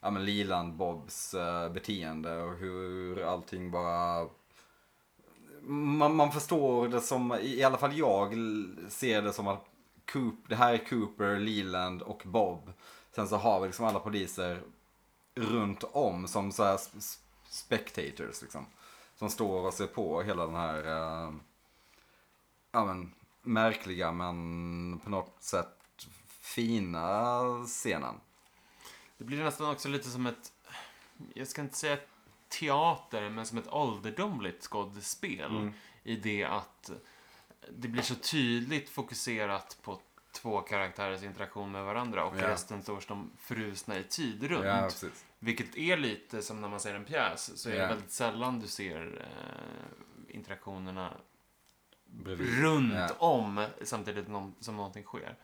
S2: ja men Liland Bobs eh, beteende och hur allting bara man, man förstår det som, i alla fall jag l- ser det som att Coop, det här är Cooper, Leland och Bob. Sen så har vi liksom alla poliser runt om som så här s- s- spectators liksom. Som står och ser på hela den här, eh, ja men märkliga men på något sätt fina scenen.
S4: Det blir nästan också lite som ett, jag ska inte säga teater, men som ett ålderdomligt skådespel.
S2: Mm.
S4: I det att det blir så tydligt fokuserat på två karaktärers interaktion med varandra och
S2: Ja.
S4: resten står som frusna i tid runt.
S2: Ja, precis.
S4: Vilket är lite som när man ser en pjäs, så är
S2: Ja.
S4: det väldigt sällan du ser eh, interaktionerna
S2: Bredvid.
S4: runt
S2: Ja.
S4: om samtidigt nå- som någonting sker.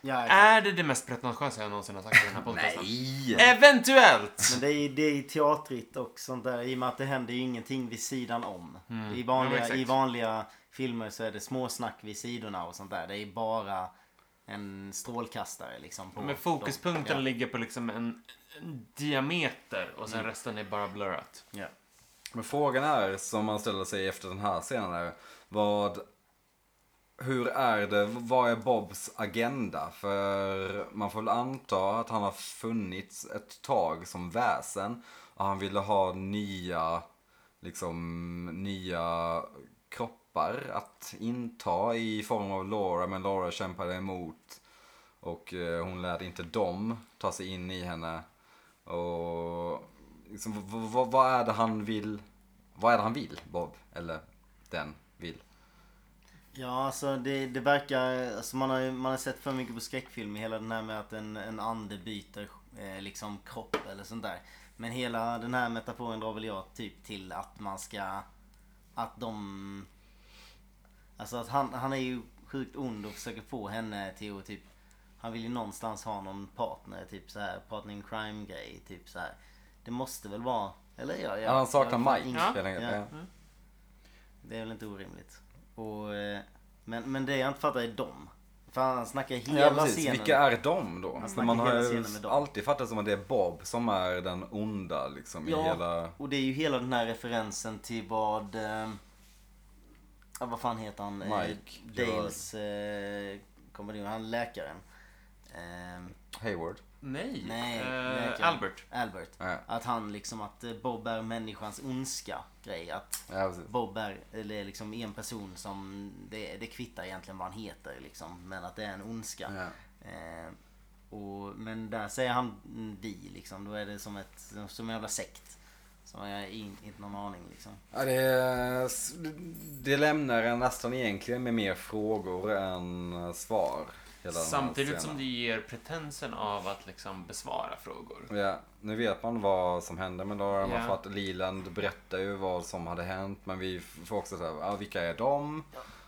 S3: Ja, exakt.
S4: Är det det mest pretentiösa jag någonsin har sagt i den här podcasten?
S2: Nej!
S4: Eventuellt!
S3: Men det är, det är teatrigt och sånt där i och med att det händer ju ingenting vid sidan om. I,
S4: Ja, men
S3: vanliga,
S4: exakt.
S3: I vanliga filmer så är det småsnack vid sidorna och sånt där. Det är bara en strålkastare liksom. På
S4: Men
S3: dem.
S4: fokuspunkten
S3: Ja.
S4: ligger på liksom en, en diameter och
S3: Mm.
S4: sen resten är bara blurrat.
S3: Ja.
S2: Men frågan är, som man ställer sig efter den här scenen är, vad... Hur är det, vad är Bobs agenda? För man får väl anta att han har funnits ett tag som väsen. Och han ville ha nya, liksom, nya kroppar att inta i form av Laura. Men Laura kämpade emot. Och eh, hon lät inte dem ta sig in i henne. Och liksom, v- v- vad är det han vill? Vad är det han vill, Bob? Eller den vill?
S3: Ja, alltså det, det verkar... Alltså man, har, ju- man har sett för mycket på skräckfilm hela den här med att en, en ande byter eh, liksom kropp eller sånt där. Men hela den här metaforen drar väl jag typ till att man ska... Att de... Alltså att han, han är ju sjukt ond och försöker få henne till att typ... Han vill ju någonstans ha någon partner, typ så här partner in crime grej, typ så här. Det måste väl vara... Eller ja, ja.
S2: han saknar Mike,
S3: Ingen-
S2: helt enkelt.
S3: Ja. Mm.
S2: Ja.
S3: det är väl inte orimligt. Och, eh, men, men det jag inte fattar är dem. För han snackar hela
S2: Ja, precis.
S3: scenen.
S2: Vilka är de då?
S3: Han
S2: För
S3: snackar
S2: man har
S3: hela
S2: ju
S3: scenen med dem.
S2: alltid fattat som att det är Bob som är den onda liksom
S3: Ja,
S2: i hela...
S3: och det är ju hela den här referensen till vad... Eh, ja, vad fan heter han? Eh,
S2: Mike
S3: Dales... Eh, kommer du ihåg? Han läkaren. Eh,
S2: Hayward.
S4: Nej,
S3: nej,
S4: eh,
S3: läkaren.
S4: Albert.
S3: Albert.
S2: Ja,
S3: Att han liksom att eh, Bob är människans ondska grej. Att
S2: ja precis.
S3: Bob är, eller liksom en person som, det, det kvittar egentligen vad han heter liksom. Men att det är en ondska.
S2: Ja.
S3: Eh, och, men där säger han mm, vi liksom. Då är det som, ett, som en jävla sekt. Som jag in, inte någon aning liksom.
S2: Ja, det, är- det lämnar en nästan egentligen med mer frågor än svar. hela den här
S4: Samtidigt
S2: scenen.
S4: som det ger pretensen av att liksom besvara frågor.
S2: Ja, nu vet man vad som hände med Laura. Man
S4: Ja.
S2: får att Liland berättar ju vad som hade hänt. Men vi får också säga, ja, vilka är de?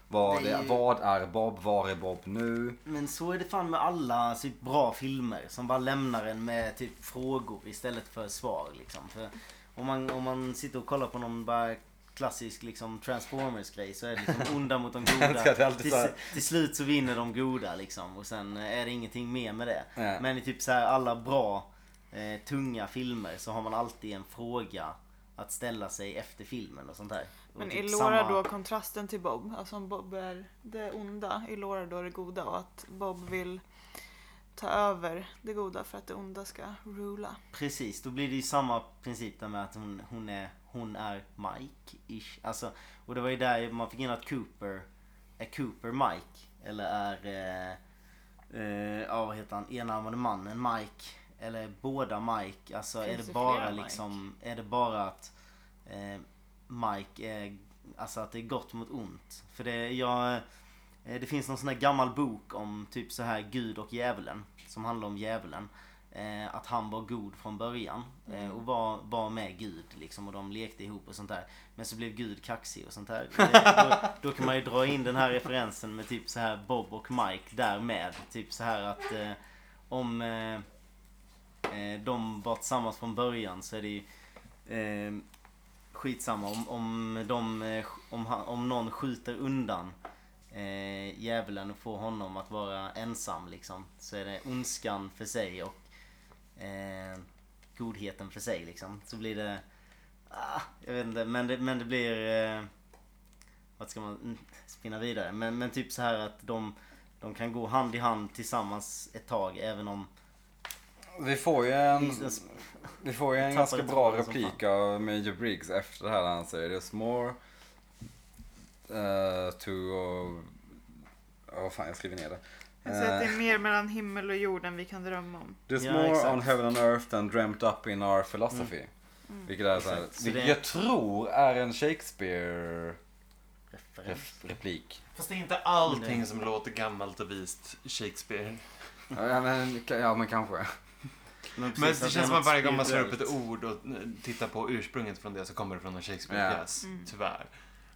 S2: Vad,
S3: Det är
S2: är,
S3: ju-
S2: vad är Bob? Var är Bob nu?
S3: Men så är det fan med alla typ, bra filmer som bara lämnar en med typ frågor istället för svar liksom. För om man, om man sitter och kollar på någon bara klassisk liksom Transformers grej så är det liksom onda mot de
S2: älskar
S3: goda.
S2: att det alltid
S3: till,
S2: så här-
S3: till slut så vinner de goda liksom och sen eh, är det ingenting mer med det.
S2: Nej.
S3: Men i typ så här alla bra eh, tunga filmer så har man alltid en fråga att ställa sig efter filmen och sånt där. Och
S1: Men
S3: typ
S1: är Laura då kontrasten till Bob? Alltså om Bob är det onda, är Laura då det goda? Och att Bob vill ta över det goda för att det onda ska rula.
S3: Precis, då blir det ju samma princip där med att hon, hon är, hon är Mike-ish. Alltså, och det var ju där man fick in att Cooper är Cooper Mike. Eller är, eh, eh, ja vad heter han, enarmade mannen Mike. Eller båda Mike. Alltså
S1: Finns
S3: är det
S1: det
S3: bara
S1: flera
S3: liksom, är det bara att eh, Mike är, alltså att det är gott mot ont. För det, jag, eh, det finns någon sån här gammal bok om typ så här Gud och djävulen. Som handlar om djävulen. eh, att han var god från början eh, och var, var med Gud liksom och de lekte ihop och sånt där. Men så blev Gud kaxig och sånt där. Eh, då, då kan man ju dra in den här referensen med typ så här Bob och Mike där med. Typ så här att eh, om eh, eh, de var tillsammans från början så är det ju eh, skitsamma om, om, de, eh, om, han, om någon skjuter undan eh, djävulen och får honom att vara ensam liksom. Så är det ondskan för sig och eh, godheten för sig liksom. Så blir det... Ah, jag vet inte, men det, men det blir... Eh, vad ska man mm, spinna vidare? Men, men typ så här att de, de kan gå hand i hand tillsammans ett tag även om... alltså,
S2: Vi får ju en, vi får ju en
S3: Tappade
S2: ganska bra
S3: tråden som
S2: replik av med Hugh Briggs efter det här där han säger There's more uh, to... Åh fan, jag skriver ner det.
S1: Jag säger att
S2: Eh,
S1: det är mer mellan himmel och jord än vi kan drömma om.
S2: There's
S3: Ja,
S2: more
S3: exakt. Mm.
S2: on heaven and earth than dreamt up in our philosophy. Vilket, är så här,
S3: Exakt, så
S2: vilket
S3: det-
S2: jag tror är en Shakespeare-replik.
S4: Fast det är inte allting som låter gammalt och vist Shakespeare.
S2: ja, men, ja, men kanske.
S3: Men, precis, alltså,
S4: Men
S3: att
S4: det
S3: är
S4: känns som
S3: något
S4: att varje gång man slår upp
S3: spirituellt.
S4: ett ord och eh, tittar på ursprunget från det så kommer det från en Shakespeare-pjäs.
S1: Ja. Mm.
S4: Tyvärr.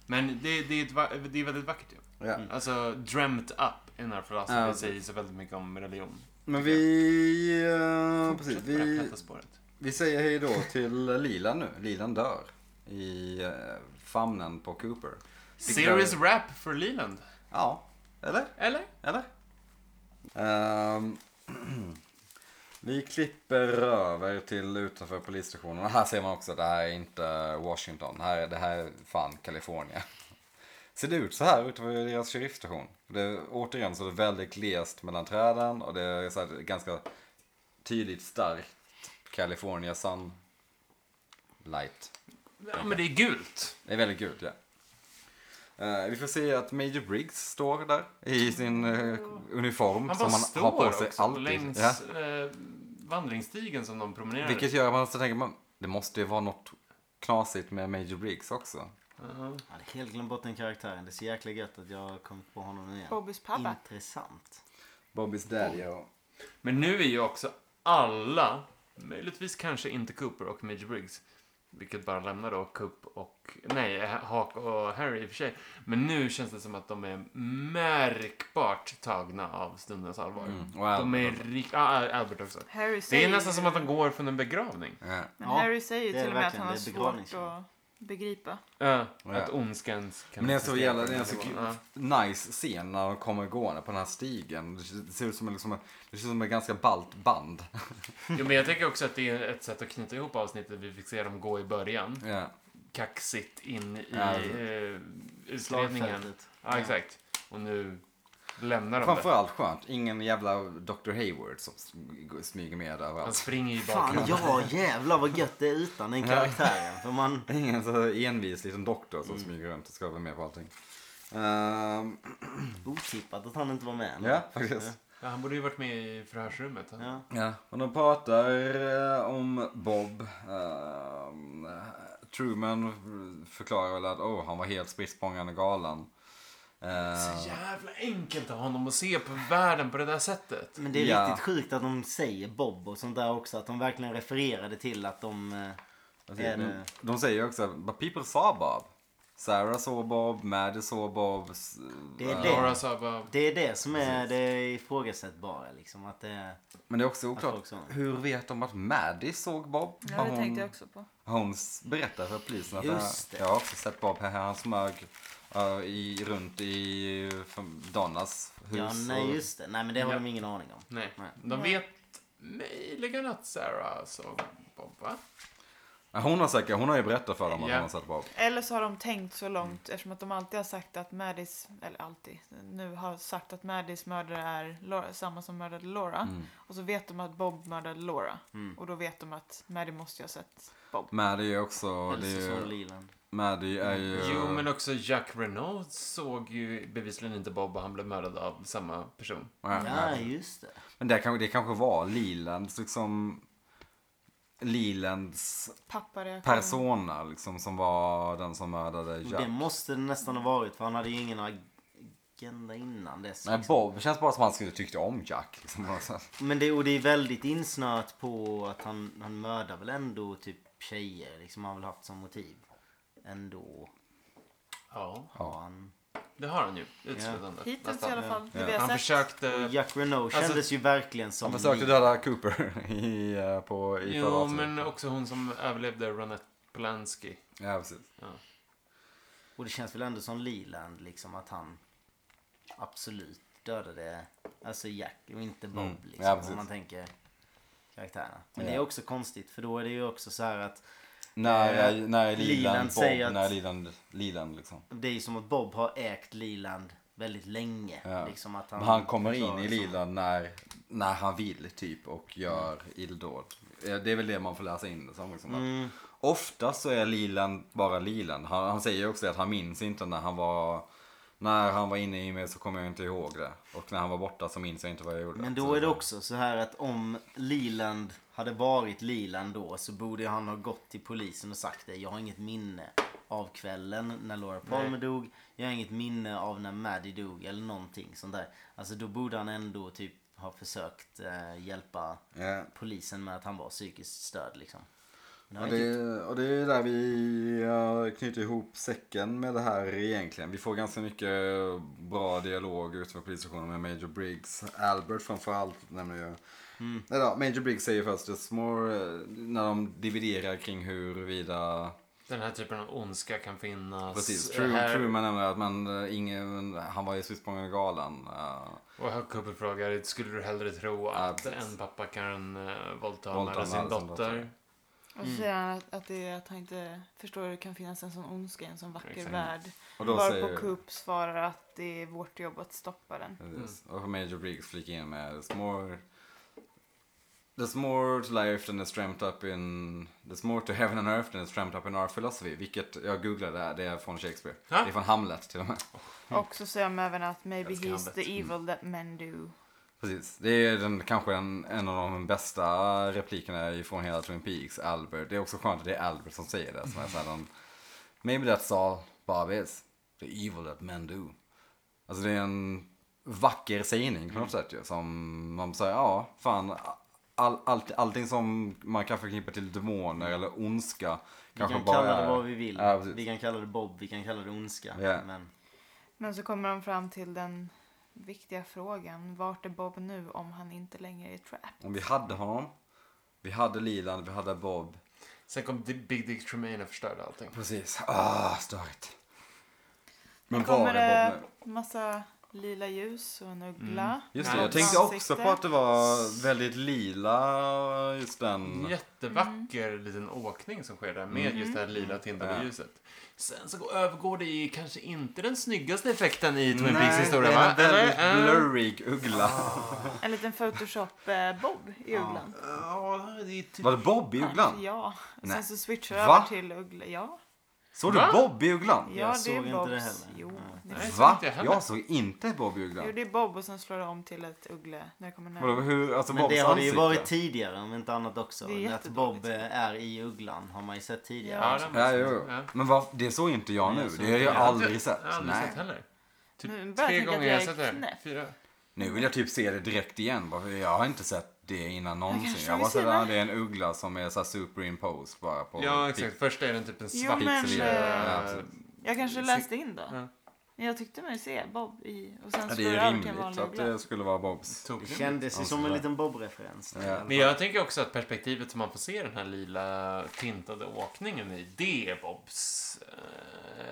S4: Men det, det, är ett, va- det är väldigt vackert ju.
S2: Ja.
S3: Mm.
S4: Alltså, dreamt up in our philosophy
S2: Ja.
S4: säger så väldigt mycket om religion.
S2: Men vi... eh, precis,
S4: Fortsätt på det här
S2: vi,
S4: platta spåret.
S2: vi säger hej då till Lilan nu. Lilan dör i eh, famnen på Cooper.
S4: Serious rap för Leland.
S2: Ja, eller?
S4: Eller?
S2: Eller? Ehm, vi klipper över till utanför polisstationen. Och här ser man också att det här är inte Washington. Här, är- det här är fan Kalifornien. Ser det ut så här utanför deras sheriffstation? Det, återigen så är det väldigt glest mellan träden och det är så här ganska tydligt starkt California sun light.
S4: Ja, men det är gult.
S2: Det är väldigt gult, ja. Eh, vi får se att Major Briggs står där i sin eh, uniform
S4: Mm. Han
S2: som
S4: bara
S2: han
S4: står
S2: har på sig
S4: också
S2: alltid.
S4: längs
S2: Ja.
S4: eh, vandringsstigen som de promenerar.
S2: Vilket gör att man så tänker man, det måste ju vara något knasigt med Major Briggs också.
S3: Jag
S4: Aha.
S3: hade helt glömt bort den karaktären. Det är så jäkla gött att jag har kommit på honom nu igen.
S1: Bobbys pappa.
S3: Intressant.
S2: Bobbys daddy och...
S4: Men nu är ju också alla, möjligtvis kanske inte Cooper och Major Briggs, vilket bara lämnar då Coop och, nej, Hawk och Harry i och för sig. Men nu känns det som att de är märkbart tagna av stundens allvar.
S2: Mm. Och
S4: De är
S2: Albert.
S4: rikt... Ah, Albert också.
S1: Harry
S4: Det
S1: säger,
S4: är nästan som att de går från en begravning.
S2: Ja.
S1: Men
S3: Ja,
S1: Harry säger ju
S3: det är
S1: till och med att
S3: verkligen,
S1: han har
S3: det är
S1: svårt
S3: begravningskänsla.
S1: att begripa.
S4: Ja,
S2: Ja.
S4: Att ondskan kan
S2: Men det är så
S4: existera på
S2: jävla-
S4: den
S2: det är
S4: här
S2: så
S4: nivån.
S2: kul.
S4: Ja.
S2: Nice scen när de kommer gående på den här stigen. Det ser ut som en, liksom, en- det ser ut som en ganska balt band.
S4: Jo, men jag tänker också att det är ett sätt att knyta ihop avsnittet. Vi fick se dem gå i början.
S2: Ja.
S4: Kaxigt in i
S2: Ja.
S4: eh, utredningen.
S3: Slagfältet.
S4: Ja, exakt. Och nu lämnar de det.
S2: Framförallt skönt, ingen jävla Dr. Hayward som sm- smyger med
S4: Han
S2: överallt.
S4: springer ju
S3: Fan,
S4: bakom.
S3: ja jävlar vad gött det är utan den karaktären. För man...
S2: Ingen så här envis liten doktor som smyger runt och ska vara med på allting. Mm. Ehm,
S3: Otippat att han inte var med.
S2: ja, faktiskt.
S4: Ja, han borde ju varit med i förhörsrummet. Han.
S3: Ja.
S2: Ja. Och de pratar eh, om Bob. Ehm, Truman förklarar väl att oh, han var helt spritt språngande galen. Ehm,
S4: Så jävla enkelt av honom att se på världen på det där sättet.
S3: Men det är
S2: Ja.
S3: riktigt sjukt att de säger Bob och sånt där också. Att de verkligen refererade till att de... eh, är eh,
S2: de,
S3: det...
S2: de säger ju också but people saw Bob. Sarah såg Bob, Maddie såg Bob. s-
S3: Det är
S2: eh,
S3: det.
S4: Laura sa bara...
S3: Det är det som är det ifrågasättbara liksom. Att det är...
S2: Men det är också
S3: Jag
S2: oklart.
S3: såg också.
S2: Hur vet de att Maddie såg Bob?
S1: Ja,
S2: Har
S1: det
S2: hon-
S1: tänkte jag också på.
S2: Holmes berättar för polisen att
S3: Just det.
S2: jag har också sett Bob här. Han smög eh, i, runt i eh, från Donnas hus.
S3: Ja, nej
S2: och-
S3: just det. Nej men det har
S4: Ja.
S3: de ingen aning om.
S4: Nej.
S3: Nej.
S4: De vet möjligen att Sarah såg Bob, va?
S2: Ja, Hon har säkert, hon har ju berättat för dem att
S4: Ja.
S2: hon har sett Bob.
S1: Eller så har de tänkt
S2: Mm.
S1: så långt eftersom att de alltid har sagt att Maddys, eller alltid, nu har sagt att Maddys mördare är Laura, samma som mördade Laura.
S2: Mm.
S1: Och så vet de att Bob mördade Laura. Och då vet de att Maddie måste ju ha sett Bob.
S2: Maddie är också, det är
S3: Eller så såg
S2: ju,
S3: Leland.
S2: Maddie är ju...
S4: Jo, men också Jack Renault såg ju bevisligen inte Bob och han blev mördad av samma person.
S2: Ja,
S3: Ja
S2: ja.
S3: just det.
S2: Men det kanske, det kanske var Lilands liksom... Lilands
S1: Pappareaktion.
S2: persona liksom som var den som mördade
S3: Och det
S2: Jack.
S3: måste det nästan ha varit för han hade ju ingen ag- veckorna innan dess.
S2: Nej,
S3: liksom.
S2: Bob känns bara som att han skulle tyckte om Jack. Liksom. bara så här.
S3: Men det, och det är väldigt insnöat på att han, han mördar väl ändå typ tjejer. Liksom han har väl haft som motiv. Ändå.
S4: Ja,
S3: Ja. Han,
S4: det har han ju. Utslutande.
S1: Hittills i
S4: nästan.
S1: alla fall. Det
S2: Ja.
S1: vi har
S4: Han
S1: sett.
S4: försökte...
S2: Eh,
S3: och Jack Renault
S2: alltså-
S3: kändes ju verkligen som...
S2: Han försökte döda Cooper i, eh, på, i förra
S4: Jo,
S2: avsnittet.
S4: men också hon som överlevde, Ronette Polanski.
S2: Ja, precis.
S4: Ja.
S3: Och det känns väl ändå som Leland liksom att han absolut dödade alltså Jack och inte Bob
S2: Mm.
S3: liksom.
S2: Ja,
S3: om
S2: precis.
S3: man tänker karaktärerna. Men
S2: Ja.
S3: det är också konstigt för då är det ju också så här att
S2: När, eh, när
S3: Leland
S2: Liland, Bob,
S3: säger att-
S2: när Liland, Liland liksom.
S3: det är ju som att Bob har ägt Leland väldigt länge.
S2: Ja.
S3: Liksom att han,
S2: Han, han kommer in
S3: förklarar
S2: i
S3: som-
S2: Liland när, när han vill typ och gör illdåd. Eh, Det är väl det man får läsa in det som. Liksom, att
S3: Mm.
S2: Ofta så är Liland bara Liland. Han, han säger också att han minns inte när han var när han var inne i mig så kommer jag inte ihåg det. Och när han var borta så minns jag inte vad jag gjorde.
S3: Men
S2: Så
S3: då är det också så här att om Leland hade varit Leland då så borde han ha gått till polisen och sagt det. Jag har inget minne av kvällen när Laura Palmer
S4: Nej.
S3: dog. Jag har inget minne av när Maddie dog eller någonting sånt där. Alltså då borde han ändå typ ha försökt eh, hjälpa
S2: Ja.
S3: polisen med att han var psykiskt störd liksom. Men
S2: Ja,
S3: han gick-
S2: det, och det är där vi eh, knyter ihop säcken med det här egentligen. Vi får ganska mycket eh, bra dialog utanför polisstationen med Major Briggs. Albert framförallt nämner ju.
S4: Mm.
S2: Eller, ja, Major Briggs säger först just more, eh, när de dividerar kring huruvida
S4: Den här typen av ondska kan finnas.
S2: Precis,
S4: Eh,
S2: True,
S4: här-
S2: Truman nämner att man, eh, ingen, han var ju syskongalan. galan. eh,
S4: Och här Cooper frågar, skulle du hellre tro
S2: Ja,
S4: att
S2: precis.
S4: en pappa kan eh, våldta
S2: Våldta
S4: och mörda sin
S2: med sin
S4: dotter?
S2: dotter.
S1: Och
S2: Mm.
S1: så säger han att, att, det är, att han inte förstår hur det kan finnas en sån ondska i en sån vacker
S4: Exakt.
S1: värld.
S2: Och då
S1: Varpå
S2: säger-
S1: Coop svarar att det är vårt jobb att stoppa den.
S2: Precis. Och Major Briggs flikar in med There's more, there's more to life than is dreamt up in... There's more to heaven and earth than is dreamt up in our philosophy. Vilket jag googlade, är- det är från Shakespeare.
S4: Ha?
S2: Det är från Hamlet till och med.
S1: Och så säger de även att maybe
S4: Älskar
S1: he's
S4: Hamlet.
S1: the evil that men do.
S2: Precis. Det är den, kanske en, en av de bästa replikerna från hela Twin Peaks, Albert. Det är också skönt att det är Albert som säger det. Som är så här, den, Maybe that's all Bob is. The evil that men do. Alltså det är en vacker sägning på något sätt ju. Som man säger, ja, fan. All, all, allting som man kan förknippa till demoner eller ondska.
S3: Vi
S2: Kanske
S3: kan
S2: bara
S3: kalla det
S2: är-
S3: vad vi vill.
S2: Ja, precis.
S3: vi kan kalla det Bob, vi kan kalla det ondska.
S2: Ja.
S3: Men
S1: Men så kommer de fram till den viktiga frågan. Vart är Bob nu om han inte längre är trap?
S2: Om vi hade honom. Vi hade Liland, vi hade Bob.
S4: Sen kom Di- Big Dick Tremaine och förstörde allting.
S2: Precis. Ah, störigt. Men
S1: Sen kommer
S2: var är Bob
S1: det
S2: nu?
S1: massa lila ljus och en uggla.
S2: Mm. Just
S4: Ja,
S2: det, jag
S4: hans
S2: tänkte också
S1: ansikte.
S2: på att det var väldigt lila just den.
S4: Jättevacker
S1: Mm.
S4: liten åkning som sker där med just det här lila tintade
S2: Mm. Ja.
S4: ljuset. Sen så går- övergår det i kanske inte den snyggaste effekten i Twin Peaks
S2: det
S4: historia
S2: är
S4: va?
S2: en väldigt
S4: Eller? Eh,
S2: blurrig uggla.
S1: En liten Photoshop-bob i ugglan.
S4: Ja, det är typ...
S2: Var det Bob i ugglan?
S1: Ja. Och
S2: Nej.
S1: sen så switchar
S2: Va?
S1: jag över till uggla. Ja.
S2: Såg du
S4: Va?
S2: Bob i ugglan?
S1: Ja, det
S3: såg
S1: är
S3: inte
S1: Bobs.
S3: det heller.
S1: Jo,
S3: Ja.
S1: det
S4: Nej.
S1: är...
S4: såg
S2: Va?
S4: inte jag heller.
S2: Jag såg inte Bob i
S1: jo,
S2: ugglan.
S1: det är Bob och sen slår det om till ett uggle när det kommer
S2: Vadå,
S1: nära.
S2: hur, alltså
S3: Men
S2: Bobs
S3: det har det ju
S2: ansikte?
S3: varit tidigare om inte annat också.
S1: Det är
S3: Att
S1: jättedåligt.
S3: Bob eh, är i ugglan har man ju sett tidigare.
S4: Ja,
S3: också.
S4: den-
S2: Ja, jo.
S4: Ja.
S2: Men vad- det såg inte jag
S3: Nej,
S2: nu.
S3: jag såg
S2: Det har
S4: Jag
S2: jag
S4: har
S2: aldrig sett.
S4: Jag har aldrig
S2: Nej.
S4: sett heller.
S1: Nu
S4: Typ
S1: börjar
S4: tre
S1: jag tänka
S4: gånger
S1: att
S4: jag
S1: jag
S4: har
S1: är
S4: sett det. här.
S1: knäpp.
S4: Fyra.
S2: Nu vill jag typ se det direkt igen. bara för Jag har inte sett det innan någonsin.
S1: kanske
S2: Jag
S1: vill
S2: bara
S1: se
S2: sett att
S1: det.
S2: det är en uggla som är så här superimposed bara på...
S4: Ja, exakt. Först är den typ en svart
S1: men,
S4: pixel.
S1: eh,
S2: Ja, absolut.
S1: Jag kanske
S4: Sick-
S1: läste in då.
S4: Ja.
S1: Men Jag tyckte mig se Bob i... Och sen
S2: Ja,
S1: slår
S2: det är ju
S1: över till en
S2: rimligt
S1: vanlig
S2: att
S1: uggla.
S2: det skulle vara Bobs.
S4: Tog
S3: Det
S4: den.
S3: kändes ju
S2: Ja,
S3: som en
S2: sådär.
S3: liten Bob-referens. där i alla fall.
S4: Men jag tänker också att perspektivet som man får se den här lila tintade åkningen i, det är Bobs,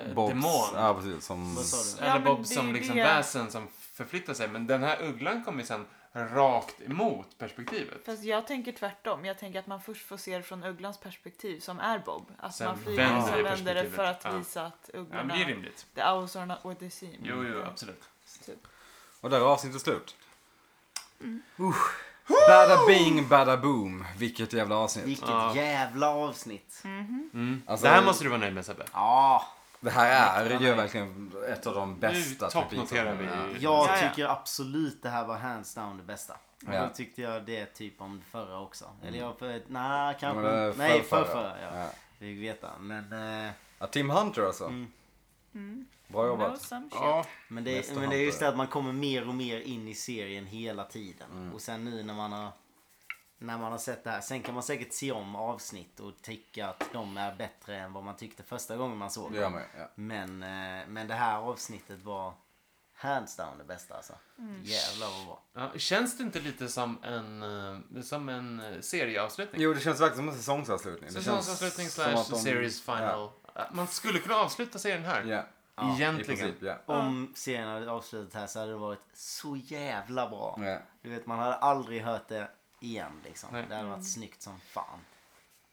S4: eh,
S2: Bobs,
S4: demon.
S2: ja precis. Som...
S3: Vad sa du?
S1: Ja,
S4: Eller
S1: men
S4: Bobs
S1: det är
S4: som
S1: ju
S4: liksom
S1: det.
S4: väsen som förflyttar sig. Men den här ugglan kommer ju sen rakt emot perspektivet.
S1: Fast jag tänker tvärtom. Jag tänker att man först får se det från ugglans perspektiv som är Bob. Att
S4: Sen
S1: man
S4: vänder
S1: flyger och
S4: vi
S1: sen vänder det
S4: perspektivet.
S1: för att
S4: Ja.
S1: visa att
S4: Ja, men
S1: ugglorna...
S4: det är rimligt.
S1: the owls are not what they seem. Mm.
S4: Jo, jo, absolut.
S1: Typ.
S2: Och där är avsnittet slut.
S4: Mm.
S2: Usch. Bada bing, bada boom. Vilket jävla avsnitt.
S3: Vilket
S4: Ja.
S3: jävla avsnitt.
S4: Mm.
S2: Alltså-
S4: det här måste du vara nöjd med Sebbe.
S3: Ja,
S2: Det här är ju verkligen ett av de bästa. typ
S4: Nu toppnoterar vi.
S2: Ja.
S3: jag
S1: Ja, ja.
S3: tycker absolut det här var hands down det bästa. Och
S2: Ja.
S3: Då tyckte jag det typ om det förra också. Eller jag, för, nej, kanske
S2: Men det är
S3: inte. Nej,
S2: förrförra.
S3: förrförra. Ja.
S2: Ja.
S3: Vi fick veta. Men, eh,
S2: Ja, Tim Hunter alltså.
S1: Mm.
S2: Bra
S1: No
S2: jobbat.
S1: some shit.
S4: Ja.
S3: Men det,
S2: Nästa
S3: men det är
S2: hand
S3: just
S2: på
S3: det att man kommer mer och mer in i serien hela tiden. Och sen nu när man har när man har sett det här. Sen kan man säkert se om avsnitt och tycka att de är bättre än vad man tyckte första gången man såg
S2: Det
S3: dem.
S2: gör man ja.
S3: Men, eh, men det här avsnittet var hands down det bästa alltså. Jävlar vad bra.
S4: Ja, känns det inte lite som en, eh, som en eh, serieavslutning?
S2: Jo, det känns verkligen som en säsongsavslutning. Det känns
S4: Säsongsavslutning
S2: som
S4: slash
S2: att de-
S4: series final. Eh, Man skulle kunna avsluta serien här.
S2: Ja, ja. i
S4: Egentligen.
S2: princip. Ja.
S3: Om serien hade avslutat här så hade det varit så jävla bra.
S2: Ja.
S3: Du vet man hade aldrig hört det igen liksom.
S4: Nej.
S3: Det hade varit snyggt som fan.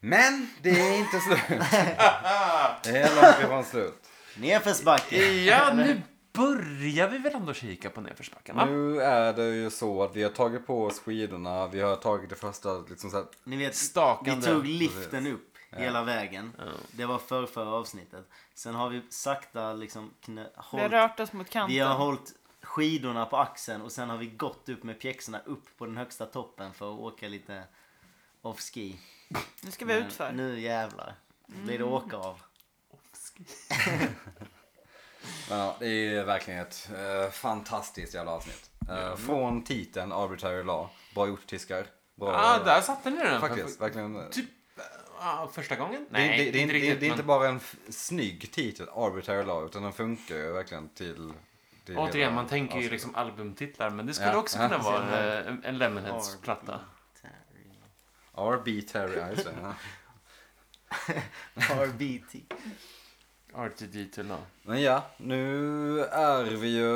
S2: Men det är inte slut. det är långt ifrån slut.
S3: Nedförsbacke!
S4: Ja, nu börjar vi väl ändå kika på nedförsbacken, va?
S2: Nu är det ju så att vi har tagit på oss skidorna, vi har tagit det första liksom så här,
S3: Ni vet,
S4: Stakande.
S3: vi tog liften upp hela vägen. Det var för, förra avsnittet. Sen har vi sakta liksom knö,
S1: Vi har
S3: hållit,
S1: rört oss mot kanten.
S3: vi har hållit skidorna på axeln och sen har vi gått upp med pjäxorna upp på den högsta toppen för att åka lite off-ski.
S1: Nu ska vi
S3: Men
S1: utför. Mm.
S3: Nu jävlar. Blir det åka av.
S2: Ja, det är verkligen ett eh, fantastiskt jävla avsnitt. Eh,
S4: Mm.
S2: Från titeln Arbitrary Law, bra gjort tyskar. Bra,
S4: ah, där satte ni den.
S2: Faktiskt, verkligen. eh,
S4: Typ ah, första gången?
S2: det,
S4: Nej,
S2: det, det,
S4: inte
S2: det, det,
S4: riktigt.
S2: det är inte
S4: men
S2: bara en f- snygg titel, Arbitrary Law, utan den funkar ju verkligen till... till hela
S4: Återigen, man tänker ju
S2: avsnittet.
S4: liksom albumtitlar, men det skulle
S2: Ja.
S4: också kunna vara eh, en, en Lemonheads-platta. liksom-
S2: Arbitrary, ja just det. ja.
S3: RBT.
S4: RTD law.
S2: Men ja, nu är vi ju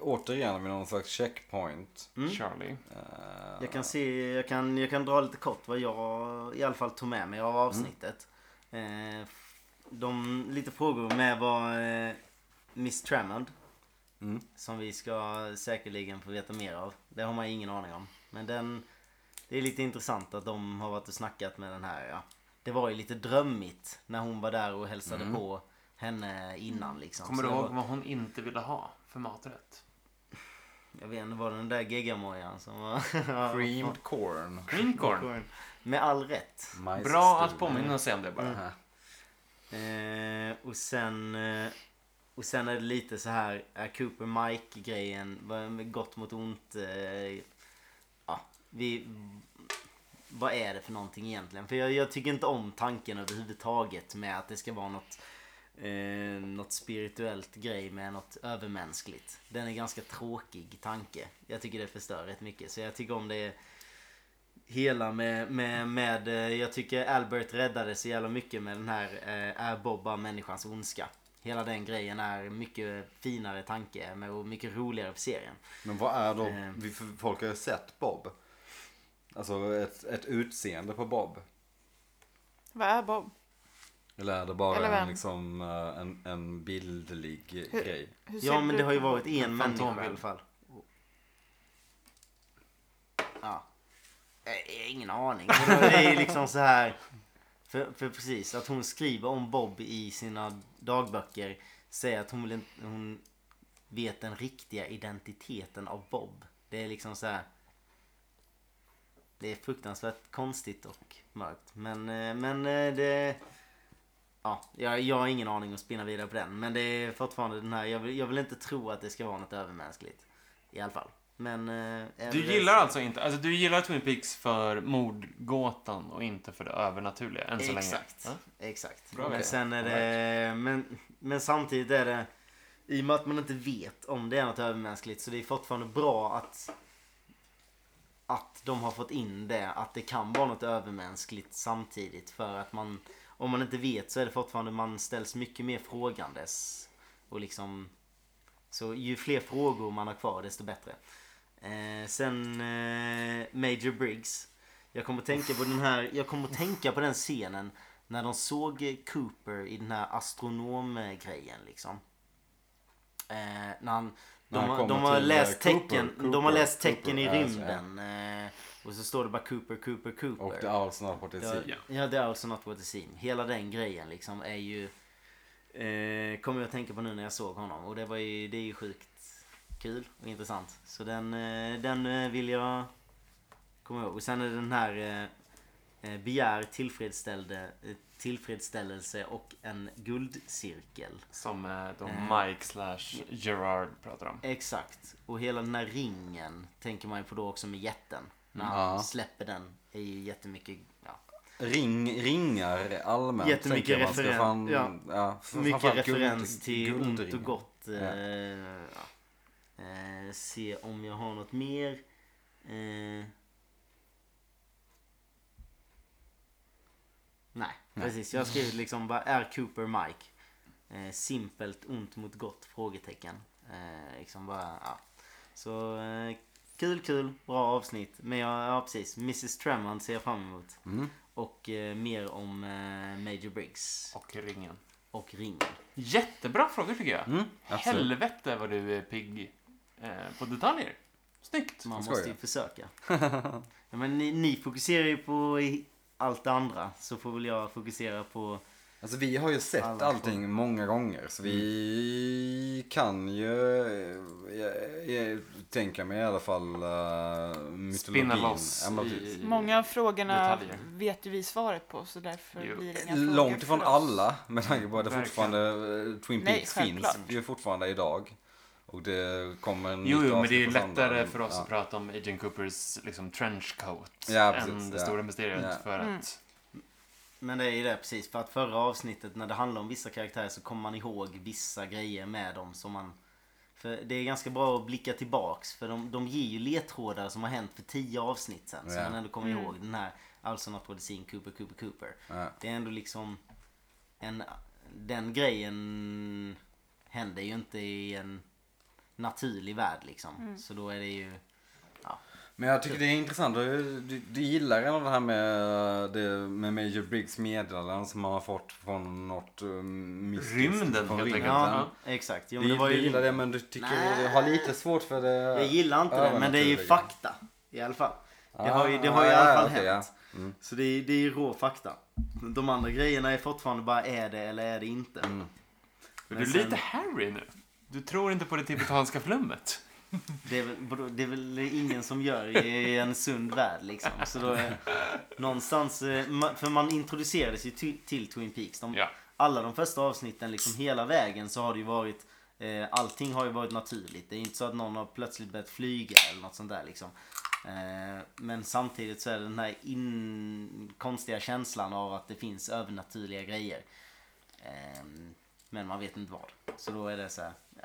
S2: återigen vid någon slags checkpoint.
S4: Charlie.
S2: Eh,
S3: Jag kan, se, jag, kan, jag kan dra lite kort vad jag i alla fall tog med mig av
S4: Mm.
S3: avsnittet. Eh, f- de lite frågor med var eh, Miss Tremond.
S2: Mm.
S3: Som vi ska säkerligen få veta mer av. Det har man ingen aning om. Men den, det är lite intressant att de har varit och snackat med den här. Ja. Det var ju lite drömmigt när hon var där och hälsade på henne innan. Liksom.
S4: Mm. Kommer
S3: Så
S4: du
S3: det
S4: ihåg
S3: var,
S4: vad hon inte ville ha för maträtt?
S3: Jag vet inte, var det den där geggamojan som var...
S2: Creamed corn.
S4: Green corn.
S3: med all rätt.
S2: Majs
S4: Bra att
S2: stuvning.
S4: påminna sig om det bara.
S2: Ja.
S3: Eh, och sen... Eh, och sen är det lite så här, är Cooper Mike-grejen, vad- med gott mot ont. Eh, ja, vi... Vad är det för någonting egentligen? För jag, jag tycker inte om tanken överhuvudtaget med att det ska vara något, eh, något spirituellt grej med något övermänskligt. Den är ganska tråkig tanke. Jag tycker det förstör rätt mycket. Så jag tycker om det hela med, med, med eh, jag tycker Albert räddade så jävla mycket med den här eh, är Bobba människans ondska. Hela den grejen är mycket finare tanke med- och mycket roligare för serien.
S2: Men vad är då,
S3: Eh.
S2: vi- för folk har ju sett Bob. Alltså ett, ett utseende på Bob.
S1: Vad är Bob?
S2: Eller är det bara
S1: Eller
S2: en,
S1: vem?
S2: liksom, eh, en, en bildlig grej?
S1: Hur ser
S3: Ja men
S1: du
S3: det har ju
S1: ut?
S3: varit en människa i
S4: Fantombild.
S3: alla fall. Ja. Eh, eh, Ingen aning. Men Det är ju liksom så här. För, för precis, att hon skriver om Bob i sina dagböcker. Säger att hon, vill inte, hon vet den riktiga identiteten av Bob. Det är liksom så här. Det är fruktansvärt konstigt och mörkt. Men, eh, men eh, det... Ja, jag, jag har ingen aning att spinna vidare på den. Men det är fortfarande den här, jag vill, jag vill inte tro att det ska vara något övermänskligt. I alla fall. Men... eh, är
S4: Du
S3: det-
S4: gillar alltså inte, alltså du gillar Twin Peaks för mordgåtan och inte för det övernaturliga än så länge?
S3: Exakt.
S4: Ja?
S3: Exakt.
S4: Bra
S3: men
S4: grej.
S3: sen är det... Men, men samtidigt är det... I och med att man inte vet om det är något övermänskligt så det är fortfarande bra att... Att de har fått in det, att det kan vara något övermänskligt samtidigt för att man... Om man inte vet så är det fortfarande man ställs mycket mer frågandes. Och liksom... Så ju fler frågor man har kvar desto bättre. Eh, sen eh, Major Briggs. Jag kommer att tänka på den här, jag kommer att tänka på den scenen när de såg eh, Cooper i den här astronomgrejen liksom. Eh, när han, de,
S2: När han
S3: har,
S2: kommer
S3: de har
S2: till,
S3: läst
S2: eh, Cooper,
S3: tecken,
S2: Cooper,
S3: de har läst tecken
S2: Cooper,
S3: i
S2: ja, just det.
S3: rymden. Eh, och så står det bara Cooper, Cooper, Cooper.
S2: Och det är alltså något på det
S3: Ja,
S2: sättet.
S4: Ja.
S3: ja, det är alltså not what it seems. Hela den grejen liksom är ju... Eh, kommer jag att tänka på nu när jag såg honom. Och det, var ju, det är ju sjukt kul och intressant. Så den, eh, den eh, vill jag komma ihåg. Och sen är det den här... Eh, eh, begär tillfredsställde, eh, tillfredsställelse och en guldcirkel.
S4: Som eh, då
S3: Eh.
S4: Mike slash Gerard pratar om.
S3: Exakt. Och hela den här ringen tänker man ju på då också med jätten. När
S2: Mm.
S3: han
S2: Ja.
S3: släpper den är ju jättemycket, ja.
S2: Ring, ringar allmänt.
S3: Jättemycket
S2: tänker jag. Man ska
S3: referen-
S2: Fan,
S3: ja.
S2: ja, f-
S3: Mycket
S2: framförallt guld-
S3: referens till ont
S2: guldringar.
S3: och gott. Eh,
S2: Ja.
S3: ja. eh, se om jag har något mer. Eh, nej, precis. Jag har skrivit liksom bara är Cooper Mike? Eh, simpelt ont mot gott? Frågetecken. Eh, liksom bara, ja. Så eh, kul, kul. Bra avsnitt. Men jag, ja precis. Mrs Tremond ser jag fram emot.
S2: Mm.
S3: Och eh, mer om eh, Major Briggs
S4: Och ringen.
S3: och ringen.
S4: Jättebra frågor tycker jag.
S2: Mm, absolut.
S4: Helvete vad du är pigg eh, på detaljer. Snyggt.
S3: Man
S2: Jag
S3: måste ju
S2: skojar.
S3: försöka. ja, men ni, ni fokuserar ju på i- allt det andra. Så får väl jag fokusera på...
S2: Alltså vi har ju sett
S3: Alla
S2: allting många gånger så vi kan ju, eh, jag, jag, tänka mig i alla fall, uh, mytologin.
S4: Spinna loss.
S2: Ja, men
S4: i-
S2: precis.
S1: Många av frågorna
S4: Detaljer.
S1: vet ju vi svaret på så därför
S4: Jo.
S1: blir det inga frågor
S2: Eh, Långt ifrån
S1: för oss.
S2: alla med tanke på att det
S4: Verkligen.
S2: fortfarande, eh, Twin
S1: Nej,
S2: Peaks finns
S1: självklart.
S2: ju fortfarande idag. Och det kommer en
S4: Jo,
S2: nytt
S4: jo, men det är
S2: avsnitt
S4: ju
S2: på söndag.
S4: lättare för oss
S2: Ja.
S4: att prata om Agent Coopers liksom, trenchcoat
S2: Ja, precis,
S4: än det
S2: ja.
S4: stora mysteriet.
S2: Ja.
S4: För
S1: Mm.
S4: att
S3: Men det är ju det precis. För att förra avsnittet när det handlar om vissa karaktärer så kommer man ihåg vissa grejer med dem som man... För det är ganska bra att blicka tillbaks. För de, de ger ju ledtrådar som har hänt för tio avsnitt sen. Så
S2: Ja.
S3: man ändå kommer
S1: Mm.
S3: ihåg den här Alson apodicin Cooper Cooper Cooper.
S2: Ja.
S3: Det är ändå liksom en, Den grejen händer ju inte i en naturlig värld liksom. Så då är det ju... Ja.
S2: Men jag tycker det är intressant. Du, du, du gillar ändå det här med, eh, det, med Major Briggs meddelanden som man har fått från något um, mystiskt.
S4: Rymden,
S2: från
S4: helt enkelt.
S3: ja, exakt. Jo,
S2: Du,
S3: men det var
S2: du
S3: ju,
S2: gillar det men du tycker
S3: Nej.
S2: du har lite svårt för det.
S3: jag gillar inte det, men det är ju
S2: övernaturliga.
S3: fakta. I alla fall. Det
S2: Ah,
S3: har ju, det har ju i
S2: ja,
S3: alla fall
S2: okej,
S3: hänt.
S2: ja. Mm.
S3: Så det är, det är ju rå fakta. De andra grejerna är fortfarande bara är det eller är det inte.
S2: Mm.
S4: du
S3: Men
S4: är
S3: sen-
S4: lite Harry nu. Du tror inte på det tibetanska flummet.
S3: Det är, väl, vadå, det är väl ingen som gör i en sund värld liksom. Så då är, någonstans, eh, ma- för man introducerades ju till, till Twin Peaks.
S2: Mm.
S3: De,
S4: Ja.
S3: Alla de första avsnitten, liksom hela vägen så har det ju varit eh, Allting har ju varit naturligt. Det är inte så att någon har plötsligt börjat flyga eller något sånt där liksom. Eh, men samtidigt så är det den här in, konstiga känslan av att det finns övernaturliga grejer. Ehm, men man vet inte vad. Så då är det så här, ja.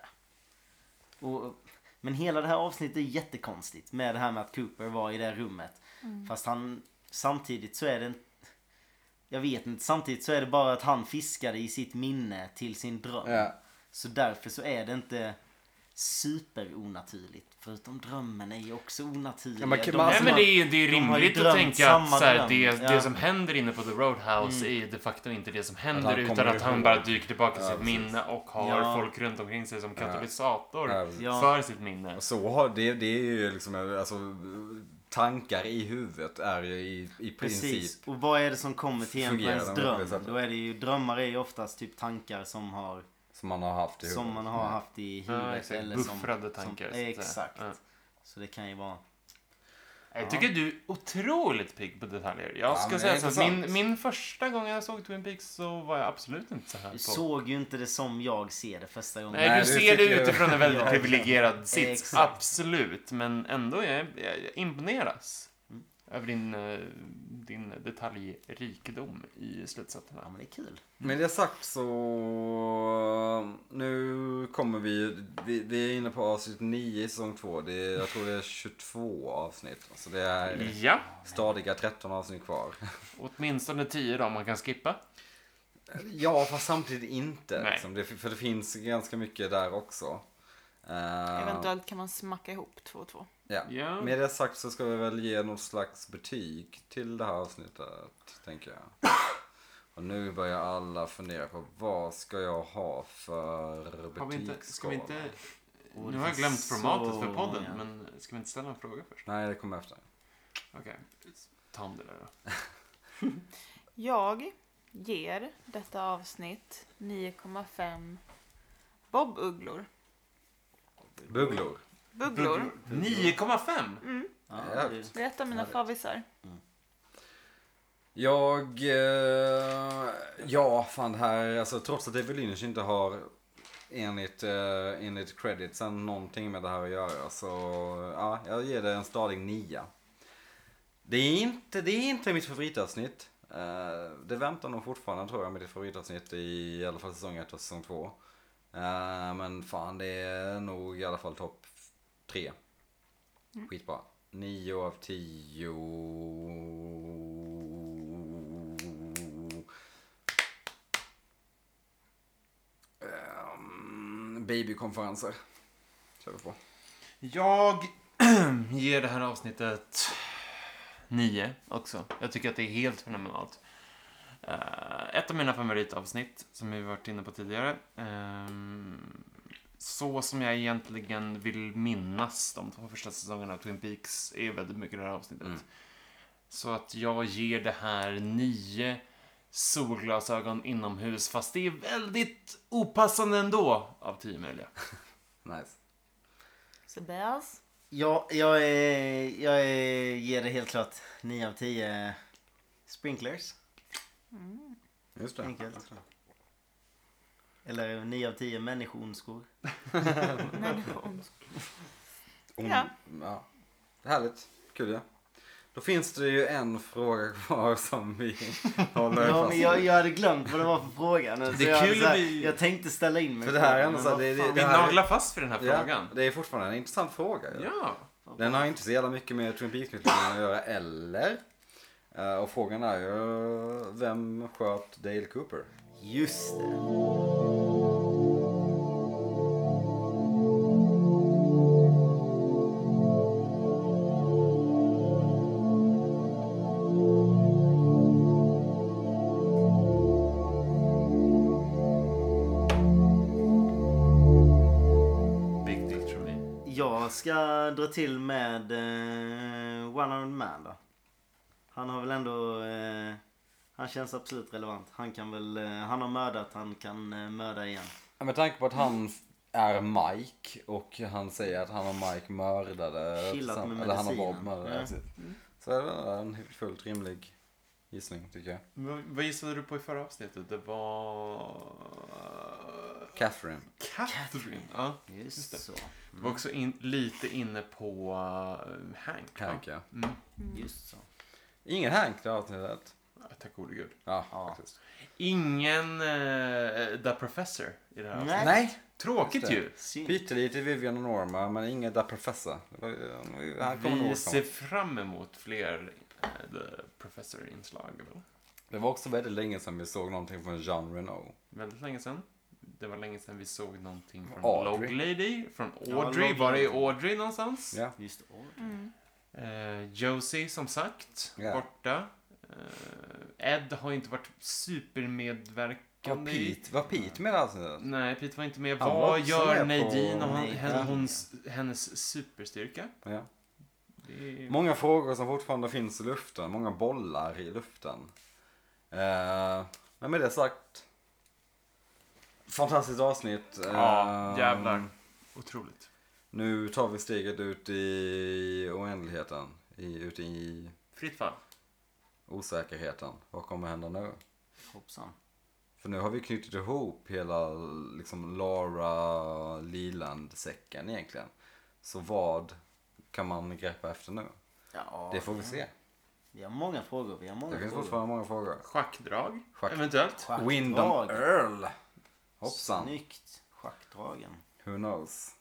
S3: Och, men hela det här avsnittet är jättekonstigt med det här med att Cooper var i det här rummet. Fast han, samtidigt så är det en- jag vet inte, samtidigt så är det bara att han fiskade i sitt minne till sin dröm.
S2: Ja.
S3: Så därför så är det inte superonaturligt. Förutom drömmen är ju också onaturlig.
S2: Ja, man kan-
S3: De
S2: man-
S4: Nej,
S3: som
S4: men
S3: har-
S4: det är, det är
S3: de har ju
S4: rimligt att
S3: drömt
S4: tänka
S3: samma
S4: att så här,
S3: dröm.
S4: det,
S3: Ja.
S4: det som händer inne på The Roadhouse är de facto inte det som händer
S2: Mm. Att han
S4: utan
S2: kommer
S4: att han
S2: ihåg.
S4: bara dyker tillbaka till
S2: Ja,
S4: sitt
S2: precis.
S4: minne och har
S3: Ja.
S4: folk runt omkring sig som katalysator
S2: Ja, precis.
S3: Ja.
S4: för sitt minne.
S2: Så har, det, det är ju liksom alltså, tankar i huvudet är ju i, i princip.
S3: Precis. Och vad är det som kommer till en på
S2: fungerar
S3: ens
S2: de på det
S3: dröm?
S2: sättet.
S3: Då är det ju, drömmar är ju oftast typ tankar som har
S2: Som man har haft i huvudet.
S3: Som man har haft i huvudet.
S4: Ja, exakt.
S3: eller som,
S4: Buffrade tankar. så
S3: Som,
S4: att säga.
S3: exakt.
S4: Ja.
S3: Så det kan ju vara...
S4: Jag tycker du är otroligt pigg på detaljer. Jag
S2: Ja,
S4: ska
S2: men det är
S4: säga så att min,
S2: intressant.
S4: min första gång jag såg Twin Peaks så var jag absolut inte så här
S3: Du
S4: på.
S3: såg ju inte det som jag ser det första gången.
S4: Nej,
S2: Nej,
S4: du
S2: du
S4: ser det
S2: fick ju-
S4: utifrån en väldigt
S3: Ja,
S4: privilegierad sits.
S3: Exakt.
S4: Absolut, men ändå jag, jag, jag imponeras över din, eh, din detaljrikedom i
S3: Ja,
S4: slutsatserna.
S3: men det är kul.
S2: Mm. Med det sagt så nu kommer vi, vi, vi är inne på avsnitt 9 i säsong 2. Det är, jag tror det är 22 avsnitt. Så det
S3: Mm.
S2: är
S4: Ja,
S2: stadiga 13 avsnitt kvar.
S4: åtminstone tio då om man kan skippa.
S2: Ja, fast samtidigt inte.
S4: Nej.
S2: Liksom. Det, för det finns ganska mycket där också. Eh,
S1: Eventuellt kan man smacka ihop två och två.
S2: ja.
S4: Ja.
S2: Med det sagt så ska vi väl ge något slags betyg till det här avsnittet, tänker jag. Och nu börjar alla fundera på vad ska jag ha för
S4: Har vi inte, ska vi
S2: betygsskala?
S4: inte...
S3: Och
S4: Nu
S3: det
S4: har jag
S3: finns
S4: glömt formatet
S3: så
S4: för podden,
S3: många.
S4: men ska vi inte ställa en fråga först?
S2: Nej, det kommer efter.
S4: Okej, ta om det där då.
S1: Jag ger detta avsnitt 9,5 Bob-ugglor.
S2: Bugglor.
S1: Bugglor.
S4: 9,5?
S3: Ja,
S2: Ja.
S3: det-
S1: Det är ett av mina favoriter.
S2: Jag... Eh, ja, fan det här. Alltså, trots att David Lynch inte har enligt, eh, enligt creditsen någonting med det här att göra. Så ja, jag ger det en stadig nia. Det är inte, det är inte mitt favoritavsnitt. Eh, det väntar nog fortfarande tror jag med ditt favoritavsnitt i, i alla fall säsong 1 och säsong 2. Eh, men fan det är nog i alla fall topp 3. Skitbra. 9 av 10. Ehm, babykonferenser. Kör vi på.
S4: Jag ger det här avsnittet nio också. Jag tycker att det är helt fenomenalt. Eh, ett av mina favoritavsnitt, som vi varit inne på tidigare. Ehm, så som jag egentligen vill minnas de två första säsongerna av Twin Peaks är väldigt mycket det här avsnittet.
S2: Mm.
S4: Så att jag ger det här nio solglasögon inomhus, fast det är väldigt opassande ändå, av tio möjliga.
S2: Nice.
S1: Sebastian.
S3: Ja, jag, är, jag är, ger det helt klart 9 av 10 sprinklers.
S2: Just det.
S3: Enkelt. Eller 9 av 10 människonskor.
S1: Människor.
S2: Om-
S1: Ja.
S2: ja. Härligt. Kul ja. Då finns det ju en fråga kvar som vi håller
S3: Ja,
S2: fast
S3: men
S2: vid.
S3: jag, jag hade glömt vad det var för fråga. nu, så
S4: Det är
S3: jag,
S4: kul
S3: så här,
S4: vi-
S3: jag tänkte ställa in mig.
S2: För det här är
S3: men
S2: ändå så här,
S3: vad
S2: det, det,
S3: fan.
S2: det
S4: Vi
S2: här,
S4: naglar fast vid den här
S2: ja,
S4: frågan.
S2: det är fortfarande en intressant fråga. ju.
S4: Ja.
S2: Den har inte så jävla mycket med Twin Peaks-mytologin att göra, eller? Eh, Och frågan är ju, vem sköt Dale Cooper?
S3: Just det.
S4: Big deal för mig.
S3: Jag ska dra till med eh, One Armed Man då. Han har väl ändå... Eh, han känns absolut relevant. Han kan väl... Eh, han har mördat, han kan eh, mörda igen.
S2: Ja, Med tanke på att han är Mike och han säger att han och Mike mördade...
S3: Killat med
S2: tillsammans- eller han och
S3: medicinen.
S2: Bob mördade.
S3: Mm.
S2: precis. Så är det en fullt rimlig gissning tycker jag.
S4: Vad, vad gissade du på i förra avsnittet? Det var...
S2: Catherine.
S4: Catherine. Ja.
S3: Just,
S4: Just det.
S3: så.
S4: Du var också in, lite inne på eh, Hank. va?
S2: Hank ja.
S4: Mm.
S3: Just så.
S2: Ingen Hank det avsnittet.
S4: Ja, Tack gode gud.
S2: Ja,
S3: Ja.
S2: faktiskt.
S4: Ingen eh, The Professor i det här
S3: Nej.
S4: avsnittet.
S2: Nej,
S4: Tråkigt ju.
S3: Synd.
S2: pyttelite Vivian och Norma men ingen Da Professor. Det var ju- Han kommer
S4: Vi
S2: nog
S4: ser
S2: ifrån.
S4: fram emot fler eh, The Professor-inslag. väl?
S2: Det var också väldigt länge sedan vi såg någonting från Jean Renault.
S4: Väldigt länge sedan. Det var länge sedan vi såg någonting från
S2: Audrey.
S4: Log Lady, från
S3: Ja,
S4: Audrey.
S3: Log
S4: var är
S3: Lady.
S4: Audrey någonstans?
S2: Ja.
S3: Just det.
S1: Mm.
S4: Eh, Josie, som sagt,
S2: Ja.
S4: borta. Eh, Ed har inte varit
S2: Var
S4: supermedverkande i...
S2: Pete, var Pete med i det här avsnittet?
S4: Nej, Pete var inte med.
S2: Han var
S4: Vad
S2: också
S4: gör
S2: med på-
S4: Nadine och han,
S3: Nej,
S4: hen-
S3: ja.
S4: hons, hennes superstyrka?
S2: Ja.
S4: Det är...
S2: Många frågor som fortfarande finns i luften, många bollar i luften. Eh, men med det sagt. Fantastiskt avsnitt.
S4: Ja,
S2: Eh,
S4: jävlar. Otroligt.
S2: Nu tar vi steget ut i oändligheten. I, ut i
S4: Fritt fall.
S2: osäkerheten. Vad kommer hända nu?
S3: Hoppsan.
S2: För nu har vi knutit ihop hela liksom Laura Leland-säcken egentligen. Så vad kan man greppa efter nu?
S3: Ja,
S2: Det får vi se.
S3: Vi har många frågor. Vi har många
S2: Det finns
S3: frågor.
S2: fortfarande många frågor.
S4: Schackdrag,
S2: Schack-
S4: eventuellt.
S3: Schackdrag.
S2: Windom Earl. Hoppsan.
S3: Snyggt. Schackdragen.
S2: Who knows.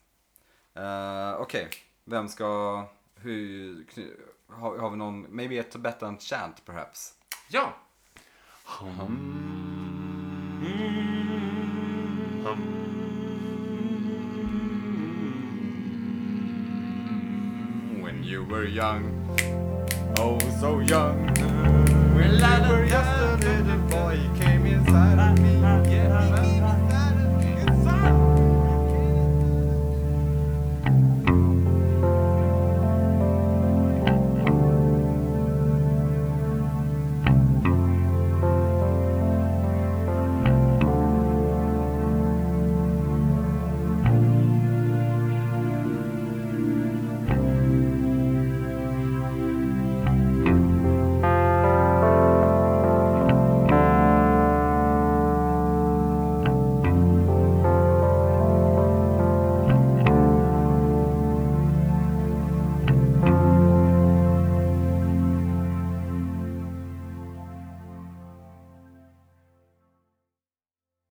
S2: Eh, Okej, vem ska... Hur, kny- har, har vi någon... Maybe a Tibetan chant perhaps?
S4: Ja. Hum. Hum.
S2: When you were young Oh so young When you were just a little boy Came inside of me